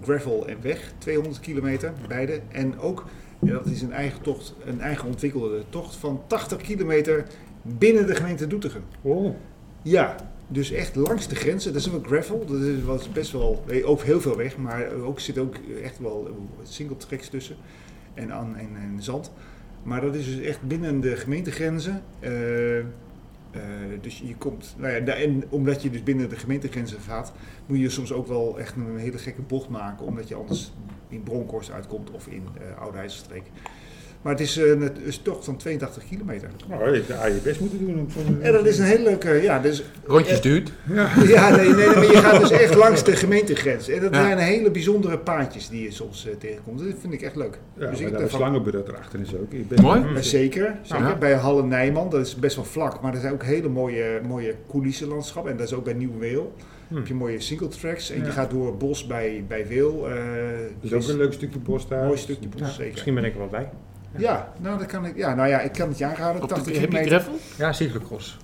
Speaker 2: gravel en weg, 200 kilometer, beide. En ook, ja, dat is een eigen tocht, een eigen ontwikkelde tocht van 80 kilometer binnen de gemeente Doetinchem.
Speaker 5: Oh,
Speaker 2: Ja, dus echt langs de grenzen. Dat is wel gravel. Dat is, was best wel, eh, ook heel veel weg, maar ook zit ook echt wel eh, single tracks tussen en, aan, en, en zand. Maar dat is dus echt binnen de gemeentegrenzen. Eh, eh, dus je komt, nou ja, da- en omdat je dus binnen de gemeentegrenzen gaat, moet je soms ook wel echt een hele gekke bocht maken, omdat je anders in Bronkhorst uitkomt of in eh Oude IJsselstreek. Maar het is eh, een, een tocht van 82 kilometer.
Speaker 5: nou, je hebt de je best moeten doen. Om zo'n-
Speaker 2: En dat is een hele leuke, ja, dus
Speaker 3: Rondjes
Speaker 2: [laughs]
Speaker 3: duurt.
Speaker 2: ja, nee, nee, nee, maar je gaat dus echt langs de gemeentegrens. En dat
Speaker 3: Ja.
Speaker 2: zijn hele bijzondere paadjes die je soms eh, tegenkomt. Dat vind ik echt leuk.
Speaker 5: Ja,
Speaker 2: dus
Speaker 5: maar
Speaker 2: ik
Speaker 5: daar de
Speaker 2: daarvan-
Speaker 5: slangenburg erachter is ook. Ik
Speaker 3: Mooi.
Speaker 2: Ja, Zeker, zeker.
Speaker 3: Ja.
Speaker 2: bij Halle Nijman, dat is best wel vlak, maar er zijn ook hele mooie, mooie coulissenlandschappen. En dat is ook bij Nieuw Weel. Heb je mooie single tracks en je
Speaker 5: Ja.
Speaker 2: gaat door het bos bij, bij Weel. eh,
Speaker 5: Dat is
Speaker 2: dus
Speaker 5: ook een eh, leuk stukje bos daar.
Speaker 2: een mooi stukje bos,
Speaker 4: Ja,
Speaker 2: zeker.
Speaker 4: Misschien ben ik er wel bij.
Speaker 2: Ja, nou, dat kan ik, ja, nou ja, ik kan het je aanraden.
Speaker 3: Op de,
Speaker 2: 80
Speaker 3: heb je
Speaker 2: kilometer.
Speaker 3: gravel?
Speaker 4: Ja, cyclocross.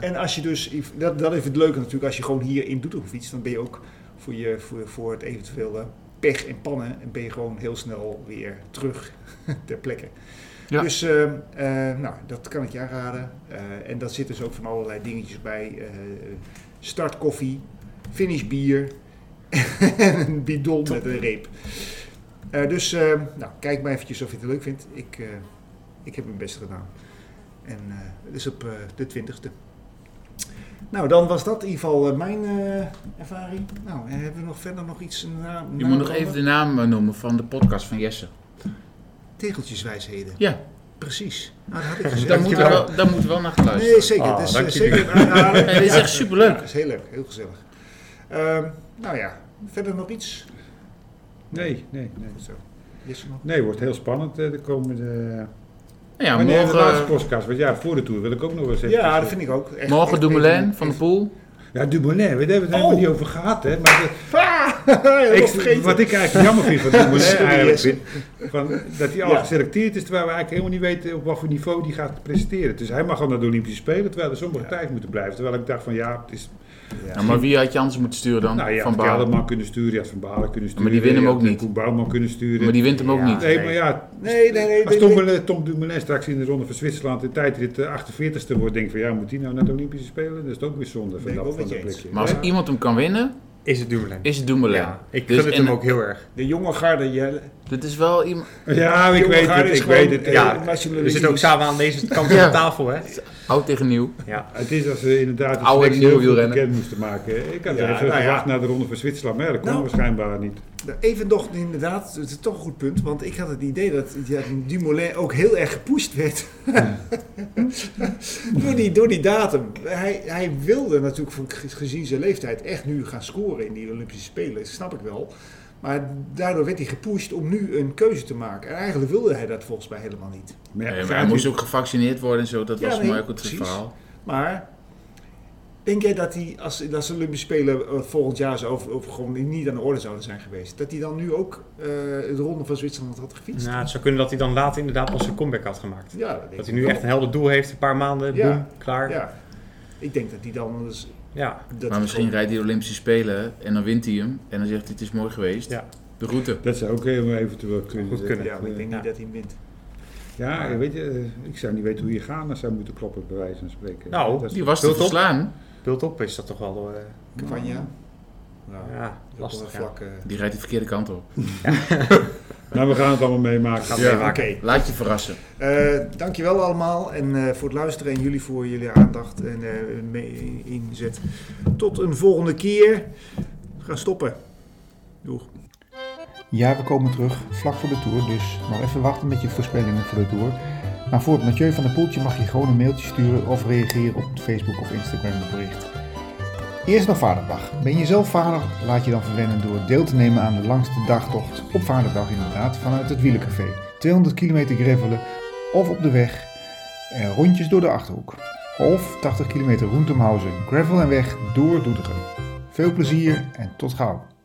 Speaker 2: En als je dus, dat, dat is het leuke natuurlijk, als je gewoon hier in Doetinchem fietst, dan ben je ook voor, je, voor, voor het eventuele pech en pannen, en ben je gewoon heel snel weer terug ter plekke.
Speaker 3: Ja.
Speaker 2: Dus ehm, eh, nou, dat kan ik je aanraden. Eh, en daar zitten dus ook van allerlei dingetjes bij. eh start koffie, finish bier [laughs] en een bidon met een reep. Eh, dus ehm, nou, kijk maar eventjes of je het leuk vindt. Ik, eh, ik heb mijn best gedaan. En eh, het is op eh, de 20e. Nou, dan was dat in ieder geval eh, mijn eh, ervaring. Nou, en hebben we nog verder nog iets na?
Speaker 3: Je moet nog even de naam eh, noemen van de podcast van Jesse.
Speaker 2: Tegeltjeswijsheden.
Speaker 3: Ja,
Speaker 2: Precies. Nou, dat had ik
Speaker 3: [laughs]
Speaker 2: gezegd.
Speaker 3: Dus daar moeten we wel, daar moeten we wel naar gaan luisteren.
Speaker 2: Nee, zeker.
Speaker 4: Ah,
Speaker 2: dat is eh,
Speaker 4: dank jullie.
Speaker 2: zeker een aanrader.
Speaker 3: Nee, dit is echt superleuk.
Speaker 2: Ja, dat is heel leuk, heel gezellig. Ehm, nou ja, verder nog iets?
Speaker 5: Nee, nee, nee.
Speaker 2: Goed zo. Is er nog?
Speaker 5: Nee, het wordt heel spannend eh, de komende...
Speaker 3: Nou ja,
Speaker 5: Wanneer de laatste
Speaker 3: morgen,
Speaker 5: podcast? Want ja, voor de tour wil ik ook nog wel zeggen.
Speaker 2: Ja, dat vind ik ook. Echt,
Speaker 3: morgen
Speaker 2: echt
Speaker 3: Dumoulin
Speaker 2: even- [laughs]
Speaker 3: van de Poel.
Speaker 5: Ja, Dumoulin, we hebben het helemaal
Speaker 2: Oh.
Speaker 5: niet over gehad, hè. Maar de-
Speaker 2: Ah, ik
Speaker 5: ik,
Speaker 2: vergeten.
Speaker 5: wat ik eigenlijk jammer vind
Speaker 2: [laughs]
Speaker 5: van Dumoulin,
Speaker 2: Sorry,
Speaker 5: eigenlijk,
Speaker 2: Jesse.
Speaker 5: vind, van, dat hij al
Speaker 2: Ja.
Speaker 5: geselecteerd is, terwijl we eigenlijk helemaal niet weten op wat voor niveau die gaat presteren. Dus hij mag al naar de Olympische Spelen, terwijl er sommige
Speaker 2: Ja.
Speaker 5: tijd moeten blijven. Terwijl ik dacht van, ja, het is...
Speaker 3: Ja, Nou, maar wie had je anders moeten sturen dan?
Speaker 5: Nou ja,
Speaker 3: van
Speaker 5: van
Speaker 3: Baal.
Speaker 5: Kelderman kunnen sturen, je had Van Balen kunnen
Speaker 3: Maar
Speaker 5: sturen.
Speaker 3: die winnen hem
Speaker 5: je
Speaker 3: ook
Speaker 5: had
Speaker 3: niet.
Speaker 5: Koen Bouwman kunnen sturen.
Speaker 3: Maar die wint hem ook
Speaker 2: Ja.
Speaker 3: niet.
Speaker 5: Nee,
Speaker 2: Nee.
Speaker 5: maar ja,
Speaker 2: Nee, nee, nee.
Speaker 5: als
Speaker 2: nee,
Speaker 5: Tom,
Speaker 2: nee.
Speaker 5: Bele- Tom Dumoulin straks in de Ronde van Zwitserland in tijdrit de 48ste wordt, denk ik van ja, moet die nou naar de Olympische Spelen? Dat is ook weer zonde
Speaker 2: Ben
Speaker 5: van
Speaker 2: ik
Speaker 5: dat
Speaker 2: ook
Speaker 5: van
Speaker 2: met
Speaker 5: dat
Speaker 2: je eens.
Speaker 5: plekje.
Speaker 3: Maar als
Speaker 5: Ja.
Speaker 3: iemand hem kan winnen,
Speaker 4: Is het Dumoulin?
Speaker 3: is het Dumoulin.
Speaker 4: Ja, ik gun
Speaker 3: Dus
Speaker 4: het
Speaker 3: en-
Speaker 4: hem ook heel erg.
Speaker 2: De jonge garde, Jelle.
Speaker 3: Dit is wel iemand...
Speaker 5: Ja, ik
Speaker 2: Jonge
Speaker 5: weet
Speaker 2: garde
Speaker 5: het,
Speaker 2: is
Speaker 5: ik
Speaker 2: gewoon,
Speaker 5: weet het.
Speaker 2: eh,
Speaker 5: Ja,
Speaker 4: Ja,
Speaker 2: nationalistisch.
Speaker 4: We zitten ook samen aan deze kant
Speaker 3: Ja.
Speaker 4: van de tafel, hè?
Speaker 3: Oud tegen nieuw.
Speaker 4: Ja.
Speaker 5: het is als ze inderdaad het
Speaker 3: Oude en
Speaker 5: selectie
Speaker 3: nieuwe
Speaker 5: heel goed
Speaker 3: wielrennen.
Speaker 5: bekend moesten maken. Ik had
Speaker 2: Ja,
Speaker 5: er even
Speaker 2: nou ja.
Speaker 5: gewacht naar de Ronde van Zwitserland, maar ja, dat kon
Speaker 2: Nou.
Speaker 5: waarschijnbaar niet.
Speaker 2: Even nog, inderdaad, het is toch een goed punt. Want ik had het idee dat ja, Dumoulin ook heel erg gepusht werd. door, die, door die datum. Hij, hij wilde natuurlijk, voor- gezien zijn leeftijd, echt nu gaan scoren in die Olympische Spelen. Dat snap ik wel. Maar daardoor werd hij gepusht om nu een keuze te maken. En eigenlijk wilde hij dat volgens mij helemaal niet.
Speaker 5: Maar ja,
Speaker 3: Nee, Eh, maar hij
Speaker 5: gaat
Speaker 3: moest
Speaker 5: niet.
Speaker 3: ook gevaccineerd worden en zo. Dat
Speaker 2: Ja,
Speaker 3: was voor
Speaker 2: nee,
Speaker 3: mij ook het
Speaker 2: precies.
Speaker 3: verhaal.
Speaker 2: Maar denk jij dat hij, als, als de Olympische Spelen eh, volgend jaar zo, of, of gewoon niet aan de orde zouden zijn geweest, dat hij dan nu ook eh, de Ronde van Zwitserland had gefietst?
Speaker 4: Nou, het zou kunnen dat hij dan later inderdaad pas een comeback had gemaakt.
Speaker 2: Ja, dat, denk
Speaker 4: Dat
Speaker 2: ik
Speaker 4: hij nu
Speaker 2: wel.
Speaker 4: echt een helder doel heeft, een paar maanden,
Speaker 2: Ja.
Speaker 4: boem, klaar. Ja.
Speaker 2: Ja. Ik denk dat hij dan... Dus, dat
Speaker 3: Maar
Speaker 2: hij
Speaker 3: misschien
Speaker 2: gewoon-
Speaker 3: rijdt hij de Olympische Spelen en dan wint hij hem. En dan zegt hij, het is mooi geweest.
Speaker 4: Ja.
Speaker 3: De route.
Speaker 5: Dat zou ook helemaal eventueel kunnen.
Speaker 4: Goed kunnen.
Speaker 2: Ja, maar ik denk
Speaker 5: Eh,
Speaker 2: niet dat hij hem wint.
Speaker 5: Ja, weet je, eh, ik zou niet weten hoe je Ghana zou moeten kloppen, bij wijze van spreken.
Speaker 4: Nou,
Speaker 5: Dat is-
Speaker 3: Die was te
Speaker 4: Hultop?
Speaker 3: verslaan.
Speaker 4: Pult op is dat toch wel eh,
Speaker 2: Cavagna? Nou, ja,
Speaker 4: ja, lastig. Ja.
Speaker 2: vlak. eh.
Speaker 3: Die rijdt de verkeerde kant op.
Speaker 5: Nou, we gaan het allemaal meemaken.
Speaker 4: Gaan we
Speaker 3: Ja.
Speaker 2: Oké,
Speaker 4: meemaken.
Speaker 3: Laat je verrassen.
Speaker 2: Eh, dankjewel allemaal en, eh, voor het luisteren en jullie voor jullie aandacht en eh, mee- in- inzet. Tot een volgende keer. We gaan stoppen. Doeg.
Speaker 1: Ja, we komen terug vlak voor de Tour, dus nog even wachten met je voorspellingen voor de Tour. Maar voor het Mathieu van der Poeltje mag je gewoon een mailtje sturen of reageren op het Facebook of Instagram bericht. Eerst nog Vaderdag. Ben je zelf vader? Laat je dan verwennen door deel te nemen aan de langste dagtocht op Vaderdag inderdaad vanuit het Wielencafé. 200 kilometer gravelen of op de weg en rondjes door de Achterhoek. Of 80 kilometer Roentemhausen, gravel en weg door Doetinchem. Veel plezier en tot gauw.